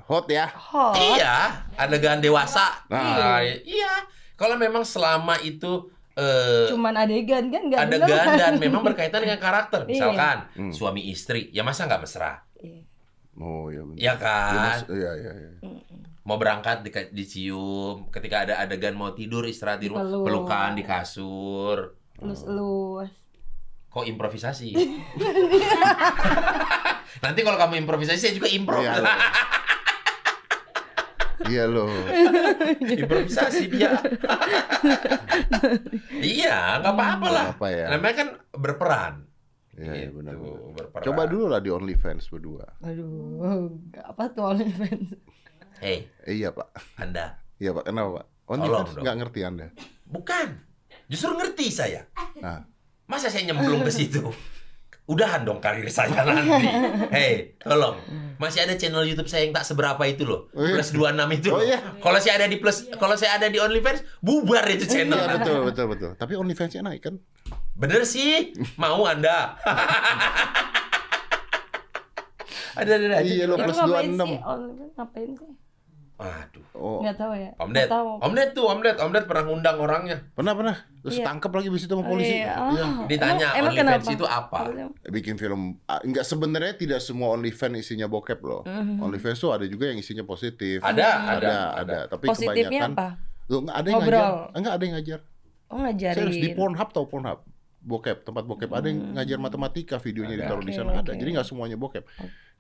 Speaker 2: Hot ya.
Speaker 1: Hot.
Speaker 3: Iya, adegan dewasa.
Speaker 2: Nah.
Speaker 3: iya. Kalau memang selama itu eh
Speaker 1: Cuman adegan kan nggak bener
Speaker 3: adegan
Speaker 1: kan? (laughs)
Speaker 3: dan memang berkaitan dengan karakter,
Speaker 1: Iya.
Speaker 3: misalkan
Speaker 2: Hmm.
Speaker 3: suami istri, ya masa nggak mesra?
Speaker 1: Iya.
Speaker 2: Oh iya benar.
Speaker 3: Ya
Speaker 2: Dia
Speaker 3: kan.
Speaker 2: mas- Iya iya iya.
Speaker 3: mau berangkat di- dicium, ketika ada adegan mau tidur istirahat di rumah,
Speaker 1: Dipeluk.
Speaker 3: pelukan di kasur.
Speaker 1: Lus-lus.
Speaker 3: Kok
Speaker 1: (laughs)
Speaker 3: improvisasi? Nanti kalau kamu improvisasi saya juga improv.
Speaker 2: Iya loh. Iya loh.
Speaker 3: (laughs) improvisasi
Speaker 1: (laughs)
Speaker 3: dia. iya,
Speaker 1: Hmm.
Speaker 3: nggak apa-apa lah.
Speaker 2: Apa ya?
Speaker 3: Namanya kan berperan.
Speaker 2: Iya iya
Speaker 3: Gitu,
Speaker 2: benar. benar.
Speaker 3: berperan.
Speaker 2: Coba dulu lah di OnlyFans berdua.
Speaker 1: Aduh, nggak apa tuh OnlyFans?
Speaker 3: Hei,
Speaker 2: Eh, iya pak.
Speaker 3: Anda.
Speaker 2: Iya pak. Kenapa pak?
Speaker 3: Tolong
Speaker 2: OnlyFans
Speaker 3: dong.
Speaker 2: nggak ngerti anda.
Speaker 3: Bukan. Justru ngerti saya.
Speaker 1: Ah.
Speaker 2: Nah.
Speaker 3: Masa saya nyemplung ke situ? Udahan dong karir saya nanti. Hei, tolong. Masih ada channel YouTube saya yang tak seberapa itu loh.
Speaker 2: Oh iya.
Speaker 3: Plus 26 itu.
Speaker 2: Oh
Speaker 3: loh.
Speaker 2: iya.
Speaker 3: Kalau saya ada di plus kalau saya ada di OnlyFans, bubar itu channel.
Speaker 2: Iya betul betul betul. Tapi OnlyFansnya naik kan?
Speaker 3: Bener sih, mau Anda. ada ada ada.
Speaker 2: Iya loh
Speaker 1: Itu
Speaker 2: plus dua
Speaker 1: ngapain sih?
Speaker 2: enam.
Speaker 1: OnlyFans ngapain sih?
Speaker 3: Aduh.
Speaker 2: Oh
Speaker 1: Nggak tahu ya.
Speaker 3: Om Ded,
Speaker 1: Nggak tahu.
Speaker 3: Om Ded tuh, Om Ded, Om Ded pernah ngundang orangnya.
Speaker 2: pernah pernah. Terus
Speaker 1: Iya.
Speaker 2: tangkep lagi bis itu sama polisi.
Speaker 1: Iya.
Speaker 2: Iya.
Speaker 1: Oh,
Speaker 3: Ditanya
Speaker 1: emang- emang
Speaker 3: OnlyFans
Speaker 1: kenapa?
Speaker 3: itu apa?
Speaker 2: bikin film ah, nggak sebenarnya tidak semua OnlyFans isinya bokep loh
Speaker 1: mm-hmm.
Speaker 2: OnlyFans tuh ada juga yang isinya positif
Speaker 3: Ada,
Speaker 2: ada
Speaker 3: ada,
Speaker 2: ada,
Speaker 3: ada.
Speaker 2: tapi
Speaker 1: Positifnya
Speaker 2: kebanyakan
Speaker 1: apa?
Speaker 2: Loh, nggak ada yang
Speaker 1: Ngobrol.
Speaker 2: ngajar enggak ada yang ngajar
Speaker 1: Oh
Speaker 2: saya harus di
Speaker 1: ngajarin.
Speaker 2: Pornhub tau Pornhub bokep tempat bokep ada yang ngajar matematika videonya
Speaker 3: Ada.
Speaker 2: ditaruh di
Speaker 1: Hmm. Oke,
Speaker 2: sana ada
Speaker 1: oke.
Speaker 2: jadi nggak semuanya bokep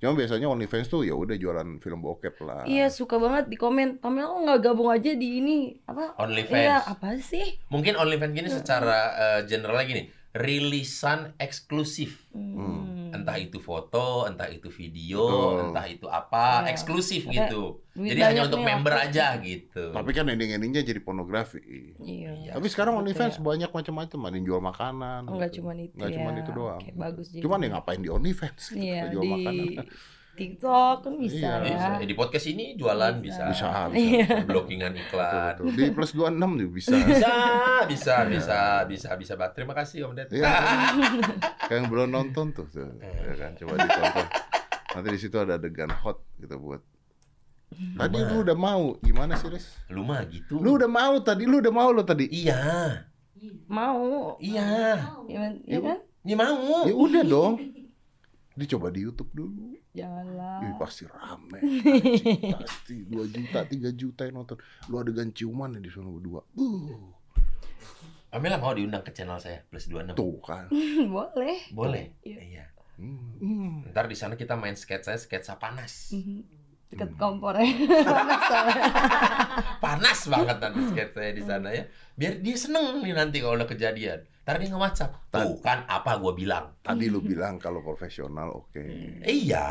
Speaker 2: cuma biasanya OnlyFans tuh ya udah jualan film bokep lah
Speaker 1: Iya suka banget di komen. Pamela kok nggak gabung aja di ini apa?
Speaker 3: OnlyFans.
Speaker 1: Iya apa sih?
Speaker 3: Mungkin OnlyFans gini secara eh, general lagi nih, rilisan eksklusif.
Speaker 1: Hmm.
Speaker 3: entah itu foto, entah itu video,
Speaker 2: Betul.
Speaker 3: entah itu apa,
Speaker 1: Iya.
Speaker 3: eksklusif
Speaker 1: Karena
Speaker 3: gitu.
Speaker 1: duit
Speaker 3: Jadi hanya
Speaker 1: banyak
Speaker 3: untuk
Speaker 1: nih
Speaker 3: member
Speaker 1: aku.
Speaker 3: aja gitu.
Speaker 2: Tapi kan ending-endingnya jadi pornografi.
Speaker 1: Iya.
Speaker 3: Iya.
Speaker 2: Tapi sekarang
Speaker 1: Betul
Speaker 2: OnlyFans
Speaker 1: ya.
Speaker 2: banyak macam-macam, ada yang jual makanan.
Speaker 1: Enggak
Speaker 2: gitu.
Speaker 1: cuman itu
Speaker 2: Nggak
Speaker 1: ya.
Speaker 2: cuman itu doang.
Speaker 1: Oke, bagus juga.
Speaker 2: Cuman ya ngapain di OnlyFans? gitu,
Speaker 1: Iya,
Speaker 2: jual
Speaker 1: di
Speaker 2: makanan.
Speaker 1: (laughs) TikTok kan bisa
Speaker 2: Iya.
Speaker 1: ya.
Speaker 3: Bisa. Ya, Di podcast ini jualan bisa.
Speaker 2: Bisa, bisa.
Speaker 1: Iya.
Speaker 3: (laughs) Blockingan iklan.
Speaker 2: Betul. Di plus 26 juga
Speaker 1: (laughs)
Speaker 2: bisa.
Speaker 3: Bisa, bisa, bisa, bisa, bisa. Bat. Terima kasih Om Ded.
Speaker 2: Iya. Kayak Kan yang belum nonton tuh, tuh. Ya kan coba ditonton. Nanti di situ ada adegan hot gitu buat. Tadi lu udah mau, gimana sih, Riz?
Speaker 3: (laughs) Lu mah gitu.
Speaker 2: Lu udah mau tadi, lu udah mau lo tadi.
Speaker 3: Iya,
Speaker 1: Mau.
Speaker 3: iya.
Speaker 1: Iya
Speaker 2: Iya.
Speaker 1: kan?
Speaker 3: Ini mau.
Speaker 2: Ya udah dong. Dicoba di YouTube dulu.
Speaker 1: Janganlah.
Speaker 2: Ih, pasti rame. anjing. pasti 2 juta, 3 juta yang nonton. Lu adegan ciuman di sana berdua. Uh,
Speaker 3: Amela mau diundang ke channel saya plus 26.
Speaker 2: tuh kan.
Speaker 1: (laughs) Boleh.
Speaker 3: Boleh.
Speaker 1: Iya.
Speaker 3: Iya.
Speaker 2: Hmm, hmm.
Speaker 3: Ntar di sana kita main sketsa sketsa panas.
Speaker 1: Mhm. Deket
Speaker 2: Hmm.
Speaker 1: ya. kompornya. Panas soalnya.
Speaker 3: Panas banget nanti sketsanya di sana ya. Biar dia seneng nih nanti kalau udah kejadian. Ntar dia nge-WhatsApp. Tuh kan apa gua bilang.
Speaker 2: Tadi lu bilang kalau profesional oke.
Speaker 1: Hmm.
Speaker 3: Iya.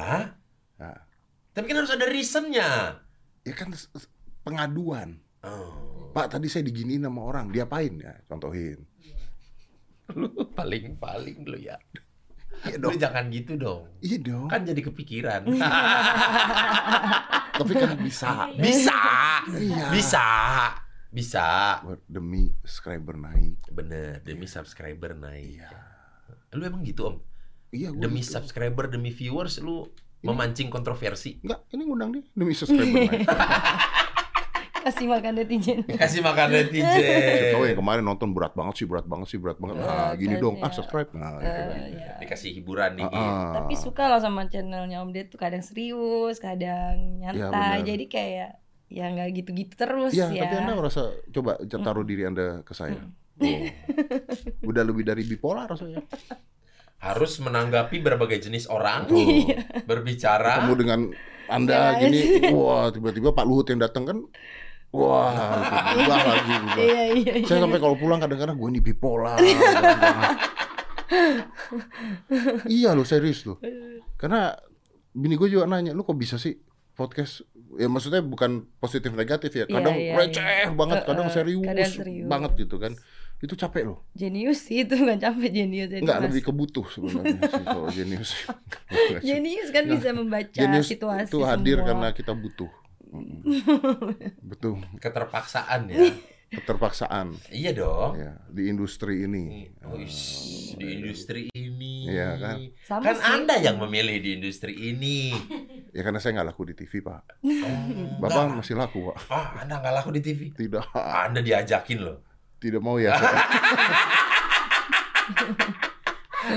Speaker 2: Nah.
Speaker 3: Tapi kan harus ada reasonnya.
Speaker 2: Ya kan s- s- pengaduan.
Speaker 3: Oh.
Speaker 2: Pak, tadi saya diginiin sama orang. Diapain ya? Contohin.
Speaker 3: Lu paling-paling lu ya.
Speaker 2: Iya
Speaker 3: Lu
Speaker 2: dong.
Speaker 3: jangan gitu dong.
Speaker 2: Iya dong.
Speaker 3: Kan jadi kepikiran.
Speaker 1: Hmm.
Speaker 2: Tapi kan bisa.
Speaker 3: Bisa.
Speaker 2: Iya.
Speaker 3: Bisa. Bisa.
Speaker 2: Buat Demi subscriber naik.
Speaker 3: Bener, demi subscriber naik.
Speaker 2: Iya.
Speaker 3: Lu emang gitu om?
Speaker 2: Iya, gua
Speaker 3: Demi
Speaker 2: gitu.
Speaker 3: subscriber, demi viewers, lu memancing kontroversi.
Speaker 2: Enggak, ini ngundang dia. Demi subscriber naik.
Speaker 1: (laughs)
Speaker 2: (laughs)
Speaker 1: Kasih makan netizen.
Speaker 3: Kasih makan
Speaker 2: Tahu yang
Speaker 3: netizen.
Speaker 2: ya, kemarin nonton berat banget sih, berat banget sih, berat banget. Nah,
Speaker 1: Berat
Speaker 2: gini
Speaker 1: banget
Speaker 2: dong,
Speaker 1: ya.
Speaker 2: ah subscribe. Nah, gitu kan.
Speaker 1: Iya.
Speaker 3: Dikasih hiburan nih.
Speaker 2: Ah,
Speaker 1: Tapi suka lah sama channelnya Om Ded tuh kadang serius, kadang nyantai.
Speaker 2: Iya, benar.
Speaker 1: Jadi kayak ya nggak gitu-gitu terus
Speaker 2: ya,
Speaker 1: ya. Hmm.
Speaker 2: tapi Anda merasa coba taruh diri Anda ke saya.
Speaker 3: gitu.
Speaker 2: Oh. Udah lebih dari bipolar rasanya.
Speaker 3: Harus menanggapi berbagai jenis orang,
Speaker 2: Kamu
Speaker 3: berbicara.
Speaker 2: dengan
Speaker 1: Iya,
Speaker 2: Anda gini, wah tiba-tiba Pak Luhut yang datang kan, wah
Speaker 1: (laughs)
Speaker 2: berubah lagi. berubah.
Speaker 1: Iya, iya, iya.
Speaker 2: Saya sampai kalau pulang kadang-kadang gue nih bipolar. iya lo serius lo. Karena bini gue juga nanya, lu kok bisa sih podcast? Ya maksudnya bukan positif negatif ya. Kadang
Speaker 1: Iya, iya,
Speaker 2: receh
Speaker 1: iya. Eh,
Speaker 2: banget, kadang
Speaker 1: eh,
Speaker 2: serius,
Speaker 1: kadang serius.
Speaker 2: banget gitu kan. Itu capek loh.
Speaker 1: Jenius sih itu nggak capek jenius. jadi
Speaker 2: Enggak
Speaker 1: mas-
Speaker 2: lebih kebutuh sebenarnya sih kalau jenius.
Speaker 1: (laughs) Jenius kan
Speaker 2: Nah,
Speaker 1: bisa membaca
Speaker 2: Jenius
Speaker 1: situasi
Speaker 2: itu hadir
Speaker 1: semua.
Speaker 2: karena kita
Speaker 1: (laughs)
Speaker 2: butuh. Mm-mm. Betul,
Speaker 3: Keterpaksaan ya.
Speaker 2: keterpaksaan
Speaker 3: Iya dong.
Speaker 2: ya di industri ini.
Speaker 3: oh, Uish, di industri ini.
Speaker 2: Iya, kan?
Speaker 1: Sama
Speaker 3: Kan
Speaker 1: sih.
Speaker 3: Anda yang memilih di industri
Speaker 2: (laughs)
Speaker 3: ini.
Speaker 2: Ya karena saya nggak laku di TV, Pak.
Speaker 3: Enggak.
Speaker 2: Bapak masih laku, Pak.
Speaker 3: Ah, Anda nggak laku di TV.
Speaker 2: Tidak,
Speaker 3: Anda diajakin loh.
Speaker 2: tidak mau
Speaker 1: (laughs)
Speaker 2: ya. saya.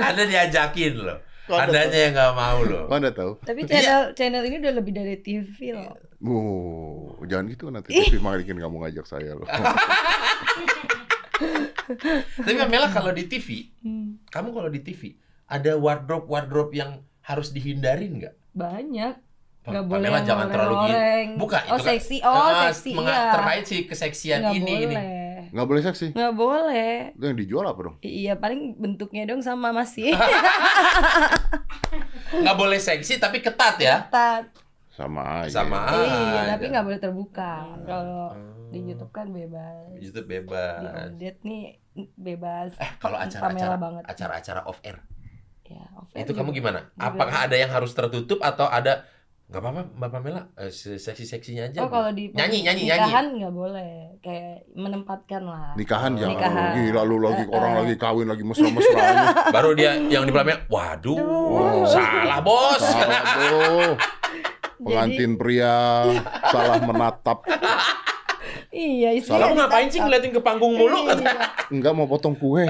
Speaker 3: Anda diajakin loh.
Speaker 2: Kok ada
Speaker 3: Andanya yang nggak mau loh.
Speaker 2: Kok Anda tahu?
Speaker 1: Tapi channel channel ini udah lebih dari TV loh.
Speaker 2: Iya. Oh, jangan gitu nanti TV makin kamu ngajak saya
Speaker 1: (laughs)
Speaker 2: loh.
Speaker 3: Tapi Mela kalau di TV,
Speaker 1: Hmm,
Speaker 3: kamu kalau di TV ada wardrobe wardrobe yang harus dihindarin nggak?
Speaker 1: banyak.
Speaker 3: Pam-
Speaker 1: Nggak boleh
Speaker 3: Pamela
Speaker 1: yang
Speaker 3: jangan terlalu gitu.
Speaker 1: ngoreng-ngoreng.
Speaker 3: Bukan
Speaker 1: Oh,
Speaker 3: itu kan-
Speaker 1: seksi. Oh,
Speaker 3: Ah,
Speaker 1: seksi,
Speaker 3: menga-
Speaker 1: iya.
Speaker 3: Terkait si keseksian
Speaker 1: Nggak
Speaker 3: ini ini.
Speaker 1: boleh.
Speaker 2: Nggak boleh seksi.
Speaker 1: Nggak boleh.
Speaker 2: Itu yang dijual apa dong?
Speaker 1: Iya paling bentuknya dong sama masih.
Speaker 3: Ah, Nggak boleh seksi tapi ketat
Speaker 1: (laughs)
Speaker 3: ya. Ah,
Speaker 1: Tat.
Speaker 2: Sama aja.
Speaker 3: Sama.
Speaker 1: Iya, tapi
Speaker 3: aja.
Speaker 1: nggak boleh terbuka. Kalau di YouTube kan bebas.
Speaker 3: Oh. YouTube
Speaker 1: Di
Speaker 3: bebas.
Speaker 1: update nih bebas.
Speaker 3: Eh, kalau
Speaker 1: Pamela
Speaker 3: acara-acara
Speaker 1: banget.
Speaker 3: acara-acara off air,
Speaker 1: Ya, off air
Speaker 3: itu kamu
Speaker 1: juga.
Speaker 3: gimana? Apakah ada yang harus tertutup atau ada nggak apa-apa Mbak Pamela eh, seksi-seksinya aja.
Speaker 1: Oh kalau di
Speaker 3: Nyanyi, nyanyi, nyanyi.
Speaker 1: nikahan nggak boleh. Kayak menempatkan lah.
Speaker 2: Nikahan jangan.
Speaker 1: Oh, Nikahan.
Speaker 2: Gila lu lagi
Speaker 1: Eh, Oh,
Speaker 2: orang
Speaker 1: eh.
Speaker 2: lagi kawin lagi
Speaker 1: (laughs)
Speaker 2: mesra-mesra.
Speaker 3: Baru dia yang di belakangnya, waduh,
Speaker 1: Aduh. Iya,
Speaker 3: salah bos.
Speaker 2: Salah tuh.
Speaker 1: Jadi-
Speaker 2: Pengantin pria salah menatap.
Speaker 1: Iya, isinya Iya.
Speaker 3: Kamu ngapain sih ngeliatin ke panggung mulu? Kata.
Speaker 2: Enggak mau potong
Speaker 1: (laughs)
Speaker 2: kue.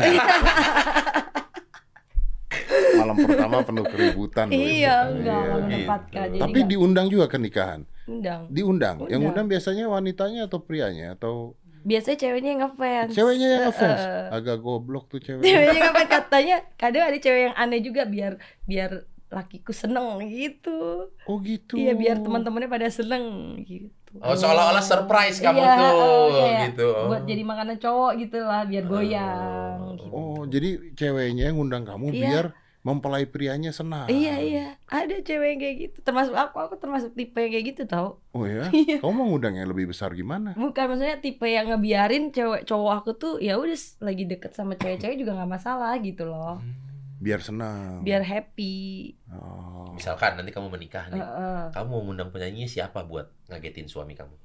Speaker 2: Malam pertama penuh keributan. loh.
Speaker 1: Iya, enggak
Speaker 2: Iya.
Speaker 1: nggak menempatkan. Jadi
Speaker 2: Tapi
Speaker 1: nggak
Speaker 2: diundang juga ke nikahan.
Speaker 1: undang.
Speaker 2: Diundang. Yang
Speaker 1: Undang.
Speaker 2: undang biasanya wanitanya atau prianya atau
Speaker 1: Biasanya ceweknya yang ngefans.
Speaker 2: Ceweknya yang ngefans.
Speaker 1: Eh, eh.
Speaker 2: Agak goblok tuh ceweknya.
Speaker 1: (laughs) Ceweknya ngefans katanya. Kadang ada cewek yang aneh juga biar biar lakiku seneng gitu.
Speaker 2: Oh gitu.
Speaker 1: Iya, biar teman-temannya pada seneng gitu.
Speaker 3: Oh, seolah-olah surprise kamu
Speaker 1: Iya,
Speaker 3: tuh,
Speaker 1: oh, kayak
Speaker 3: gitu. Oh.
Speaker 1: Buat jadi makanan cowok gitu lah, biar goyang. gitu.
Speaker 2: Oh, jadi ceweknya yang ngundang kamu
Speaker 1: Iya.
Speaker 2: biar mempelai prianya senang.
Speaker 1: Iya iya, ada cewek yang kayak gitu. Termasuk aku, aku termasuk tipe yang kayak gitu tau.
Speaker 2: Oh ya,
Speaker 1: Iya.
Speaker 2: kamu mau ngundang yang lebih besar gimana?
Speaker 1: (laughs) Bukan maksudnya tipe yang ngebiarin cewek cowok aku tuh ya udah s- lagi deket sama cewek-cewek juga nggak masalah gitu loh.
Speaker 3: Hmm.
Speaker 2: Biar senang.
Speaker 1: Biar happy. (laughs)
Speaker 2: Oh.
Speaker 3: Misalkan nanti kamu menikah nih,
Speaker 1: Heeh.
Speaker 3: kamu mau ngundang penyanyi siapa buat ngagetin suami kamu?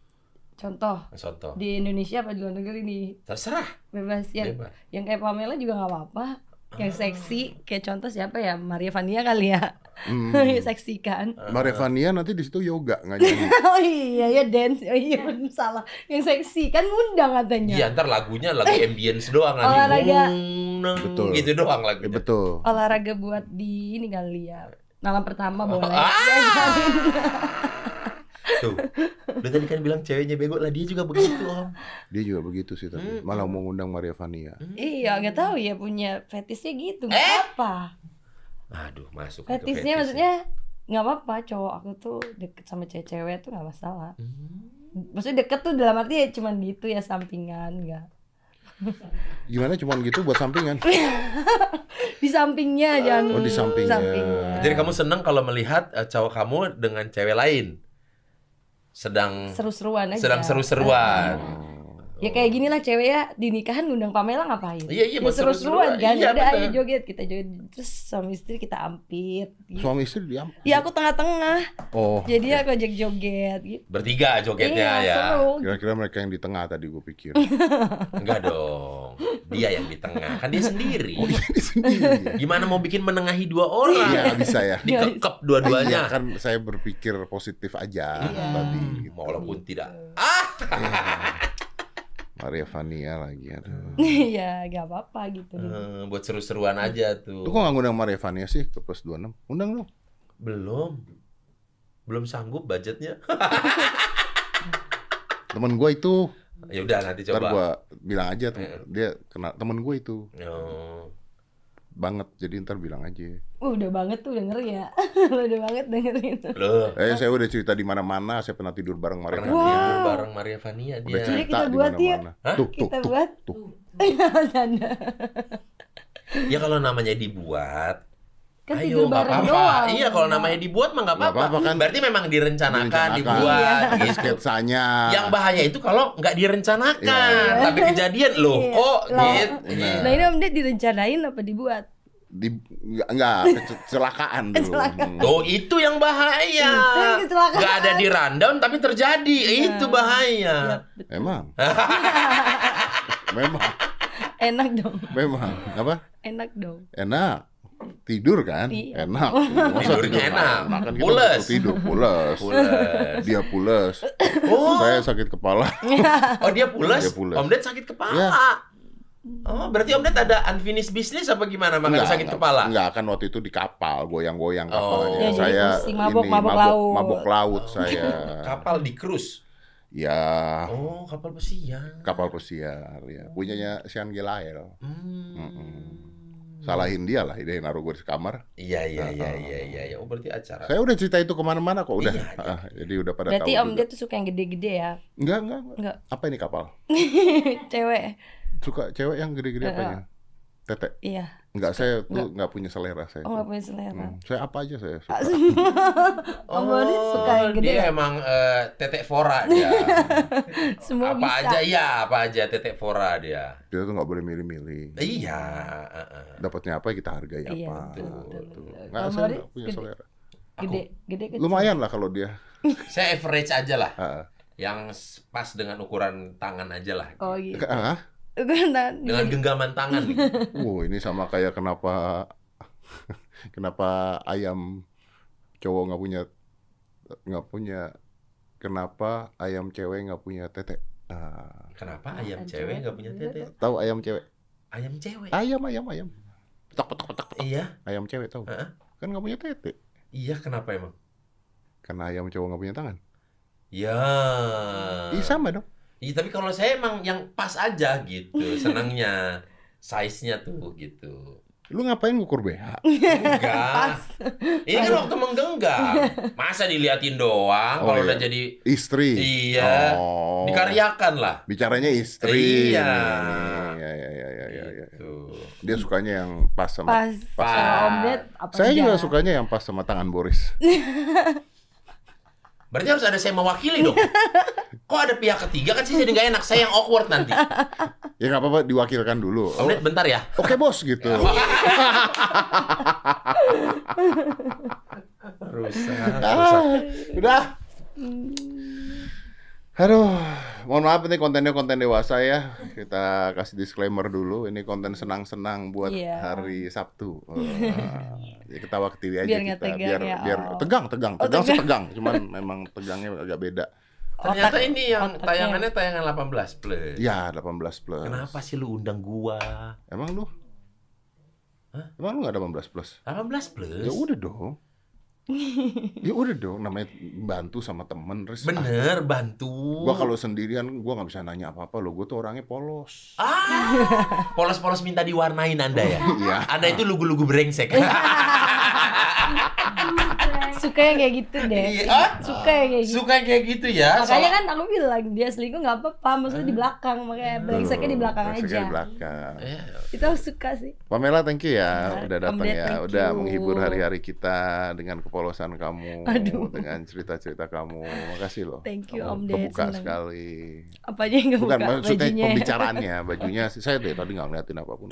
Speaker 1: Contoh
Speaker 3: Contoh.
Speaker 1: di Iya. Indonesia apa di luar negeri nih
Speaker 3: Terserah,
Speaker 1: bebas yang
Speaker 3: bebas.
Speaker 1: yang kayak Pamela juga nggak apa-apa.
Speaker 3: Ah.
Speaker 1: Yang seksi kayak contoh siapa ya Maria Vania kali ya.
Speaker 2: Hmm.
Speaker 1: (laughs) seksi kan.
Speaker 2: Mbak Revania nanti di situ yoga nggak
Speaker 1: (laughs)
Speaker 2: nyanyi.
Speaker 1: oh iya ya dance. Oh iya bener, salah. Yang seksi kan ngundang katanya.
Speaker 3: Iya, ntar lagunya lagu ambience doang nanti.
Speaker 1: Eh. Olahraga.
Speaker 3: Neng,
Speaker 2: Betul.
Speaker 3: Gitu doang
Speaker 2: Ya,
Speaker 3: lagunya.
Speaker 2: betul.
Speaker 1: Olahraga buat di ini kali ya. Malam pertama boleh.
Speaker 3: Ah.
Speaker 1: Ya, kan?
Speaker 3: Tuh. Lu tadi kan bilang ceweknya bego lah, dia juga begitu, Om.
Speaker 2: Dia juga begitu sih tapi
Speaker 3: Hmm.
Speaker 2: malah mau ngundang Maria Vania.
Speaker 1: Iya, nggak tahu ya punya fetishnya gitu, nggak
Speaker 3: Eh?
Speaker 1: apa.
Speaker 3: Aduh, masuk itu
Speaker 1: Fetishnya
Speaker 3: fetish. ya.
Speaker 1: maksudnya nggak apa-apa cowok aku tuh deket sama cewek-cewek tuh nggak masalah.
Speaker 3: Hmm.
Speaker 1: Maksudnya deket tuh dalam arti ya cuman gitu ya sampingan nggak.
Speaker 2: Gimana cuman gitu buat
Speaker 1: (laughs)
Speaker 2: sampingan?
Speaker 1: Di sampingnya jangan.
Speaker 2: Oh, di sampingnya.
Speaker 3: Jadi kamu seneng kalau melihat eh, cowok kamu dengan cewek lain sedang
Speaker 1: seru-seruan aja.
Speaker 3: sedang seru-seruan.
Speaker 2: Oh.
Speaker 1: Ya kayak gini lah cewek ya di nikahan ngundang Pamela ngapain?
Speaker 3: Iya,
Speaker 1: Ya,
Speaker 3: iya, buat
Speaker 1: seru-seruan
Speaker 3: seru-seruan.
Speaker 1: kan.
Speaker 3: Iya,
Speaker 1: Udah ayo
Speaker 3: bener.
Speaker 1: joget kita joget terus suami istri kita ampit. Gitu.
Speaker 2: Suami istri diam.
Speaker 1: Ya aku tengah-tengah.
Speaker 2: Oh.
Speaker 1: Jadi ya- aku ajak joget gitu.
Speaker 3: Bertiga
Speaker 1: iya,
Speaker 3: jogetnya ya.
Speaker 1: seru.
Speaker 2: Kira-kira mereka yang di tengah tadi gue pikir.
Speaker 3: Enggak dong. Dia yang di tengah, kan dia
Speaker 1: iya.
Speaker 3: sendiri.
Speaker 2: Oh, ini (laughs) sendiri.
Speaker 3: Gimana mau bikin menengahi dua
Speaker 2: Iya,
Speaker 3: orang?
Speaker 2: nggak bisa ya. Iya,
Speaker 3: Dikekep dua-duanya. Hmm.
Speaker 2: kan saya berpikir positif aja
Speaker 1: Iya.
Speaker 2: tadi. gitu. Iya.
Speaker 3: Walaupun tidak.
Speaker 2: Maria Vania lagi. Aduh.
Speaker 1: (laughs) Iya, gak apa-apa gitu.
Speaker 3: Eh, buat seru-seruan aja
Speaker 2: Lu
Speaker 3: tuh.
Speaker 2: kok gak ngundang Maria Vania sih ke plus 26? Undang dong.
Speaker 3: Belum. Belum sanggup budgetnya.
Speaker 2: Temen gue itu,
Speaker 3: Ya udah nanti
Speaker 2: ntar
Speaker 3: coba. Iya.
Speaker 2: gue bilang aja tem- dia kena temen gue itu
Speaker 3: Oh.
Speaker 2: banget jadi ntar bilang aja.
Speaker 1: Uh, udah banget tuh denger ya. (laughs) udah banget dengerin.
Speaker 3: Loh,
Speaker 1: Iya.
Speaker 2: Eh saya udah cerita di mana-mana, saya pernah tidur bareng Maria
Speaker 3: pernah
Speaker 2: Vania.
Speaker 3: tidur bareng Maria Vania
Speaker 2: Udah
Speaker 1: Jadi
Speaker 3: dia.
Speaker 2: cerita
Speaker 1: kita
Speaker 2: di
Speaker 1: buat ya?
Speaker 2: mana-mana.
Speaker 3: Hah?
Speaker 2: Tuh, tuh,
Speaker 1: Kita
Speaker 2: tuh.
Speaker 1: buat.
Speaker 2: tuh.
Speaker 1: (laughs) Canda.
Speaker 3: Ya kalau namanya dibuat,
Speaker 1: kan tidur
Speaker 3: Ayo, nggak
Speaker 1: bareng
Speaker 3: apa-apa.
Speaker 1: doang.
Speaker 3: Iya, kalau namanya dibuat mah nggak
Speaker 2: Nggak
Speaker 3: apa-apa.
Speaker 2: apa-apa kan.
Speaker 3: Berarti memang direncanakan,
Speaker 2: Direncanakan.
Speaker 3: dibuat.
Speaker 2: Ada
Speaker 1: Iya.
Speaker 3: gitu.
Speaker 2: sketsanya.
Speaker 3: Yang bahaya itu kalau nggak direncanakan,
Speaker 2: Iya.
Speaker 3: tapi kejadian loh
Speaker 1: Iya.
Speaker 3: kok
Speaker 1: Loh.
Speaker 3: gitu.
Speaker 2: Benar.
Speaker 1: Nah, ini Om Ded direncanain apa dibuat?
Speaker 2: di enggak, enggak kece-
Speaker 1: (laughs)
Speaker 2: kecelakaan dulu.
Speaker 1: Kecelakaan.
Speaker 2: Hmm.
Speaker 3: Tuh itu yang bahaya.
Speaker 1: Iya, Itu yang kecelakaan. Iya.
Speaker 3: Nggak ada di rundown tapi terjadi. Itu bahaya.
Speaker 1: Ya, bet-
Speaker 3: (laughs)
Speaker 2: Emang. memang,
Speaker 1: (laughs) enak dong.
Speaker 2: memang. Apa?
Speaker 1: Enak dong.
Speaker 2: Enak. Tidur kan?
Speaker 1: Iya.
Speaker 2: Enak.
Speaker 3: Tidurnya enak. gitu
Speaker 2: Makan kita
Speaker 3: Pules.
Speaker 2: butuh tidur pules.
Speaker 3: Pules.
Speaker 2: Dia pules.
Speaker 3: Oh,
Speaker 2: Saya sakit kepala.
Speaker 3: oh dia pules.
Speaker 2: Dia pules.
Speaker 3: Om Ded sakit kepala.
Speaker 2: Iya.
Speaker 3: Oh, berarti Om Ded ada unfinished business apa gimana makanya
Speaker 2: Enggak,
Speaker 3: sakit
Speaker 2: enggak.
Speaker 3: kepala?
Speaker 2: Enggak, kan waktu itu di kapal, goyang-goyang kapalnya.
Speaker 3: Oh. Ya, jadi
Speaker 2: saya
Speaker 1: Iya, pusing, mabok-
Speaker 2: ini
Speaker 1: mabok laut.
Speaker 2: mabok laut
Speaker 3: (laughs)
Speaker 1: Iya.
Speaker 2: saya.
Speaker 3: Kapal di cruise.
Speaker 2: Ya,
Speaker 1: Ah.
Speaker 3: Oh, kapal pesiar.
Speaker 2: kapal pesiar ya. Punyanya Sian Gelael. Mm-mm.
Speaker 3: Hmm.
Speaker 2: Salahin dia lah, dia yang naruh gue di kamar.
Speaker 3: Iya iya iya iya iya. iya. Oh berarti acara.
Speaker 2: Saya udah cerita itu kemana-mana kok udah.
Speaker 3: Iya, iya,
Speaker 2: Ah, jadi udah pada
Speaker 1: Berarti
Speaker 2: tahu
Speaker 1: Om
Speaker 2: juga.
Speaker 1: Ded tuh suka yang gede-gede ya.
Speaker 2: Enggak, enggak, enggak.
Speaker 1: Enggak.
Speaker 2: Apa ini kapal?
Speaker 1: (laughs) Cewek.
Speaker 2: Suka cewek yang gede-gede
Speaker 1: Eh,
Speaker 2: apanya? Tete.
Speaker 1: Iya.
Speaker 2: Enggak, saya tuh enggak punya selera saya.
Speaker 1: Om Oh, nggak punya selera. (laughs)
Speaker 2: Hmm, saya apa aja saya suka.
Speaker 1: Om Ded suka yang gede.
Speaker 3: Oh, dia
Speaker 1: ya?
Speaker 3: emang eh, tetek fora
Speaker 1: (laughs)
Speaker 3: dia.
Speaker 1: Semua
Speaker 3: apa
Speaker 1: bisa.
Speaker 3: aja iya, apa aja tetek fora dia.
Speaker 2: Kita tuh nggak boleh milih-milih.
Speaker 3: Iya. eh, eh.
Speaker 2: Dapatnya apa kita hargai
Speaker 1: Iya,
Speaker 2: apa.
Speaker 1: betul,
Speaker 3: betul,
Speaker 2: Gitu.
Speaker 1: betul.
Speaker 2: Nggak,
Speaker 1: Kalau
Speaker 2: saya
Speaker 1: Mari,
Speaker 2: nggak punya
Speaker 1: gede.
Speaker 2: selera.
Speaker 1: Gede, gede kecil.
Speaker 2: Lumayan lah kalau dia.
Speaker 3: Saya average aja lah,
Speaker 2: Heeh.
Speaker 3: yang s- pas dengan ukuran tangan aja lah.
Speaker 1: Oh iya. gitu. (laughs)
Speaker 2: Ah,
Speaker 1: Gue ntar-
Speaker 3: Dengan genggaman
Speaker 1: (laughs)
Speaker 3: tangan. gitu.
Speaker 2: wow, ini sama kayak kenapa (laughs) kenapa ayam cowok nggak punya nggak punya kenapa ayam cewek nggak punya tete. Ah,
Speaker 3: Kenapa
Speaker 1: Ayam
Speaker 3: ayam cewek
Speaker 1: cewek
Speaker 3: nggak punya
Speaker 1: nggak punya
Speaker 3: tetek?
Speaker 2: tahu ayam cewek?
Speaker 3: Ayam cewek.
Speaker 2: Ayam ayam ayam. Petak petak petak petak.
Speaker 3: Iya,
Speaker 2: Ayam cewek tahu?
Speaker 3: Heeh.
Speaker 2: Kan nggak punya tete.
Speaker 3: iya kenapa emang?
Speaker 2: Karena ayam cowok nggak punya tangan.
Speaker 3: Ya.
Speaker 2: Ih sama dong.
Speaker 3: Iya, tapi kalau saya emang yang pas aja gitu, senangnya size-nya tuh
Speaker 1: (laughs)
Speaker 3: gitu.
Speaker 2: Lu ngapain ngukur BH?
Speaker 3: Enggak.
Speaker 1: Pas.
Speaker 3: Ini kan waktu
Speaker 2: (laughs)
Speaker 3: menggenggam. Masa diliatin doang
Speaker 2: Oh,
Speaker 3: kalau
Speaker 2: iya.
Speaker 3: udah jadi
Speaker 2: Istri.
Speaker 3: iya,
Speaker 2: Oh.
Speaker 3: dikaryakan lah.
Speaker 2: Bicaranya istri.
Speaker 3: Iya.
Speaker 2: Iya iya iya iya iya. iya.
Speaker 3: Gitu.
Speaker 2: Dia sukanya yang pas Iya. sama
Speaker 1: Pas sama
Speaker 3: Pas.
Speaker 1: Om Ded apa
Speaker 2: Saya juga
Speaker 1: enggak?
Speaker 2: sukanya yang pas sama tangan Boris.
Speaker 3: Berarti harus ada saya mewakili
Speaker 2: (laughs)
Speaker 3: dong. Kok ada pihak ketiga kan sih jadi nggak enak. Saya yang awkward
Speaker 2: (laughs)
Speaker 3: nanti.
Speaker 2: Ya nggak apa-apa diwakilkan dulu.
Speaker 3: Om Ded, bentar
Speaker 2: (laughs)
Speaker 3: ya.
Speaker 2: Oke bos gitu.
Speaker 3: Rusak.
Speaker 2: Ah, udah.
Speaker 1: Hmm.
Speaker 2: Aduh, mohon maaf ini kontennya konten dewasa ya. Kita kasih disclaimer dulu. Ini konten senang-senang buat
Speaker 1: Iya.
Speaker 2: hari
Speaker 1: (laughs)
Speaker 2: Sabtu. Eh, ya ketawa ke TV aja
Speaker 1: Biar
Speaker 2: kita.
Speaker 1: nggak tegang
Speaker 2: biar
Speaker 1: ya,
Speaker 2: biar
Speaker 1: Al.
Speaker 2: tegang, tegang,
Speaker 1: Oh,
Speaker 2: tegang, sih
Speaker 1: tegang. (laughs)
Speaker 2: tegang. Cuman memang tegangnya agak beda.
Speaker 3: Ternyata
Speaker 1: Otak-
Speaker 3: ini yang
Speaker 1: otaknya.
Speaker 3: tayangannya tayangan 18 plus.
Speaker 2: Ya, 18 plus.
Speaker 3: Kenapa sih lu undang gua?
Speaker 2: Emang lu?
Speaker 3: Hah?
Speaker 2: Emang lu nggak 18 plus?
Speaker 3: 18 plus.
Speaker 2: Ya udah
Speaker 1: (laughs)
Speaker 2: dong. ya udah dong, namanya bantu sama temen terus. ah,
Speaker 3: Bener, bantu.
Speaker 2: gua kalau sendirian gua nggak bisa nanya apa-apa loh. Gua tuh orangnya polos.
Speaker 3: Ah, polos-polos minta diwarnain Anda ya.
Speaker 2: Iya.
Speaker 3: Anda itu lugu-lugu brengsek. ya?
Speaker 1: Suka yang kayak gitu deh.
Speaker 3: Iya.
Speaker 1: Suka yang kayak gitu.
Speaker 3: Suka kayak gitu ya.
Speaker 1: Makanya kan aku bilang dia selingkuh nggak apa-apa, maksudnya di belakang makanya brengseknya di belakang aja.
Speaker 2: Brengseknya Hmm. di belakang.
Speaker 1: Itu aku suka sih.
Speaker 2: Pamela, thank you ya
Speaker 1: Nah,
Speaker 2: udah datang
Speaker 1: Om Ded,
Speaker 2: ya,
Speaker 1: thank
Speaker 2: udah
Speaker 1: you.
Speaker 2: menghibur hari-hari kita dengan kepolosan kamu,
Speaker 1: Aduh.
Speaker 2: dengan cerita-cerita kamu. Makasih loh.
Speaker 1: Thank you,
Speaker 2: Kamu
Speaker 1: Om Ded,
Speaker 2: Kebuka
Speaker 1: senang.
Speaker 2: sekali.
Speaker 1: Apanya yang nggak
Speaker 2: Bukan
Speaker 1: buka
Speaker 2: maksudnya
Speaker 1: bajunya. (laughs)
Speaker 2: pembicaraannya, bajunya sih- saya deh tadi nggak ngeliatin apapun.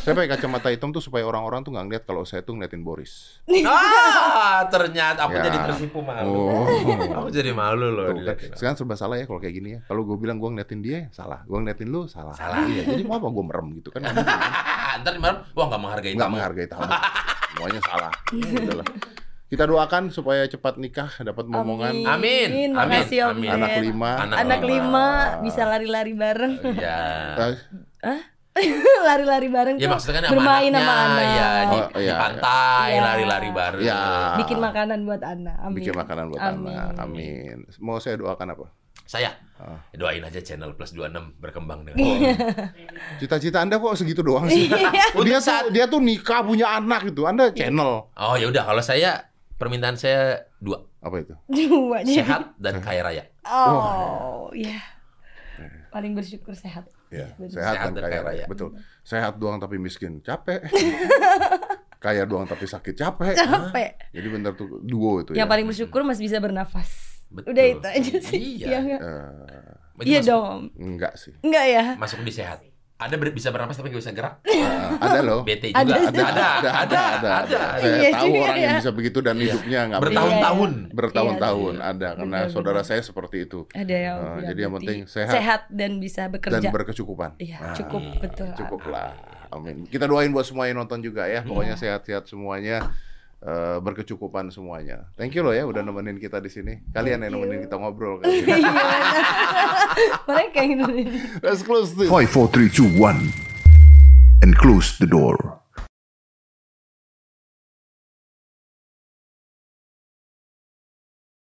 Speaker 2: saya pakai kacamata hitam tuh supaya orang-orang tuh nggak ngeliat kalau saya tuh ngeliatin Boris.
Speaker 3: Eh, Ah, ternyata aku
Speaker 2: Ya.
Speaker 3: jadi tersipu malu.
Speaker 2: Oh.
Speaker 3: Aku jadi malu
Speaker 2: Tuh,
Speaker 3: loh.
Speaker 2: kan.
Speaker 3: diliatin.
Speaker 2: Sekarang serba salah ya kalau kayak gini ya. Kalau gue bilang gue ngeliatin dia, salah. Gue ngeliatin lu, salah.
Speaker 3: Salah.
Speaker 2: Iya, jadi mau apa gue merem gitu kan.
Speaker 3: (laughs) Ah, Ntar di malam, wah nggak menghargai
Speaker 2: Eh, nggak
Speaker 3: tamu.
Speaker 2: menghargai tamu. Semuanya salah. Udahlah. Kita doakan supaya cepat nikah, dapat momongan,
Speaker 1: Amin.
Speaker 3: Amin. Amin.
Speaker 1: Makasih Om
Speaker 3: Amin.
Speaker 1: Ded.
Speaker 2: anak lima.
Speaker 3: Anak
Speaker 1: Anak
Speaker 3: lima.
Speaker 1: lima bisa lari-lari bareng. (laughs)
Speaker 3: Ya.
Speaker 2: Eh,
Speaker 1: lari-lari bareng
Speaker 3: Ya
Speaker 1: tuh
Speaker 3: maksudnya kan sama
Speaker 1: bermain
Speaker 3: anaknya,
Speaker 1: sama anak.
Speaker 3: ya, di,
Speaker 2: Oh,
Speaker 3: di
Speaker 2: iya.
Speaker 3: pantai
Speaker 1: Iya.
Speaker 3: lari-lari bareng.
Speaker 2: ya.
Speaker 1: Bikin makanan buat anak. Amin.
Speaker 2: Bikin
Speaker 1: (laughs)
Speaker 2: makanan buat
Speaker 1: Amin.
Speaker 2: anak. Amin. Mau saya doakan apa?
Speaker 3: Saya ya
Speaker 2: Ah.
Speaker 3: doain aja channel plus 26 berkembang dengan.
Speaker 1: Iya.
Speaker 2: Cita-cita Anda kok segitu doang sih? (laughs) Oh, dia
Speaker 3: Untuk
Speaker 2: tuh, dia tuh nikah punya anak gitu. Anda channel
Speaker 3: Oh ya udah kalau saya permintaan saya dua
Speaker 2: apa itu?
Speaker 1: Dua jadi.
Speaker 3: sehat dan kaya raya.
Speaker 1: Oh, ya. Paling bersyukur sehat.
Speaker 2: Ya,
Speaker 1: Bener.
Speaker 2: sehat, dan kaya raya. Betul. Sehat doang tapi miskin,
Speaker 1: (laughs)
Speaker 2: capek. kaya doang tapi sakit, capek.
Speaker 1: Capek.
Speaker 2: Jadi bener tuh duo itu
Speaker 1: Yang
Speaker 2: ya.
Speaker 1: paling bersyukur masih bisa bernafas.
Speaker 3: Betul.
Speaker 1: Udah itu aja sih.
Speaker 3: Iya.
Speaker 1: Iya enggak?
Speaker 2: Eh,
Speaker 1: Iya
Speaker 3: Masuk-
Speaker 1: dong. Om.
Speaker 2: enggak sih.
Speaker 1: Enggak ya?
Speaker 3: Masuk di sehat. Ada ber- bisa bernapas tapi nggak bisa gerak.
Speaker 2: Eh, ada loh.
Speaker 3: BT
Speaker 1: Ada,
Speaker 3: juga.
Speaker 2: ada, ada, ada, ada,
Speaker 3: ada.
Speaker 2: Saya
Speaker 1: Iya
Speaker 2: tahu
Speaker 1: juga
Speaker 2: orang yang
Speaker 1: ya.
Speaker 2: bisa begitu dan hidupnya nggak
Speaker 3: Bertahun-tahun.
Speaker 2: bertahun- bertahun-tahun
Speaker 3: Iya,
Speaker 2: ada karena
Speaker 1: Benar,
Speaker 2: saudara
Speaker 1: benar.
Speaker 2: saya seperti itu
Speaker 1: Ada ya. Om.
Speaker 2: Eh,
Speaker 1: Bilang
Speaker 2: jadi yang
Speaker 1: berarti
Speaker 2: penting sehat,
Speaker 1: dan bisa
Speaker 2: dan
Speaker 1: bekerja.
Speaker 2: berkecukupan.
Speaker 1: Iya, cukup betul.
Speaker 3: ah.
Speaker 2: Cukup lah, amin. Kita doain buat semua yang nonton juga
Speaker 3: Iya.
Speaker 2: ya, pokoknya sehat-sehat semuanya. eh, berkecukupan semuanya. Thank you loh ya udah nemenin kita di sini. Kalian yang nemenin kita ngobrol kali
Speaker 1: (laughs)
Speaker 2: ini. (laughs)
Speaker 1: Iya. benar. (laughs) Mereka yang nulis.
Speaker 2: Let's close this.
Speaker 4: 5, 4, 3, 2, 1, and close the door.